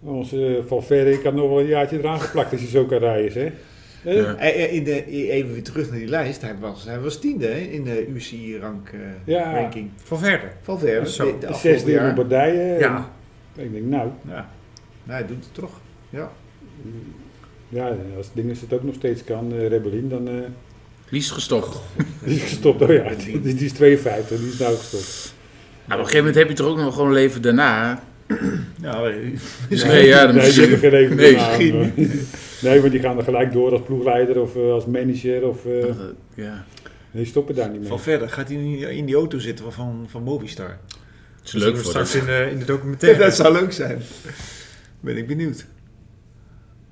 Speaker 3: onze Valverde, ik had nog wel een jaartje eraan geplakt als je zo kan rijden, hè? Eh,
Speaker 5: Ja.
Speaker 2: Eh, eh, In de, even weer terug naar die lijst. Hij was, hij was tiende hè, in de UCI-ranking.
Speaker 3: Ja.
Speaker 2: eh, ranking
Speaker 4: Van verder.
Speaker 2: Valverde,
Speaker 4: Zo.
Speaker 2: de, de afgelopen
Speaker 3: Zesde in
Speaker 2: jaar.
Speaker 3: Lombardije.
Speaker 4: Ja.
Speaker 3: En Ik denk, nou,
Speaker 2: Ja. Nou, hij doet het toch. Ja.
Speaker 3: ja, als dinges het ook nog steeds kan, eh, Rebellin, dan eh,
Speaker 5: Lies gestopt.
Speaker 3: die is gestopt. Oh ja, die, die is 52, die is nou gestopt.
Speaker 5: Nou, op een gegeven moment heb je toch ook nog gewoon leven daarna.
Speaker 2: Nou, eh,
Speaker 5: Nee, ja,
Speaker 3: nee, die
Speaker 5: dan misschien-
Speaker 3: hebben geen even
Speaker 5: Nee,
Speaker 3: naam,
Speaker 2: misschien
Speaker 3: hoor. Nee, want die gaan er gelijk door als ploegleider of eh, als manager. Of, eh,
Speaker 5: Dat, eh, ja.
Speaker 3: die stoppen daar niet mee.
Speaker 2: Valverde gaat hij nu in die auto zitten van, van Movistar.
Speaker 5: Het is leuk voor
Speaker 4: straks
Speaker 5: hem.
Speaker 4: in de, in de documentaire.
Speaker 2: Dat zou leuk zijn. Ben ik benieuwd.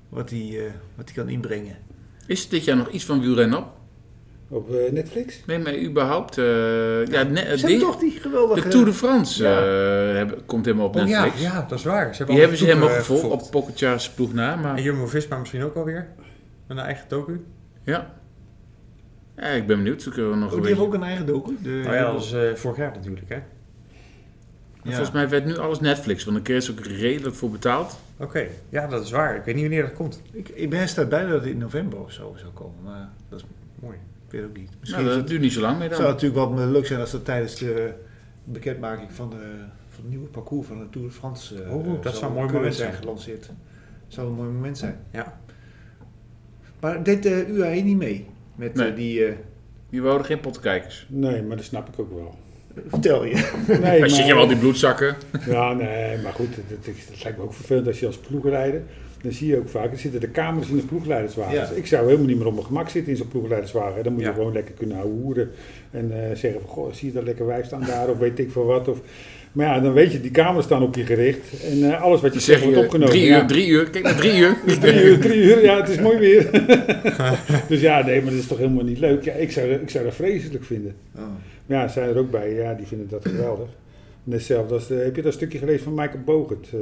Speaker 2: Wat hij eh, wat hij kan inbrengen.
Speaker 5: Is er dit jaar nog iets van wielrennen op?
Speaker 3: Op eh, Netflix?
Speaker 5: Nee, maar überhaupt... eh, ja,
Speaker 2: Ze
Speaker 5: ne- het
Speaker 2: hebben
Speaker 5: ding-
Speaker 2: toch Oh, die geweldige...
Speaker 5: De Tour de France
Speaker 4: Ja.
Speaker 5: eh, hebben- komt helemaal op
Speaker 4: Oh ja,
Speaker 5: Netflix.
Speaker 4: ja, dat is waar. Ze
Speaker 5: Die
Speaker 4: al
Speaker 5: hebben ze helemaal
Speaker 4: eh,
Speaker 5: gevolgd op Pocketjars ploeg na, maar
Speaker 4: En Jumbo-Visma misschien ook alweer. Met een eigen docu.
Speaker 5: ja. ja. Ik ben benieuwd, zo kunnen we nog
Speaker 2: Oh,
Speaker 5: een
Speaker 2: die heeft
Speaker 5: beetje... Ah
Speaker 2: ook een eigen docu. De,
Speaker 4: Nou ja, dat was eh, vorig jaar natuurlijk, hè.
Speaker 5: En Volgens mij werd nu alles Netflix, want daar kreeg ze ook redelijk voor betaald.
Speaker 4: Oké, ja, dat is waar. Ik weet niet wanneer dat komt.
Speaker 2: Ik, ik ben staat bij dat het in november of zo zou komen, maar dat is,
Speaker 4: Mooi.
Speaker 2: ik weet ook niet. Misschien
Speaker 5: Nou,
Speaker 2: is
Speaker 5: dat
Speaker 2: het-
Speaker 5: duurt niet zo lang meer
Speaker 2: zou
Speaker 5: dan.
Speaker 2: het natuurlijk wel leuk zijn als dat tijdens de bekendmaking van, de, van het nieuwe parcours van de Tour de France eh,
Speaker 4: Oh, dat zou een mooi
Speaker 2: kunnen
Speaker 4: moment zijn.
Speaker 2: gelanceerd. zou een mooi moment zijn.
Speaker 4: Ja.
Speaker 2: Maar deed eh UAE niet mee met eh,
Speaker 5: Nee.
Speaker 2: die... eh,
Speaker 5: Hier wouden geen pottenkijkers.
Speaker 3: Nee, maar dat snap ik ook wel.
Speaker 2: vertel je.
Speaker 3: Nee,
Speaker 5: Als je
Speaker 3: maar-
Speaker 5: je al die bloedzakken.
Speaker 3: Ja, nee, maar goed, dat, dat, dat lijkt me ook vervelend als je als ploegleider. Dan zie je ook vaak, er zitten de camera's in de ploegleiderswagens.
Speaker 2: Ja.
Speaker 3: Ik zou helemaal niet meer op mijn gemak zitten in zo'n ploegleiderswagen. Dan moet je
Speaker 4: Ja.
Speaker 3: gewoon lekker kunnen hoeren en eh, zeggen van, goh, zie je dat lekker wijf staan daar of weet ik veel wat. Of, maar ja, dan weet je, die camera's staan op je gericht en eh, alles wat je
Speaker 5: Dan
Speaker 3: zegt
Speaker 5: zeg
Speaker 3: wordt
Speaker 5: je
Speaker 3: opgenomen.
Speaker 5: drie
Speaker 3: Ja.
Speaker 5: uur, drie uur. Kijk naar drie uur.
Speaker 3: Drie uur, drie uur, ja, het is mooi weer. dus ja, nee, maar dat is toch helemaal niet leuk. Ja, ik zou, ik zou dat vreselijk vinden.
Speaker 5: Oh.
Speaker 3: Maar ja, er zijn er ook bij, ja, die vinden dat geweldig. Net Hetzelfde als, de- heb je dat stukje gelezen van Michael Bogert? eh,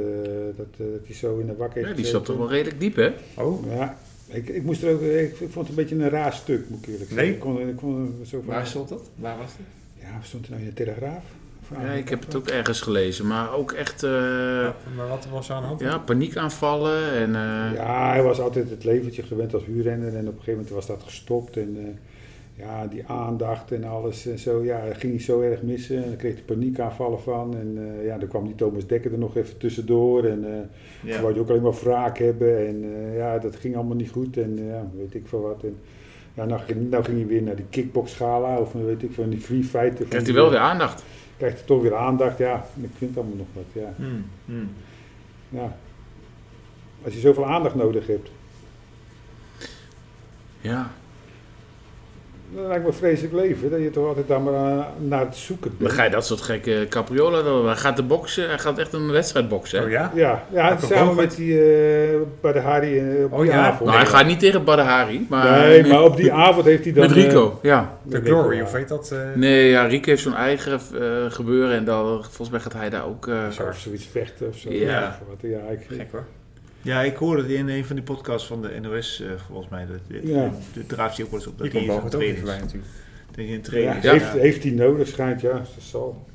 Speaker 3: dat, eh, dat hij zo in de wakker heeft
Speaker 5: Ja, die zat
Speaker 3: gezeten?
Speaker 5: toch wel redelijk diep, hè?
Speaker 4: Oh,
Speaker 3: Ja, ik, ik, moest er ook, ik, ik vond het een beetje een raar stuk, moet ik eerlijk zeggen.
Speaker 4: Nee?
Speaker 3: Ik kon, ik kon er zo van,
Speaker 2: stond dat? Waar was dat?
Speaker 3: ja, stond hij nou in de Telegraaf? Of aan-
Speaker 5: Ja, ik heb het ook ergens gelezen. Maar ook echt eh,
Speaker 4: maar wat was er aan de hand?
Speaker 5: ja, paniekaanvallen en... eh,
Speaker 3: Ja, hij was altijd het leventje gewend als huurrenner en op een gegeven moment was dat gestopt en eh, ja, die aandacht en alles en zo, ja, dat ging hij zo erg missen en dan kreeg hij paniekaanvallen van en eh, ja, dan kwam die Thomas Dekker er nog even tussendoor en eh toen wou je ook alleen maar wraak hebben en eh, ja, dat ging allemaal niet goed en eh, ja, weet ik veel wat en ja, nou ging, nou ging hij weer naar die kickboxgala of eh, weet ik van die free fighten. van
Speaker 5: Krijgt
Speaker 3: die-
Speaker 5: hij wel weer aandacht.
Speaker 3: Krijgt hij toch weer aandacht, ja, ik vind het allemaal nog wat, ja.
Speaker 4: Hmm,
Speaker 3: ja. Als je zoveel aandacht nodig hebt.
Speaker 5: Ja.
Speaker 3: Dat lijkt me een vreselijk leven, dat je toch altijd daar maar eh, naar het zoeken
Speaker 5: Dan
Speaker 3: bent.
Speaker 5: ga je dat soort gekke capriola doen. Hij gaat de boksen, hij gaat echt een wedstrijd boksen. Hè?
Speaker 4: Oh ja?
Speaker 3: Ja, ja
Speaker 4: Michael
Speaker 3: samen
Speaker 4: Bogert?
Speaker 3: met die eh, bij de Harry eh, op
Speaker 4: Oh
Speaker 3: die
Speaker 4: ja.
Speaker 3: avond.
Speaker 5: Nou, hij gaat niet tegen Badahari, maar,
Speaker 3: nee, maar op die avond heeft hij dan...
Speaker 5: met Rico.
Speaker 3: eh,
Speaker 5: ja.
Speaker 4: The
Speaker 3: met
Speaker 4: Glory,
Speaker 3: ja.
Speaker 4: of heet dat? eh?
Speaker 5: Nee, ja, Rico heeft zo'n eigen eh, gebeuren en dan, volgens mij gaat hij daar ook... eh,
Speaker 3: Of zoiets vechten of zo.
Speaker 5: Ja.
Speaker 3: Ja, wat, ja, ik,
Speaker 4: Gek hoor.
Speaker 2: Ja, ik hoorde het in een van die podcasts van de NOS, eh, volgens mij. Dat, dat,
Speaker 3: Ja.
Speaker 2: dat draaft hij ook wel eens op.
Speaker 4: Die
Speaker 2: Dat
Speaker 4: komt
Speaker 2: hij in
Speaker 4: Bogert
Speaker 2: zijn
Speaker 4: ook
Speaker 2: training
Speaker 4: niet voorbij
Speaker 2: is.
Speaker 4: natuurlijk.
Speaker 2: Dat hij in
Speaker 3: ja,
Speaker 2: training is.
Speaker 3: heeft,
Speaker 2: Ja.
Speaker 3: heeft hij nodig, schijnt, ja, dat zal.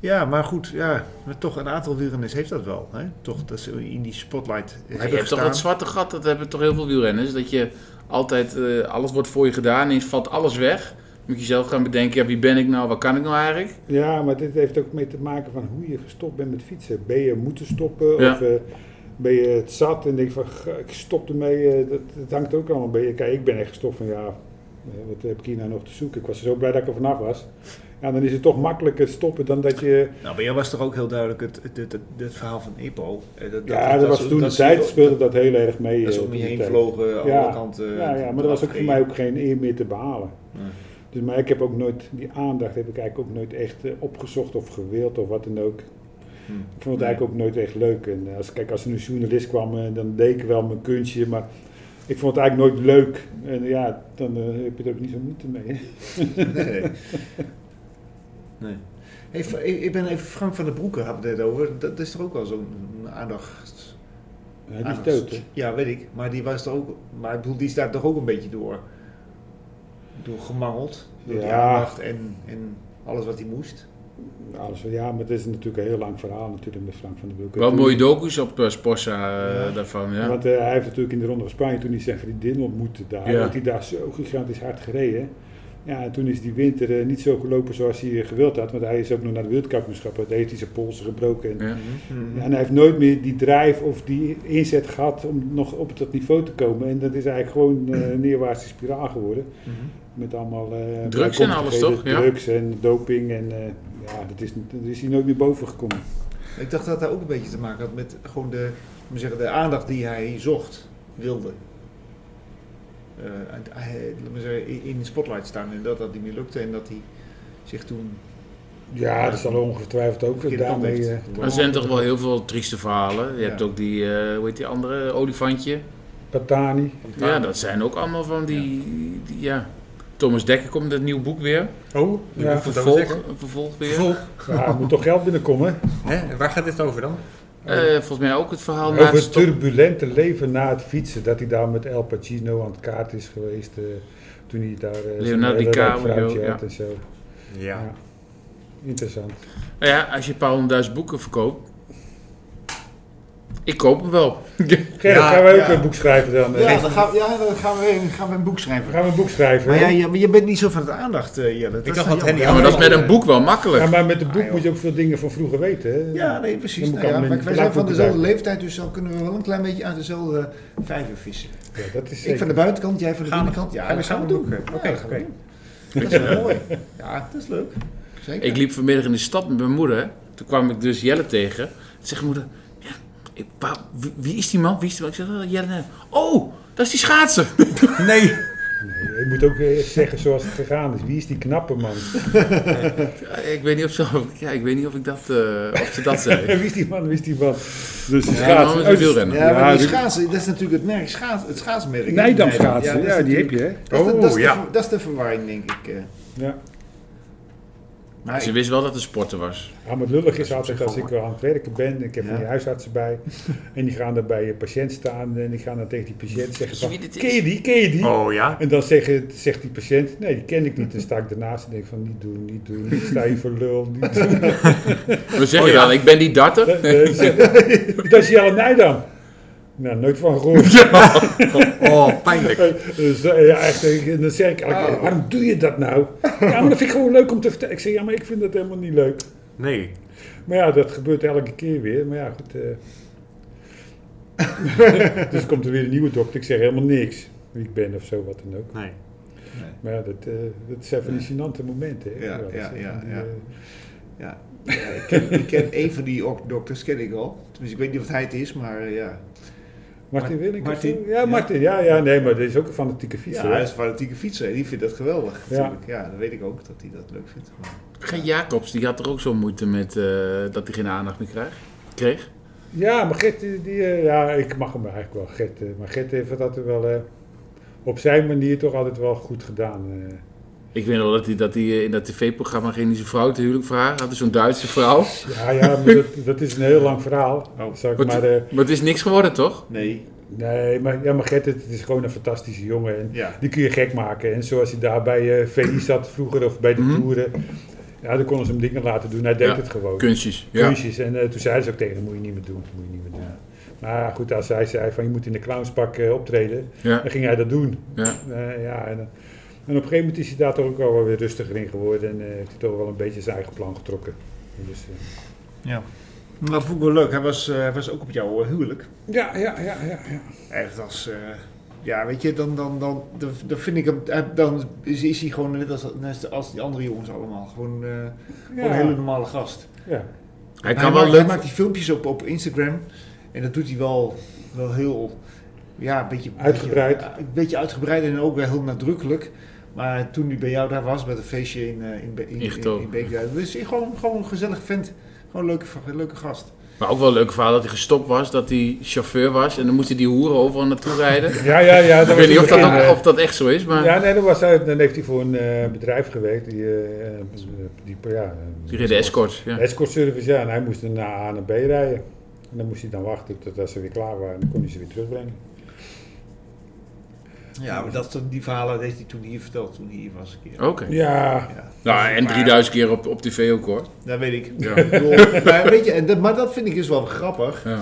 Speaker 2: Ja, maar goed, ja, maar toch een aantal wielrenners heeft dat wel. Hè? Toch dat ze in die spotlight eh,
Speaker 5: Maar je
Speaker 2: hebben
Speaker 5: hebt toch dat
Speaker 2: gestaan.
Speaker 5: zwarte gat, dat hebben toch heel veel wielrenners. Dat je altijd, eh, alles wordt voor je gedaan, ineens valt alles weg. Moet je zelf gaan bedenken, ja, wie ben ik nou, wat kan ik nou eigenlijk?
Speaker 3: Ja, maar dit heeft ook mee te maken van hoe je gestopt bent met fietsen. Ben je moeten stoppen
Speaker 5: Ja.
Speaker 3: of eh, ben je het zat en denk van "Ga, ik stop ermee. eh, dat, dat hangt ook allemaal bij je. Kijk, ik ben echt gestopt van ja, eh, wat heb ik hier nou nog te zoeken? Ik was zo blij dat ik er vanaf was. Ja, dan is het toch makkelijker stoppen dan dat je...
Speaker 2: Nou, bij jou was toch ook heel duidelijk het, het, het, het, het verhaal van Epo. eh, Dat,
Speaker 3: Ja, dat, was
Speaker 2: ze-
Speaker 3: toen de
Speaker 2: ze-
Speaker 3: tijd speelde dat heel erg mee.
Speaker 2: Dat
Speaker 3: eh,
Speaker 2: ze om je
Speaker 3: toen de
Speaker 2: heen
Speaker 3: tijd.
Speaker 2: vlogen,
Speaker 3: Ja.
Speaker 2: alle kanten. eh,
Speaker 3: Ja, ja, maar dat was ook voor mij ook geen eer meer te behalen.
Speaker 2: Nee.
Speaker 3: Dus, maar ik heb ook nooit, die aandacht heb ik eigenlijk ook nooit echt eh, opgezocht of gewild of wat dan ook.
Speaker 2: Hm.
Speaker 3: Ik vond het eigenlijk ook nooit echt leuk. En eh, als, kijk, als er een journalist kwam, eh, dan deed ik wel mijn kunstje, maar ik vond het eigenlijk nooit leuk. En ja, dan eh, heb je er ook niet zo moeite mee.
Speaker 2: Nee. nee. Hey, Fra- ik ik ben even Frank van der Broeken hadden we het net over. Dat is toch ook wel zo'n aandacht.
Speaker 3: Hij is
Speaker 2: aandacht-
Speaker 3: dood, hè?
Speaker 2: Ja, weet ik. Maar die was toch ook. Maar ik bedoel, die staat toch ook een beetje door. Door gemangeld. Door die
Speaker 3: Ja.
Speaker 2: aandacht en, en alles wat hij moest.
Speaker 3: Alles van, ja, maar het is natuurlijk een heel lang verhaal natuurlijk met Frank van der Broek.
Speaker 5: Wel
Speaker 3: Toen-
Speaker 5: mooie docus op eh, Sporza eh,
Speaker 2: Ja.
Speaker 5: daarvan, ja.
Speaker 3: Want eh, hij heeft natuurlijk in de Ronde van Spanje, toen hij zijn vriendin ontmoette daar,
Speaker 5: Ja.
Speaker 3: heeft hij daar zo gigantisch hard gereden. Ja, en toen is die winter eh, niet zo gelopen zoals hij eh, gewild had, want hij is ook nog naar de wereldkampioenschappen, daar heeft hij zijn polsen gebroken. En,
Speaker 5: Ja.
Speaker 2: Mhm.
Speaker 3: Ja, en hij heeft nooit meer die drijf of die inzet gehad om nog op dat niveau te komen. En dat is eigenlijk gewoon eh, een neerwaartse spiraal geworden.
Speaker 2: Mhm.
Speaker 3: Met allemaal... eh,
Speaker 5: Mm-hmm. Drugs en alles, toch? Ja.
Speaker 3: Drugs en doping en eh, ja, dat is, dat is hij nooit meer boven gekomen.
Speaker 2: Ik dacht dat dat ook een beetje te maken had met gewoon de, hoe moet ik zeggen, de aandacht die hij zocht, wilde. Eh, en hij- laat maar zeggen, in- in de spotlight staan en dat dat niet meer lukte en dat hij zich toen
Speaker 3: Ja, dat zal ongetwijfeld ook
Speaker 2: verkeerde kant
Speaker 3: daarmee...
Speaker 2: heeft.
Speaker 3: eh,
Speaker 5: Maar Er zijn toch wel heel veel trieste verhalen. Je
Speaker 2: Ja.
Speaker 5: hebt ook die, eh, hoe heet die andere, olifantje.
Speaker 3: Patani.
Speaker 5: Ja, dat zijn ook allemaal van die... die- ja. Thomas Dekker komt met het nieuw boek weer.
Speaker 4: Oh,
Speaker 3: Ja,
Speaker 4: ja,
Speaker 5: Vervolg, een vervolg weer.
Speaker 4: Vervolg.
Speaker 3: Ja, er moet toch geld binnenkomen.
Speaker 4: Hè? Waar gaat dit over dan?
Speaker 5: Eh, volgens mij ook het verhaal na
Speaker 3: Over
Speaker 5: het
Speaker 3: het
Speaker 5: stop-
Speaker 3: turbulente leven na het fietsen. Dat hij daar met El Pacino aan het kaart is geweest. eh, toen hij daar... eh, zo'n
Speaker 5: Leonardo
Speaker 3: hele rijk
Speaker 5: DiCaprio,
Speaker 3: vrouwtje
Speaker 5: ja.
Speaker 3: had en zo.
Speaker 4: Ja.
Speaker 3: Interessant.
Speaker 5: Nou ja, als je een paar honderdduizend boeken verkoopt. Ik koop hem wel.
Speaker 3: Gerrit,
Speaker 2: Ja,
Speaker 3: gaan wij ook
Speaker 2: ja.
Speaker 3: een boek schrijven dan?
Speaker 2: Ja,
Speaker 3: Gaan
Speaker 2: dan gaan, we- ja, dan gaan we, weer- gaan we een boek schrijven.
Speaker 3: we een boek schrijven?
Speaker 2: Maar
Speaker 3: hè?
Speaker 2: ja, je, maar je bent niet zo van het aandacht, eh, Jelle. Dat
Speaker 4: dacht
Speaker 2: is
Speaker 4: dat
Speaker 2: jammer.
Speaker 4: Henny
Speaker 5: Ja, maar Oh, dat is met een boek wel makkelijk.
Speaker 3: Ja, maar met het boek
Speaker 2: Ah,
Speaker 3: moet je ook veel dingen van vroeger weten. Hè?
Speaker 2: Ja, nee, precies.
Speaker 3: Dan moet ik
Speaker 2: Nou ja,
Speaker 3: allemaal in
Speaker 2: wij-
Speaker 3: de
Speaker 2: wij zijn van
Speaker 3: plakboeken
Speaker 2: dezelfde
Speaker 3: duiken.
Speaker 2: leeftijd, dus dan kunnen we wel een klein beetje uit dezelfde vijver vissen.
Speaker 3: Ja, dat
Speaker 2: Ik
Speaker 3: is
Speaker 2: van de
Speaker 3: zeker.
Speaker 2: buitenkant, jij van de
Speaker 4: Gaan we-
Speaker 2: binnenkant. Ja,
Speaker 4: gaan we
Speaker 2: dat gaan we
Speaker 4: samen
Speaker 2: doen.
Speaker 4: doen?
Speaker 2: Ja,
Speaker 4: Oké,
Speaker 2: dat gaan we
Speaker 4: oké.
Speaker 2: doen. Dat is wel mooi. Ja, dat is leuk. Zeker.
Speaker 5: Ik liep vanmiddag in de stad met mijn moeder. Toen kwam ik dus Jelle tegen. Toen zegt mijn moeder, ja, ik, waar- wie, wie is die man? Wie is die man? Ik zeg, "Oh, Jelle. Oh, dat is die schaatser.
Speaker 4: Nee.
Speaker 3: Nee, je moet ook eh, zeggen zoals het gegaan is. Wie is die knappe man?
Speaker 5: Ja, ik, weet niet of ze, ja, ik weet niet of ik dat, eh, of ze dat zei.
Speaker 3: En wie is die man? Wie is die man? Dus ja,
Speaker 5: Ja, man is een wielrenner.
Speaker 2: Ja, maar die
Speaker 3: die-
Speaker 2: schaatsen, dat is natuurlijk het merk, schaats, het schaatsmerk. hè?
Speaker 3: Nijdam
Speaker 2: Ja,
Speaker 3: schaatsen.
Speaker 2: dat
Speaker 3: Ja,
Speaker 2: is
Speaker 3: die heb
Speaker 2: natuurlijk-
Speaker 3: je hè?
Speaker 2: Dat is, de, dat, is
Speaker 4: Oh,
Speaker 2: de
Speaker 4: ja.
Speaker 2: ver- dat is de verwarring, denk ik. eh.
Speaker 3: Ja.
Speaker 2: Maar
Speaker 5: Ze wist wel dat het een sporter was.
Speaker 3: Ja, maar het lullig is altijd als ik wel aan het werken ben en ik heb van die huisartsen bij. En die gaan daar bij een patiënt staan en die gaan dan tegen die patiënt zeggen van,
Speaker 5: Hm. Wie dit is?
Speaker 3: ken je die, ken je die?
Speaker 4: Oh ja.
Speaker 3: En dan zeggen, zegt die patiënt, nee die ken ik niet. Dan sta ik daarnaast en denk van, niet doen, niet doen, niet sta je voor lul, niet doen.
Speaker 5: We zeggen
Speaker 4: Oh, ja.
Speaker 5: dan, ik ben die darter.
Speaker 3: Eh, eh, zeg, Dat is Jelle Nijdam. Nou, nooit van gehoord.
Speaker 4: Oh, pijnlijk.
Speaker 3: Dus eh, ja, echt, eh, dan zeg ik, eigenlijk, waarom doe je dat nou? Ja, maar dat vind ik gewoon leuk om te vertellen. Ik zeg, ja, maar ik vind dat helemaal niet leuk.
Speaker 4: Nee.
Speaker 3: Maar ja, dat gebeurt elke keer weer. Maar ja, goed. eh. dus komt er weer een nieuwe dokter. Ik zeg helemaal niks. Wie ik ben of zo, wat dan ook.
Speaker 4: Nee.
Speaker 3: Maar ja, dat, eh, dat zijn van die gênante momenten. Hè?
Speaker 2: Ja,
Speaker 3: dat
Speaker 2: ja,
Speaker 3: zijn
Speaker 2: ja,
Speaker 3: van die,
Speaker 2: ja.
Speaker 3: eh,
Speaker 2: Ja, ja, ik, ken, ik ken een van die ok- dokters, ken ik al. Tenminste, ik weet niet of het hij het is, maar eh, ja.
Speaker 3: Martin Willink. of zo?
Speaker 2: Martin,
Speaker 3: Ja,
Speaker 2: ja.
Speaker 3: Martin. Ja, ja, nee, maar dat is ook een fanatieke
Speaker 2: Ja,
Speaker 3: fietser.
Speaker 2: hij
Speaker 3: hè?
Speaker 2: is een fanatieke fietser en die vindt dat geweldig.
Speaker 3: Ja.
Speaker 2: Natuurlijk. Ja, dat weet ik ook, dat hij dat leuk vindt. Maar-
Speaker 5: Geen Jacobs, die had er ook zo'n moeite met eh, dat hij geen aandacht meer kreeg. kreeg.
Speaker 3: Ja, maar Gert, die, die, eh, ja, ik mag hem eigenlijk wel, Gert. eh, Maar Gert heeft dat altijd wel eh, op zijn manier toch altijd wel goed gedaan. eh.
Speaker 5: Ik weet nog dat hij, dat hij eh, in dat tv-programma ging die zijn vrouw te huwelijk vragen. Had hij zo'n Duitse vrouw.
Speaker 3: Ja, ja, maar dat, dat is een heel lang verhaal.
Speaker 2: Oh.
Speaker 3: Zal ik
Speaker 5: Wat-
Speaker 3: maar, eh,
Speaker 5: Maar het is niks geworden, toch?
Speaker 2: Nee,
Speaker 3: nee, maar, ja, maar Gert, het, het is gewoon een fantastische jongen. En
Speaker 2: ja.
Speaker 3: Die kun je gek maken. En zoals hij daar bij eh VI zat vroeger of bij de
Speaker 5: Mhm.
Speaker 3: toeren. Ja, dan konden ze hem dingen laten doen. Hij deed
Speaker 5: Ja,
Speaker 3: het gewoon.
Speaker 5: Kunstjes. Ja.
Speaker 3: Kunstjes. En eh, toen zeiden ze ook tegen hem, moet je niet meer doen. Moet je niet meer doen. Maar ja, goed, als hij zei van je moet in de clownspak eh, optreden,
Speaker 5: Ja.
Speaker 3: dan ging hij dat doen.
Speaker 5: Ja.
Speaker 3: Eh, ja, en, eh, en op een gegeven moment is hij daar toch ook wel weer rustiger in geworden. En eh, heeft hij toch wel een beetje zijn eigen plan getrokken. En Dus, eh,
Speaker 2: ja. Dat vond ik wel leuk. Hij was, eh, hij was ook op jouw eh, huwelijk.
Speaker 3: ja, ja, ja, ja, ja.
Speaker 2: Echt als... eh, ja, weet je, dan, dan, dan, dan, dan vind ik hem... hij- Dan is, is hij gewoon net als, net als die andere jongens allemaal. Gewoon, eh, gewoon een hele normale gast.
Speaker 3: ja.
Speaker 5: Hij
Speaker 2: hij
Speaker 5: kan wel
Speaker 2: maakt,
Speaker 5: leuk...
Speaker 2: Hij maakt die filmpjes op, op Instagram. En dat doet hij wel, wel heel... Ja, een beetje...
Speaker 3: Uitgebreid.
Speaker 2: Beetje, een beetje uitgebreid en ook wel heel nadrukkelijk. Maar toen hij bij jou daar was, met een feestje in, eh, in, Be- in,
Speaker 5: In
Speaker 2: in,
Speaker 5: Getogen.
Speaker 2: in Beekduin, Dus hij gewoon, gewoon een gezellig vent. Gewoon een leuke, leuke gast.
Speaker 5: Maar ook wel een leuk verhaal dat hij gestopt was, dat hij chauffeur was. En dan moest hij die hoeren overal naartoe rijden.
Speaker 3: Ja, ja, ja.
Speaker 5: ik
Speaker 3: was
Speaker 5: weet niet of dat,
Speaker 3: begin,
Speaker 5: ook,
Speaker 3: eh,
Speaker 5: of dat echt zo is, maar
Speaker 3: Ja, nee, dan, was hij, dan heeft hij voor een eh, bedrijf gewerkt. Die, eh, eh, die, ja, eh,
Speaker 5: die reden escorts. Ja.
Speaker 3: escort service, ja. En hij moest dan naar A naar B rijden. En dan moest hij dan wachten totdat ze weer klaar waren. En dan kon hij ze weer terugbrengen.
Speaker 2: Ja, maar dat, die verhalen heeft hij toen hier verteld, toen hij hier was een keer.
Speaker 5: Oké.
Speaker 3: Ja,
Speaker 2: Ja.
Speaker 5: Nou, en
Speaker 2: Maar-
Speaker 5: 3000 keer op, op tv ook hoor.
Speaker 2: Dat weet ik.
Speaker 5: Ja.
Speaker 2: Ik bedoel, maar, weet je, en dat, maar dat vind ik dus wel grappig.
Speaker 5: Ja.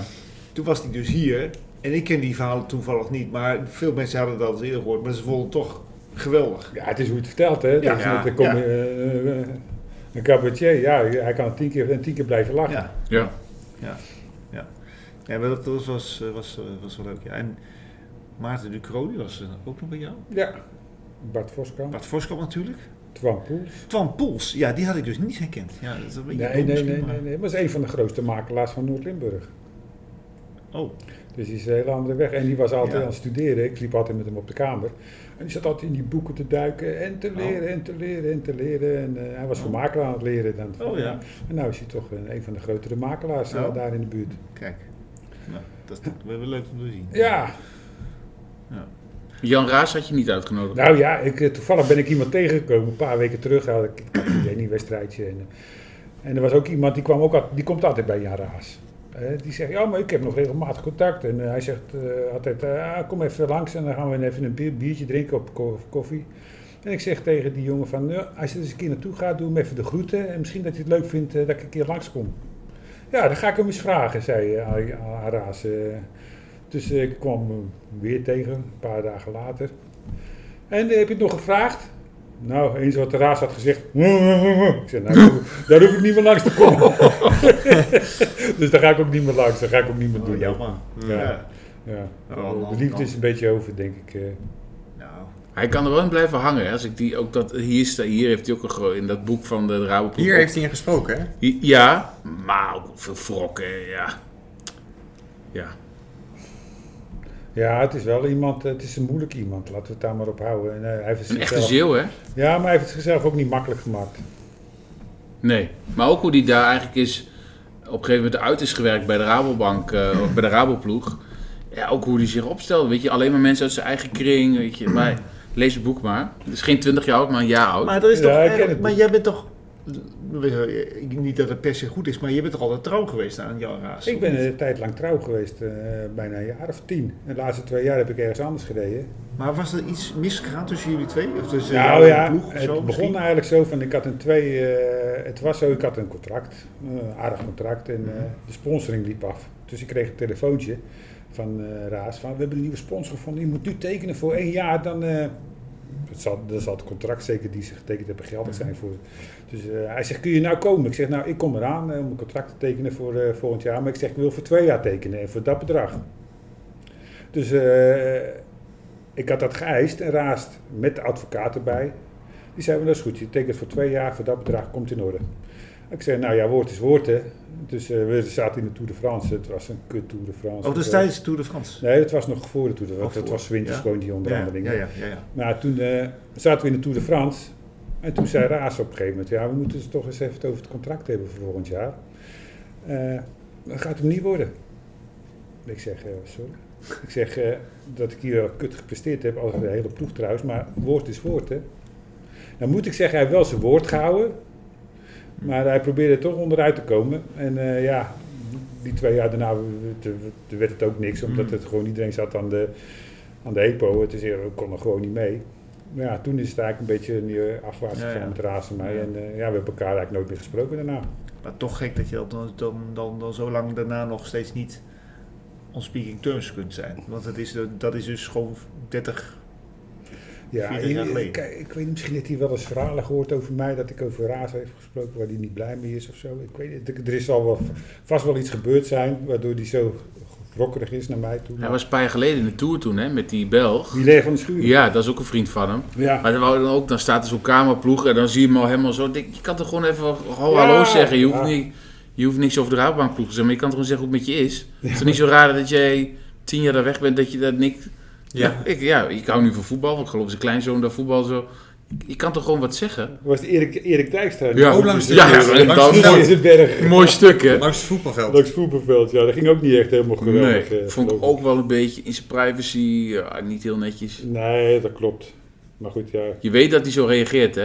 Speaker 2: Toen was hij dus hier. En ik ken die verhalen toevallig niet. Maar veel mensen hadden dat al eerder gehoord. Maar ze vonden het toch geweldig.
Speaker 3: ja, het is hoe je het vertelt, hè.
Speaker 2: Ja,
Speaker 3: dat is
Speaker 4: ja,
Speaker 3: net, dan kom je,
Speaker 2: ja.
Speaker 3: eh, eh, een cabaretier, ja, hij kan tien keer, en tien keer blijven lachen.
Speaker 2: Ja,
Speaker 5: ja.
Speaker 2: ja maar dat was, was, eh, was, eh, was wel leuk. Ja. En Maarten de Croo, die was eh, ook nog bij jou.
Speaker 3: Ja. Bart Voskamp,
Speaker 2: Bart Voskamp natuurlijk.
Speaker 3: Twan Poels.
Speaker 2: Twan Poels, ja, die had ik dus niet herkend. Ja, dat is een beetje
Speaker 3: Nee,
Speaker 2: dom
Speaker 3: nee,
Speaker 2: misschien,
Speaker 3: nee,
Speaker 2: maar-
Speaker 3: nee, nee. Maar is een van de grootste makelaars van Noord-Limburg.
Speaker 2: Oh,
Speaker 3: Dus die is een hele andere weg. En die was altijd
Speaker 2: Ja.
Speaker 3: aan het studeren. Ik liep altijd met hem op de kamer. En die zat altijd in die boeken te duiken en
Speaker 2: Oh.
Speaker 3: te leren en te leren en te leren. En eh, hij was voor makelaar aan het leren dan.
Speaker 2: Oh, ja.
Speaker 3: En nou is hij toch een, een van de grotere makelaars eh,
Speaker 2: Oh.
Speaker 3: daar in de buurt.
Speaker 2: kijk. Nou, dat is we hebben leuk om te zien.
Speaker 3: Ja,
Speaker 5: Jan Raas had je niet uitgenodigd.
Speaker 3: nou ja, ik, eh, toevallig ben ik iemand tegengekomen. Een paar weken terug had ik ik had een Jenny-wedstrijdje. En, eh, en er was ook iemand die, kwam ook, al- die komt altijd bij Jan Raas. Eh, die zegt, ja, maar ik heb nog regelmatig contact. En eh, "Ah, hij zegt eh, altijd, eh, kom even langs en dan gaan we even een bier- biertje drinken op ko- koffie. En ik zeg tegen die jongen van, "Nou, als je er eens een keer naartoe gaat, doe hem even de groeten. En misschien dat hij het leuk vindt eh, dat ik een keer langskom. Ja, dan ga ik hem eens vragen, zei eh, Ari- Araas. eh. Dus eh, ik kwam hem weer tegen, een paar dagen later. En eh, heb je het nog gevraagd? Nou, eens wat Araas had gezegd. Ik zei, nou, daar hoef- daar hoef ik niet meer langs te komen. dus daar ga ik ook niet meer langs, daar ga ik ook niet meer doen.
Speaker 6: Oh, jammer.
Speaker 3: Ja. Ja.
Speaker 6: Oh,
Speaker 3: de liefde is een beetje over, denk ik. eh.
Speaker 6: Nou,
Speaker 5: Hij kan er wel in blijven hangen. hè. Als ik die ook dat, hier, sta, hier heeft hij ook een, gro- in dat boek van de Rabobank.
Speaker 4: Hier heeft hij in gesproken, hè?
Speaker 5: hij... Ja, maar ook veel wrokken, ja. Ja.
Speaker 3: Ja, het is wel iemand, eh, het is een moeilijk iemand, laten we het daar maar op houden. En, eh, hij heeft het
Speaker 5: Een echte
Speaker 3: zichzelf-
Speaker 5: zeeuw, hè?
Speaker 3: Ja, maar hij heeft het zichzelf ook niet makkelijk gemaakt.
Speaker 5: Nee. Maar ook hoe die daar eigenlijk is, op een gegeven moment uit is gewerkt bij de Rabobank, eh, of bij de Raboploeg. Ja, ook hoe die zich opstelde. Weet je, alleen maar mensen uit zijn eigen kring, weet je. Maar lees het boek maar. Het is geen 20 jaar oud, maar een jaar oud.
Speaker 6: Maar, er is
Speaker 3: Ja,
Speaker 6: toch,
Speaker 3: ik
Speaker 6: eh,
Speaker 3: ken het
Speaker 6: maar
Speaker 3: niet.
Speaker 6: jij bent toch. eh, Niet dat het per se goed is, maar je bent toch altijd trouw geweest aan Jan Raas?
Speaker 3: Ik ben een tijd lang trouw geweest, eh, bijna een jaar of tien. En de laatste twee jaar heb ik ergens anders gereden.
Speaker 6: Maar was er iets misgegaan tussen jullie twee? Of tussen
Speaker 3: Nou
Speaker 6: jou en
Speaker 3: ja,
Speaker 6: de ploeg of
Speaker 3: het
Speaker 6: zo
Speaker 3: begon
Speaker 6: misschien?
Speaker 3: eigenlijk zo van, ik had een twee, eh, het was zo, ik had een contract, een aardig contract en
Speaker 6: Mhm.
Speaker 3: eh, de sponsoring liep af. Dus ik kreeg een telefoontje van eh, Raas van, we hebben een nieuwe sponsor gevonden, je moet nu tekenen voor één jaar, dan, eh het zal, dan zal het contract zeker die ze getekend hebben geldig
Speaker 6: Mhm.
Speaker 3: zijn voor. Dus eh, hij zegt, kun je nou komen? Ik zeg, nou ik kom eraan eh, om een contract te tekenen voor eh, volgend jaar, maar ik zeg, ik wil voor twee jaar tekenen en voor dat bedrag. Dus eh, ik had dat geëist en raast met de advocaat erbij. Die zei, "Maar dat is goed, je tekent voor twee jaar, voor dat bedrag komt in orde. Ik zei, nou ja, woord is woord hè. Dus eh, we zaten in de Tour de France, het was een kut Tour de France. Eh,
Speaker 6: Oh, dat is tijdens de Tour de France.
Speaker 3: Nee, het was nog voor de Tour de
Speaker 6: Oh,
Speaker 3: France,
Speaker 6: voor.
Speaker 3: dat was winters
Speaker 6: Ja.
Speaker 3: gewoon die onderhandeling.
Speaker 6: Ja, ja, ja, ja.
Speaker 3: Maar toen eh, zaten we in de Tour de France en toen zei Raas op een gegeven moment, ja, we moeten het toch eens even het over het contract hebben voor volgend jaar. Eh, dat gaat hem niet worden. Ik zeg, eh, sorry. Ik zeg eh, dat ik hier wel kut gepresteerd heb, als de hele ploeg trouwens, maar woord is woord, hè. Dan moet ik zeggen, hij heeft wel zijn woord gehouden, maar hij probeerde er toch onderuit te komen. En eh, ja, die twee jaar daarna w- w- werd het ook niks, omdat
Speaker 6: Mm.
Speaker 3: het gewoon iedereen zat aan de, aan de EPO. Het is, eh, we konden gewoon niet mee. Maar ja, toen is het eigenlijk een beetje eh, afwaarts
Speaker 6: Ja,
Speaker 3: gegaan
Speaker 6: ja.
Speaker 3: met Raas en mij.
Speaker 6: Ja.
Speaker 3: En eh, ja, we hebben elkaar eigenlijk nooit meer gesproken daarna.
Speaker 6: Maar toch gek dat je dat dan, dan, dan, dan zo lang daarna nog steeds niet on speaking terms kunt zijn. Want dat is, dat is dus gewoon 30.
Speaker 3: Ja,
Speaker 6: 40 jaar
Speaker 3: ik-
Speaker 6: geleden.
Speaker 3: ik, ik weet niet, misschien heeft hij wel eens verhalen gehoord over mij, dat ik over Raas heb gesproken waar hij niet blij mee is of zo. Ik weet niet, er is al wel, vast wel iets gebeurd zijn waardoor hij zo rokkerig is naar mij toe.
Speaker 5: Hij was een paar jaar geleden in de Tour toen, hè, met die Belg.
Speaker 3: Die leeg van de schuur.
Speaker 5: Ja, dat is ook een vriend van hem.
Speaker 3: Ja.
Speaker 5: Maar dan, wou dan ook, dan staat er zo'n kamerploeg en dan zie je hem al helemaal zo. Denk, je kan toch gewoon even ho- hallo
Speaker 3: Ja,
Speaker 5: zeggen. Je hoeft,
Speaker 3: ja.
Speaker 5: niet, je hoeft niks over de raadbaanploeg te zeggen, maar je kan toch gewoon zeggen hoe het met je is. Het is toch niet zo raar dat jij tien jaar daar weg bent, dat je dat niks...
Speaker 4: Ja.
Speaker 5: Ik, ja, ik hou nu van voetbal, want ik geloof zijn kleinzoon daar voetbal zo. Je kan toch gewoon wat zeggen?
Speaker 3: Dat was Erik, Erik Dijkstra.
Speaker 5: Ja.
Speaker 4: Ook langs de,
Speaker 5: Ja,
Speaker 4: langs de-
Speaker 5: dan-
Speaker 4: langs
Speaker 3: Mooi is het
Speaker 4: het-
Speaker 3: berg.
Speaker 5: Mooi stuk, hè?
Speaker 4: langs het voetbalveld.
Speaker 3: Langs voetbalveld, ja. Dat ging ook niet echt helemaal geweldig.
Speaker 5: Nee,
Speaker 3: eh,
Speaker 5: vond ik
Speaker 3: geloof
Speaker 5: ook wel een beetje in zijn privacy, ja, niet heel netjes.
Speaker 3: Nee, dat klopt. Maar goed, ja.
Speaker 5: Je weet dat hij zo reageert, hè?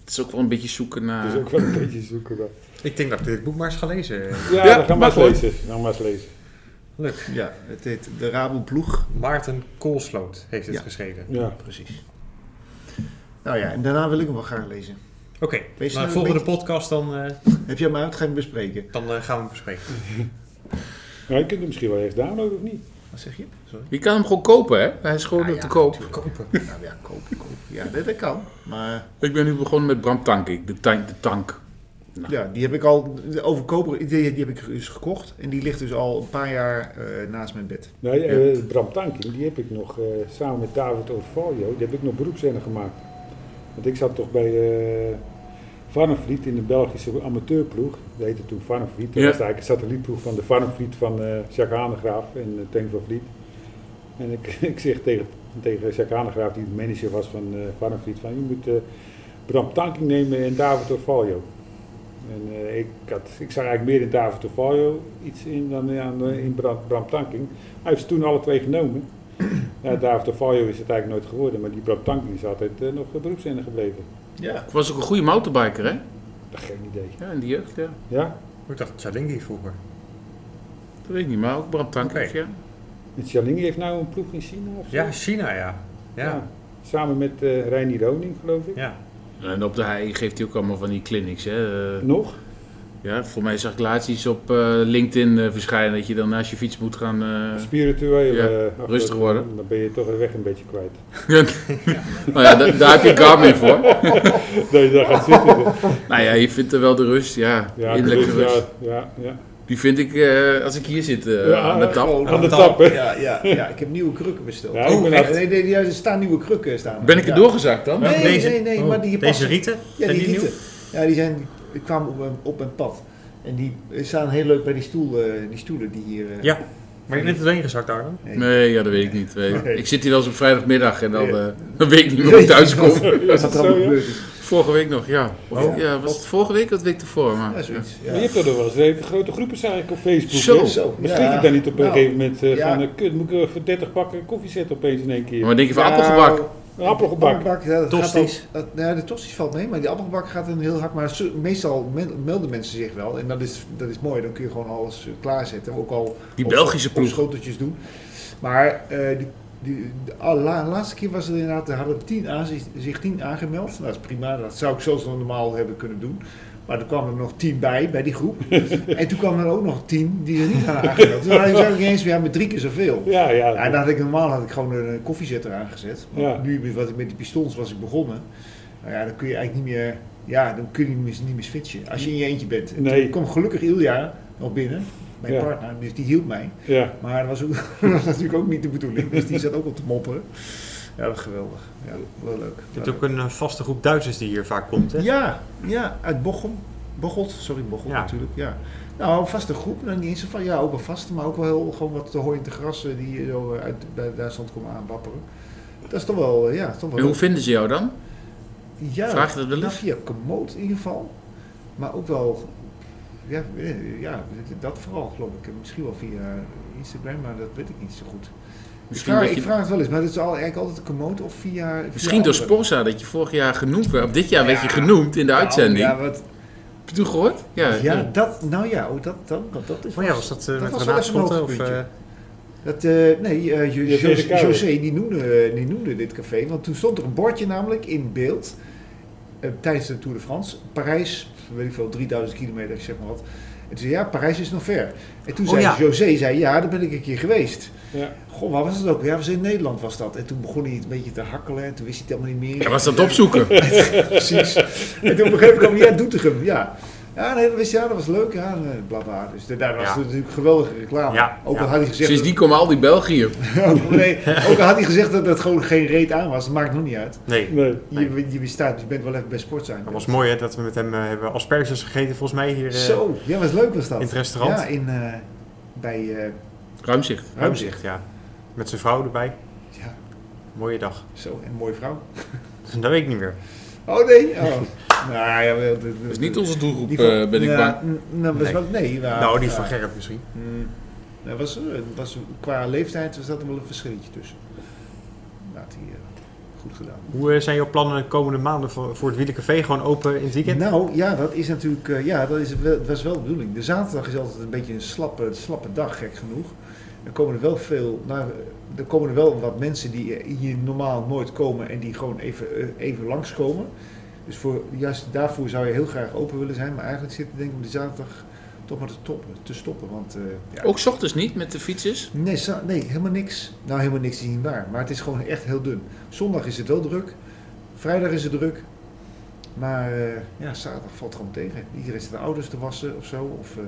Speaker 5: Het is ook wel een beetje zoeken naar...
Speaker 3: Het is ook wel een beetje zoeken. Maar.
Speaker 4: Ik denk dat ik dit boek maar eens ga lezen.
Speaker 3: Ja,
Speaker 5: Ja,
Speaker 3: dan gaan we
Speaker 5: mag
Speaker 3: maar
Speaker 5: hoor.
Speaker 3: eens lezen. Gaan we maar eens lezen.
Speaker 4: Leuk.
Speaker 6: Ja, het heet de Rabo ploeg.
Speaker 4: Maarten Koolsloot heeft het
Speaker 6: Ja.
Speaker 4: geschreven.
Speaker 3: Ja.
Speaker 6: Precies. Nou ja, en daarna wil ik hem wel graag lezen.
Speaker 4: Oké,
Speaker 6: Wees
Speaker 4: nou,
Speaker 6: nou
Speaker 4: de volgende
Speaker 6: een
Speaker 4: podcast dan, eh,
Speaker 6: Heb jij hem uit? Ga je hem bespreken?
Speaker 4: dan eh, gaan we hem bespreken.
Speaker 3: Maar je kunt hem misschien wel eens downloaden of niet?
Speaker 6: Wat zeg je? Sorry.
Speaker 5: Je kan hem gewoon kopen, hè? Hij is gewoon
Speaker 6: Ja, ja,
Speaker 5: te koop.
Speaker 4: Kopen.
Speaker 6: Nou ja, kopen, kopen. Ja, dat, dat kan. Maar
Speaker 5: Ik ben nu begonnen met Bram Tankink, de tank. De tank.
Speaker 6: ja, die heb ik al, de overkoper, die, die heb ik dus gekocht. En die ligt dus al een paar jaar eh, naast mijn bed.
Speaker 3: Nee, eh, Bram Tanking, die heb ik nog eh, samen met David Orvalio, die heb ik nog beroepsrenner gemaakt. Want ik zat toch bij eh Varnvliet in de Belgische amateurploeg. Dat heette toen Varnvliet. Dat
Speaker 5: Ja.
Speaker 3: was eigenlijk een satellietploeg van de Varnvliet van eh Jacques Hanegraaf en eh, Teun van Vliet. En ik, ik zeg tegen, tegen Jacques Hanegraaf, die de manager was van eh Varnvliet, van je moet eh, Bram Tanking nemen en David Orvalio. En eh, ik, had, ik zag eigenlijk meer in David Tovallo iets in dan in- aan, eh, in Bram, Bram Tanking. Hij heeft ze toen alle twee genomen. Ja, David Tovallo is het eigenlijk nooit geworden, maar die Bram Tanking is altijd eh, nog beroepszinnig gebleven.
Speaker 6: Ja.
Speaker 5: Was ook een goede motorbiker, hè?
Speaker 3: Dat geen idee.
Speaker 5: Ja, in de jeugd, ja.
Speaker 3: Ja?
Speaker 4: Ik dacht Chalingi vroeger.
Speaker 5: Dat weet ik niet, maar ook Bram Tankink,
Speaker 4: Oké.
Speaker 5: ja.
Speaker 3: En Jalini heeft nou een ploeg in China of zo?
Speaker 4: Ja, China ja. Ja,
Speaker 3: Ja.
Speaker 6: Samen met eh Reinier Roning, geloof ik.
Speaker 4: Ja.
Speaker 5: En op de hei geeft hij ook allemaal van die clinics. Hè? Eh,
Speaker 6: Nog?
Speaker 5: ja, voor mij zag ik laatst iets op eh, LinkedIn eh, verschijnen dat je dan naast je fiets moet gaan. eh,
Speaker 6: Spiritueel.
Speaker 5: ja,
Speaker 6: eh, ach,
Speaker 5: rustig
Speaker 6: dan-
Speaker 5: worden.
Speaker 6: Dan ben je toch de weg een beetje kwijt.
Speaker 5: Nou ja, da- daar heb je Garmin voor.
Speaker 6: Nee, daar gaat zitten.
Speaker 5: Nou ja, je vindt er wel de rust, ja.
Speaker 6: Ja,
Speaker 5: innerlijke
Speaker 6: dus,
Speaker 5: rust.
Speaker 6: ja, ja, ja.
Speaker 5: Die vind ik eh, als ik hier zit eh,
Speaker 6: Ja,
Speaker 5: aan de tap.
Speaker 6: Aan de tap, hè?
Speaker 2: Ja, ja, ja, ik heb nieuwe krukken besteld.
Speaker 6: Ja, ik
Speaker 2: oh,
Speaker 6: ben
Speaker 2: echt?
Speaker 6: echt-
Speaker 2: Nee, nee, er staan nieuwe krukken. Staan.
Speaker 5: Ben ik er
Speaker 2: Ja.
Speaker 5: doorgezakt dan?
Speaker 2: Nee,
Speaker 4: Deze-
Speaker 2: nee,
Speaker 6: Oh.
Speaker 2: nee, maar die
Speaker 4: Oh, Deze
Speaker 2: passen.
Speaker 4: rieten?
Speaker 2: Ja,
Speaker 4: zijn
Speaker 2: die
Speaker 4: nieuw?
Speaker 2: rieten. Ja, die, zijn, die kwamen op mijn, op mijn pad. En die staan heel leuk bij die, stoel, eh, die stoelen die hier... eh,
Speaker 4: Ja. Maar je bent er doorheen gezakt, Arno.
Speaker 5: Nee, ja, dat weet ik niet. Weet-
Speaker 2: Nee.
Speaker 5: Ik zit hier wel eens op vrijdagmiddag en dan,
Speaker 2: Ja.
Speaker 5: eh, dan weet ik niet meer hoe ik thuis kom.
Speaker 6: Ja, is
Speaker 2: Wat
Speaker 6: dat
Speaker 2: er allemaal
Speaker 6: zo, ja?
Speaker 2: gebeurd is.
Speaker 5: Vorige week nog, ja. Of-
Speaker 2: Oh.
Speaker 5: ja, was het vorige week of de week ervoor? Maar,
Speaker 2: Ja, zoiets.
Speaker 6: Maar je
Speaker 2: Ja.
Speaker 6: hebt er wel eens even grote groepen, zag ik op Facebook.
Speaker 5: Zo.
Speaker 6: hè?
Speaker 2: Zo,
Speaker 6: Maar
Speaker 2: ja.
Speaker 6: schrik ik daar niet op een
Speaker 2: Nou,
Speaker 6: gegeven moment eh,
Speaker 2: ja.
Speaker 6: van, eh, kut, moet ik even 30 pakken koffie zetten opeens in één keer.
Speaker 5: maar denk je van
Speaker 2: Nou,
Speaker 5: appelgebak?
Speaker 6: Een appelgebak.
Speaker 2: Appelgebak, ja, dat
Speaker 4: Tosties.
Speaker 2: Gaat al, dat, nou ja, de tosties valt mee, maar die appelgebak gaat dan heel hard. Maar zo- meestal mel- melden mensen zich wel. En dat is, dat is mooi, dan kun je gewoon alles eh, klaarzetten. Ook al
Speaker 5: Die
Speaker 2: op-
Speaker 5: Belgische
Speaker 2: op
Speaker 5: ploeg.
Speaker 2: schoteltjes doen. Maar eh, die, die, de alla- laatste keer was het inderdaad, er hadden tien aan, zich- zich tien aangemeld. Nou, dat is prima, dat zou ik zoals normaal hebben kunnen doen. Maar er kwamen er nog tien bij, bij die groep. en toen kwamen er ook nog tien die er niet aan aangemeld. Dus dan had je eigenlijk eens weer met drie keer zoveel.
Speaker 6: Ja, ja.
Speaker 2: Ja, en dan had ik normaal had ik gewoon een eh, koffiezetter aangezet. Maar
Speaker 6: Ja.
Speaker 2: Nu met wat ik met die pistons was ik begonnen. Nou ja, dan kun je eigenlijk niet meer, ja, dan kun je niet meer, niet meer switchen. Als je in je eentje bent. En
Speaker 6: Nee.
Speaker 2: Toen kwam gelukkig Ilja nog binnen, mijn
Speaker 6: Ja.
Speaker 2: partner, dus die hielp mij.
Speaker 6: ja.
Speaker 2: Maar dat was, ook, dat was natuurlijk ook niet de bedoeling. Dus die zat ook op te mopperen. Ja, dat was geweldig. Ja, wel leuk.
Speaker 4: Je hebt ook een eh, vaste groep Duitsers die hier vaak komt, hè?
Speaker 2: Ja, ja, uit Bochum. Bocholt, sorry, Bocholt
Speaker 4: Ja.
Speaker 2: natuurlijk, ja. Nou, een vaste groep, nou, niet eens zo van, ja, ook wel vaste, maar ook wel heel, gewoon wat hooiende grassen die hier zo eh, uit bij Duitsland komen aanwapperen. Dat is toch wel, eh, ja, toch wel...
Speaker 5: En hoe vinden ze jou dan?
Speaker 2: ja,
Speaker 5: vraag je dat wel eens?
Speaker 2: nou, Via Komoot in ieder geval, maar ook wel, ja, eh, ja dat vooral geloof ik. Misschien wel via Instagram, maar dat weet ik niet zo goed. Ik
Speaker 5: Misschien,
Speaker 2: vraag,
Speaker 5: dat je-
Speaker 2: ik vraag het wel eens, maar dat is al, eigenlijk altijd Komoot of via... via
Speaker 5: misschien door
Speaker 2: anderen.
Speaker 5: Sporza dat je vorig jaar genoemd werd. Of dit jaar werd je
Speaker 2: Ja.
Speaker 5: genoemd in de
Speaker 2: Nou,
Speaker 5: uitzending.
Speaker 2: Ja, wat,
Speaker 5: Heb je toen gehoord? Ja.
Speaker 2: ja, dat, nou ja, oh, dat, dat, dat, dat is
Speaker 4: Maar ja, was dat eh,
Speaker 2: Dat
Speaker 4: met
Speaker 2: was wel even een
Speaker 4: granaatschotten of...
Speaker 2: hoogtepuntje.
Speaker 4: eh,
Speaker 2: Dat, eh, nee, eh, Jo-
Speaker 6: Dat is
Speaker 2: Jo-
Speaker 6: de koude.
Speaker 2: José die noemde, eh, die noemde dit café. Want toen stond er een bordje namelijk in beeld. eh, tijdens de Tour de France. Parijs, weet ik veel, 3000 kilometer, ik zeg maar wat. En toen zei ja, Parijs is nog ver. En toen
Speaker 4: Oh,
Speaker 2: zei
Speaker 4: ja.
Speaker 2: José, zei, ja, daar ben ik een keer geweest.
Speaker 6: Ja.
Speaker 2: Goh, waar was het ook? Ja, was in Nederland was dat. En toen begon hij een beetje te hakkelen. En toen wist hij het helemaal niet meer.
Speaker 5: Ja, was dat opzoeken?
Speaker 2: Precies. En toen op een gegeven moment kwam hij, ja, Doetinchem, ja. Ja, nee, dat wist je, ja, dat was leuk, ja, en bla bla. Dus daar was
Speaker 4: Ja.
Speaker 2: het natuurlijk geweldige reclame.
Speaker 4: Ja,
Speaker 2: ook al
Speaker 4: ja.
Speaker 2: had hij gezegd...
Speaker 5: Sindsdien komen al die België.
Speaker 4: Oh,
Speaker 2: Ook, nee, ook al had hij gezegd dat het gewoon geen reet aan was, dat maakt nog niet uit.
Speaker 4: nee,
Speaker 6: Nee.
Speaker 2: Je, je bestaat, je bent wel even bij sport zijn.
Speaker 4: dat was mooi hè, dat we met hem eh, hebben asperges gegeten volgens mij hier eh,
Speaker 2: Zo, ja, was leuk was dat.
Speaker 4: in het restaurant.
Speaker 2: Ja, in, eh, bij eh
Speaker 5: Ruimzicht.
Speaker 2: Ruimzicht.
Speaker 4: Ruimzicht, ja. Met zijn vrouw erbij.
Speaker 2: Ja,
Speaker 4: Mooie dag.
Speaker 2: zo, en een mooie vrouw.
Speaker 4: Dat weet ik niet meer.
Speaker 2: Oh nee, oh. nou ja, wel, dat
Speaker 5: Dat is niet onze doelgroep,
Speaker 2: die van-
Speaker 5: eh, ben ik
Speaker 2: Nou,
Speaker 5: bang.
Speaker 2: n- nou, was
Speaker 4: Nee.
Speaker 2: wel, nee. maar-
Speaker 4: nou, die
Speaker 2: ja.
Speaker 4: van Gerrit misschien.
Speaker 2: Mm, nou, was, eh, was, qua leeftijd was dat er wel een verschilletje tussen. Laat hij eh, goed gedaan.
Speaker 4: Hoe eh, zijn jouw plannen de komende maanden voor, voor het Wielencafé? Gewoon open in het weekend?
Speaker 2: Nou ja, dat is natuurlijk, eh, ja, dat is wel, was wel de bedoeling. De zaterdag is altijd een beetje een slappe, slappe dag, gek genoeg. Er komen er wel veel, nou, er komen er wel wat mensen die eh, hier normaal nooit komen en die gewoon even, eh, even langskomen. Dus voor, juist daarvoor zou je heel graag open willen zijn, maar eigenlijk zit ik denk ik om de zaterdag toch maar te, toppen, te stoppen. Want, eh, ja.
Speaker 5: Ook 's ochtends niet met de fietsers.
Speaker 2: Nee, za- nee, helemaal niks. Nou, helemaal niks is niet waar. Maar het is gewoon echt heel dun. Zondag is het wel druk. Vrijdag is het druk. Maar eh, ja, zaterdag valt gewoon tegen. Iedereen zit de auto's te wassen of zo. Of eh,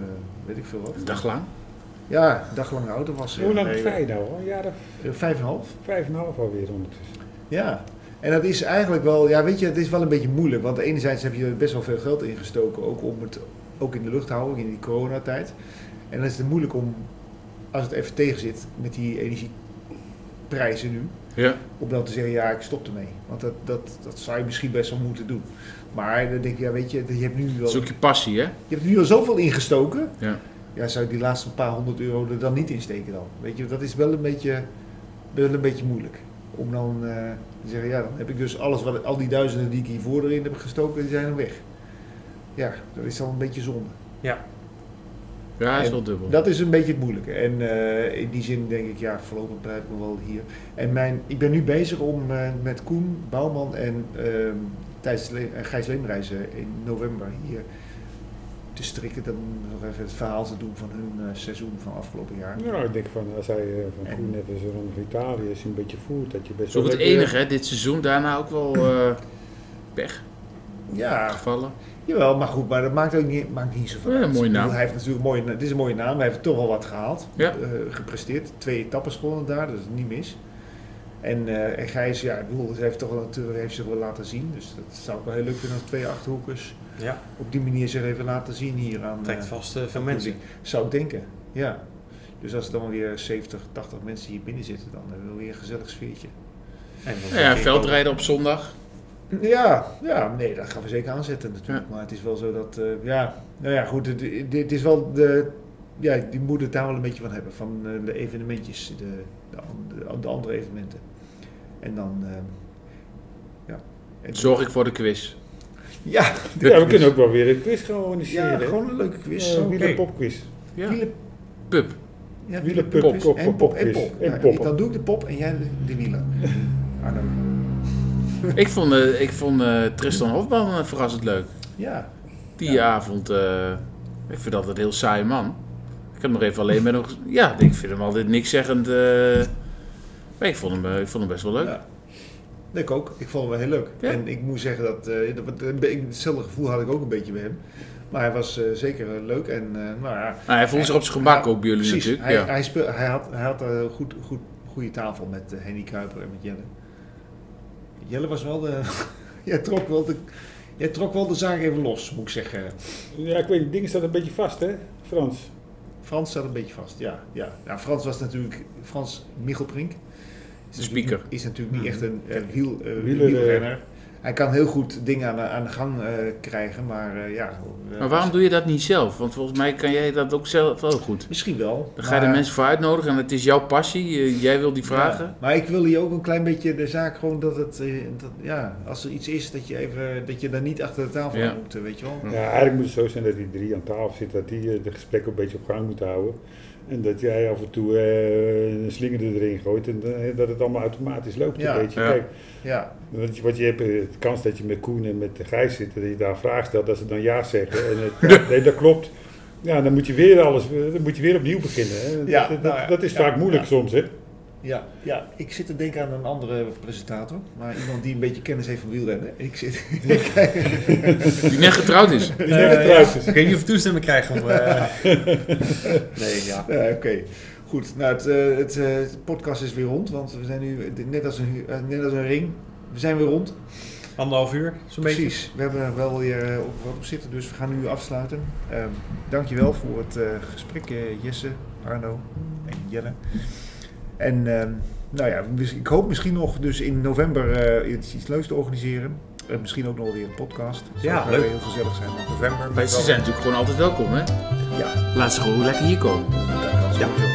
Speaker 2: weet ik veel wat.
Speaker 5: Een dag lang.
Speaker 2: Ja, daglange auto wassen.
Speaker 6: Hoe lang
Speaker 2: Nee,
Speaker 6: ga je nou? Al Een jaar of
Speaker 2: eh, Vijf en een half.
Speaker 6: vijf en een half alweer ondertussen.
Speaker 2: Ja. En dat is eigenlijk wel, ja weet je, het is wel een beetje moeilijk. Want enerzijds heb je er best wel veel geld in gestoken. Ook om het ook in de lucht te houden in die coronatijd. En dan is het moeilijk om, als het even tegen zit met die energieprijzen nu.
Speaker 5: Ja.
Speaker 2: om dan te zeggen, ja, ik stop ermee. Want dat, dat, dat zou je misschien best wel moeten doen. Maar dan denk ik, ja, weet je, je hebt nu, wel,
Speaker 5: Dat is ook je passie, hè?
Speaker 2: je hebt nu al zoveel ingestoken.
Speaker 5: Ja.
Speaker 2: Ja, zou je die laatste paar honderd euro er dan niet in steken dan? Weet je, dat is wel een beetje, wel een beetje moeilijk. Om dan eh, te zeggen, ja, dan heb ik dus alles, wat, al die duizenden die ik hiervoor erin heb gestoken, die zijn dan weg. Ja, dat is dan een beetje zonde.
Speaker 4: Ja.
Speaker 5: Ja, is
Speaker 2: En
Speaker 5: wel dubbel.
Speaker 2: Dat is een beetje het moeilijke. En eh, in die zin denk ik, ja, voorlopig blijf ik nog wel hier. En mijn, ik ben nu bezig om eh, met Koen Bouwman en ehm Thijs Le- en Gijs Leemreizen in november hier te strikken. Dan nog even het verhaal te doen van hun eh, seizoen van afgelopen jaar.
Speaker 3: Nou, ik denk van als hij eh, van
Speaker 2: En-
Speaker 3: Koen even zo rond Italië is een beetje voelt dat je
Speaker 5: Dat
Speaker 3: best
Speaker 5: is ook het
Speaker 3: lekker-
Speaker 5: enige, hè, dit seizoen. Daarna ook wel eh, pech
Speaker 2: Ja,
Speaker 5: gevallen.
Speaker 2: jawel, maar goed, maar dat maakt ook niet, maakt niet zoveel
Speaker 5: Ja,
Speaker 2: uit.
Speaker 5: mooie
Speaker 2: Ik bedoel,
Speaker 5: naam.
Speaker 2: Hij heeft natuurlijk een mooie, na- het is een mooie naam, hij heeft toch wel wat gehaald,
Speaker 5: Ja.
Speaker 2: eh, gepresteerd. Twee etappes gewonnen daar, dat is niet mis. En, eh en Gijs, ja, ik bedoel, hij heeft, toch wel, natuurlijk- heeft zich wel laten zien. Dus dat zou ik wel heel leuk vinden als twee achterhoekers
Speaker 4: Ja,
Speaker 2: op die manier zich even laten zien hier aan
Speaker 4: trekt
Speaker 2: eh,
Speaker 4: vast eh, veel
Speaker 2: aan
Speaker 4: mensen.
Speaker 2: publiek. Zou ik denken, ja. Dus als er dan weer 70, 80 mensen hier binnen zitten, dan hebben we weer een gezellig sfeertje.
Speaker 4: En dan
Speaker 5: Nou ja,
Speaker 4: denk ik ook-
Speaker 5: veldrijden op zondag.
Speaker 2: Ja, ja, nee, dat gaan we zeker aanzetten natuurlijk. Maar het is wel zo dat, eh, ja, nou ja, goed, het, het is wel de, ja, die moet het daar wel een beetje van hebben, van eh, de evenementjes, de, de, an- de andere evenementen. En dan, eh, ja. En-
Speaker 5: Zorg ik voor de quiz.
Speaker 2: Ja,
Speaker 3: Ja, we kunnen ook wel weer een quiz gaan organiseren.
Speaker 2: ja,
Speaker 3: hè?
Speaker 2: gewoon een leuke quiz.
Speaker 3: Eh,
Speaker 2: Zo.
Speaker 3: wielerpopquiz.
Speaker 5: Ja.
Speaker 2: Wielen,
Speaker 5: Pub.
Speaker 2: ja,
Speaker 3: Wielenpop,
Speaker 2: wielenpop
Speaker 3: pop,
Speaker 2: en
Speaker 3: pop,
Speaker 2: pop, en
Speaker 3: quiz.
Speaker 2: pop.
Speaker 3: En
Speaker 2: Ja,
Speaker 3: pop.
Speaker 2: Dan doe ik de pop en jij de, de wielen. Arno.
Speaker 5: Ik vond, eh, ik vond eh, Tristan Hofman eh, verrassend leuk.
Speaker 2: Ja,
Speaker 5: Die avond, eh, ik vind dat een heel saai man. Ik heb nog even alleen met hem. ge- Ja, ik vind hem altijd niks zeggend. maar ik vond, hem, eh, ik vond hem best wel leuk.
Speaker 2: Ja. Nee, ik ook. Ik vond hem wel heel leuk.
Speaker 5: Ja.
Speaker 2: En ik moet zeggen dat, eh, dat- dat- ik- hetzelfde gevoel had ik ook een beetje bij hem. Maar hij was eh, zeker eh, leuk en eh, nou ja,
Speaker 5: Nou, hij voelde zich op zijn gemak
Speaker 2: Ja,
Speaker 5: ook bij jullie
Speaker 2: precies.
Speaker 5: natuurlijk.
Speaker 2: Hij,
Speaker 5: ja.
Speaker 2: hij, speel, hij had, hij had een goed, goed, goede tafel met eh, Henny Kuiper en met Jelle. Jelle was wel de... jij, trok wel de jij trok wel de zaak even los, moet ik zeggen.
Speaker 3: Ja, ik weet, het ding staat een beetje vast, hè, Frans?
Speaker 2: Frans staat een beetje vast, ja. ja. Nou, Frans was natuurlijk... Frans Michelprink.
Speaker 5: De speaker.
Speaker 2: Is natuurlijk niet echt een eh, wiel, eh,
Speaker 3: Wieler, eh.
Speaker 2: wielrenner. Hij kan heel goed dingen aan, de- aan de gang eh, krijgen, maar eh, ja... eh,
Speaker 5: Maar waarom doe je dat niet zelf? Want volgens mij kan jij dat ook zelf wel goed.
Speaker 2: Misschien wel.
Speaker 5: Dan ga je
Speaker 2: maar-
Speaker 5: er mensen voor uitnodigen en het is jouw passie. eh, jij wil die vragen.
Speaker 2: Nou Ja, maar ik wil hier ook een klein beetje de zaak gewoon dat het, eh, dat, ja, als er iets is, dat je even, dat je daar niet achter de tafel
Speaker 5: Ja.
Speaker 2: aan moet, eh, weet je wel.
Speaker 3: Ja, eigenlijk moet het zo zijn dat die drie aan tafel zitten, dat die eh, de gesprekken een beetje op gang moeten houden. En dat jij af en toe eh, een slinger erin gooit en eh, dat het allemaal automatisch loopt
Speaker 2: Ja.
Speaker 3: een beetje.
Speaker 5: Ja.
Speaker 3: Kijk,
Speaker 2: Ja,
Speaker 3: wat je, wat je hebt, eh, de kans dat je met Koen en met Gijs zit, dat je daar een vraag stelt, dat ze dan ja zeggen. En het, nee, dat klopt. Ja, dan moet je weer alles, eh, dan moet je weer opnieuw beginnen. Hè. Dat-
Speaker 2: Ja,
Speaker 3: dat,
Speaker 2: nou ja,
Speaker 3: dat is
Speaker 2: ja,
Speaker 3: vaak moeilijk
Speaker 2: ja.
Speaker 3: soms, hè.
Speaker 2: ja, ja. Ik zit te denken aan een andere presentator, maar iemand die een beetje kennis heeft van wielrennen. Ik zit,
Speaker 5: Die net getrouwd is.
Speaker 3: Die
Speaker 4: Eh,
Speaker 3: zeggen trouwens.
Speaker 4: Ik weet niet of we toestemming krijgen om... eh, nee, ja.
Speaker 2: Ja, oké. Goed, nou het, eh, het, eh, het podcast is weer rond, want we zijn nu eh, net als een, hu- eh, net als een ring. We zijn weer rond.
Speaker 4: Anderhalf uur, zo'n beetje.
Speaker 2: Precies. We hebben er wel weer eh, op, wat op zitten, dus we gaan nu afsluiten. Ehm dankjewel voor het eh, gesprek, eh, Jesse, Arno en Jelle. En ehm, nou ja, mis- ik hoop misschien nog dus in november eh, iets, iets leuks te organiseren. En misschien ook nog weer een podcast. Zou
Speaker 4: Ja,
Speaker 2: ook
Speaker 4: leuk.
Speaker 2: weer heel gezellig zijn.
Speaker 4: November.
Speaker 5: Maar ze zijn natuurlijk gewoon altijd welkom, hè?
Speaker 2: Ja.
Speaker 5: Laat ze gewoon lekker hier komen.
Speaker 2: Dat kan sowieso. eh,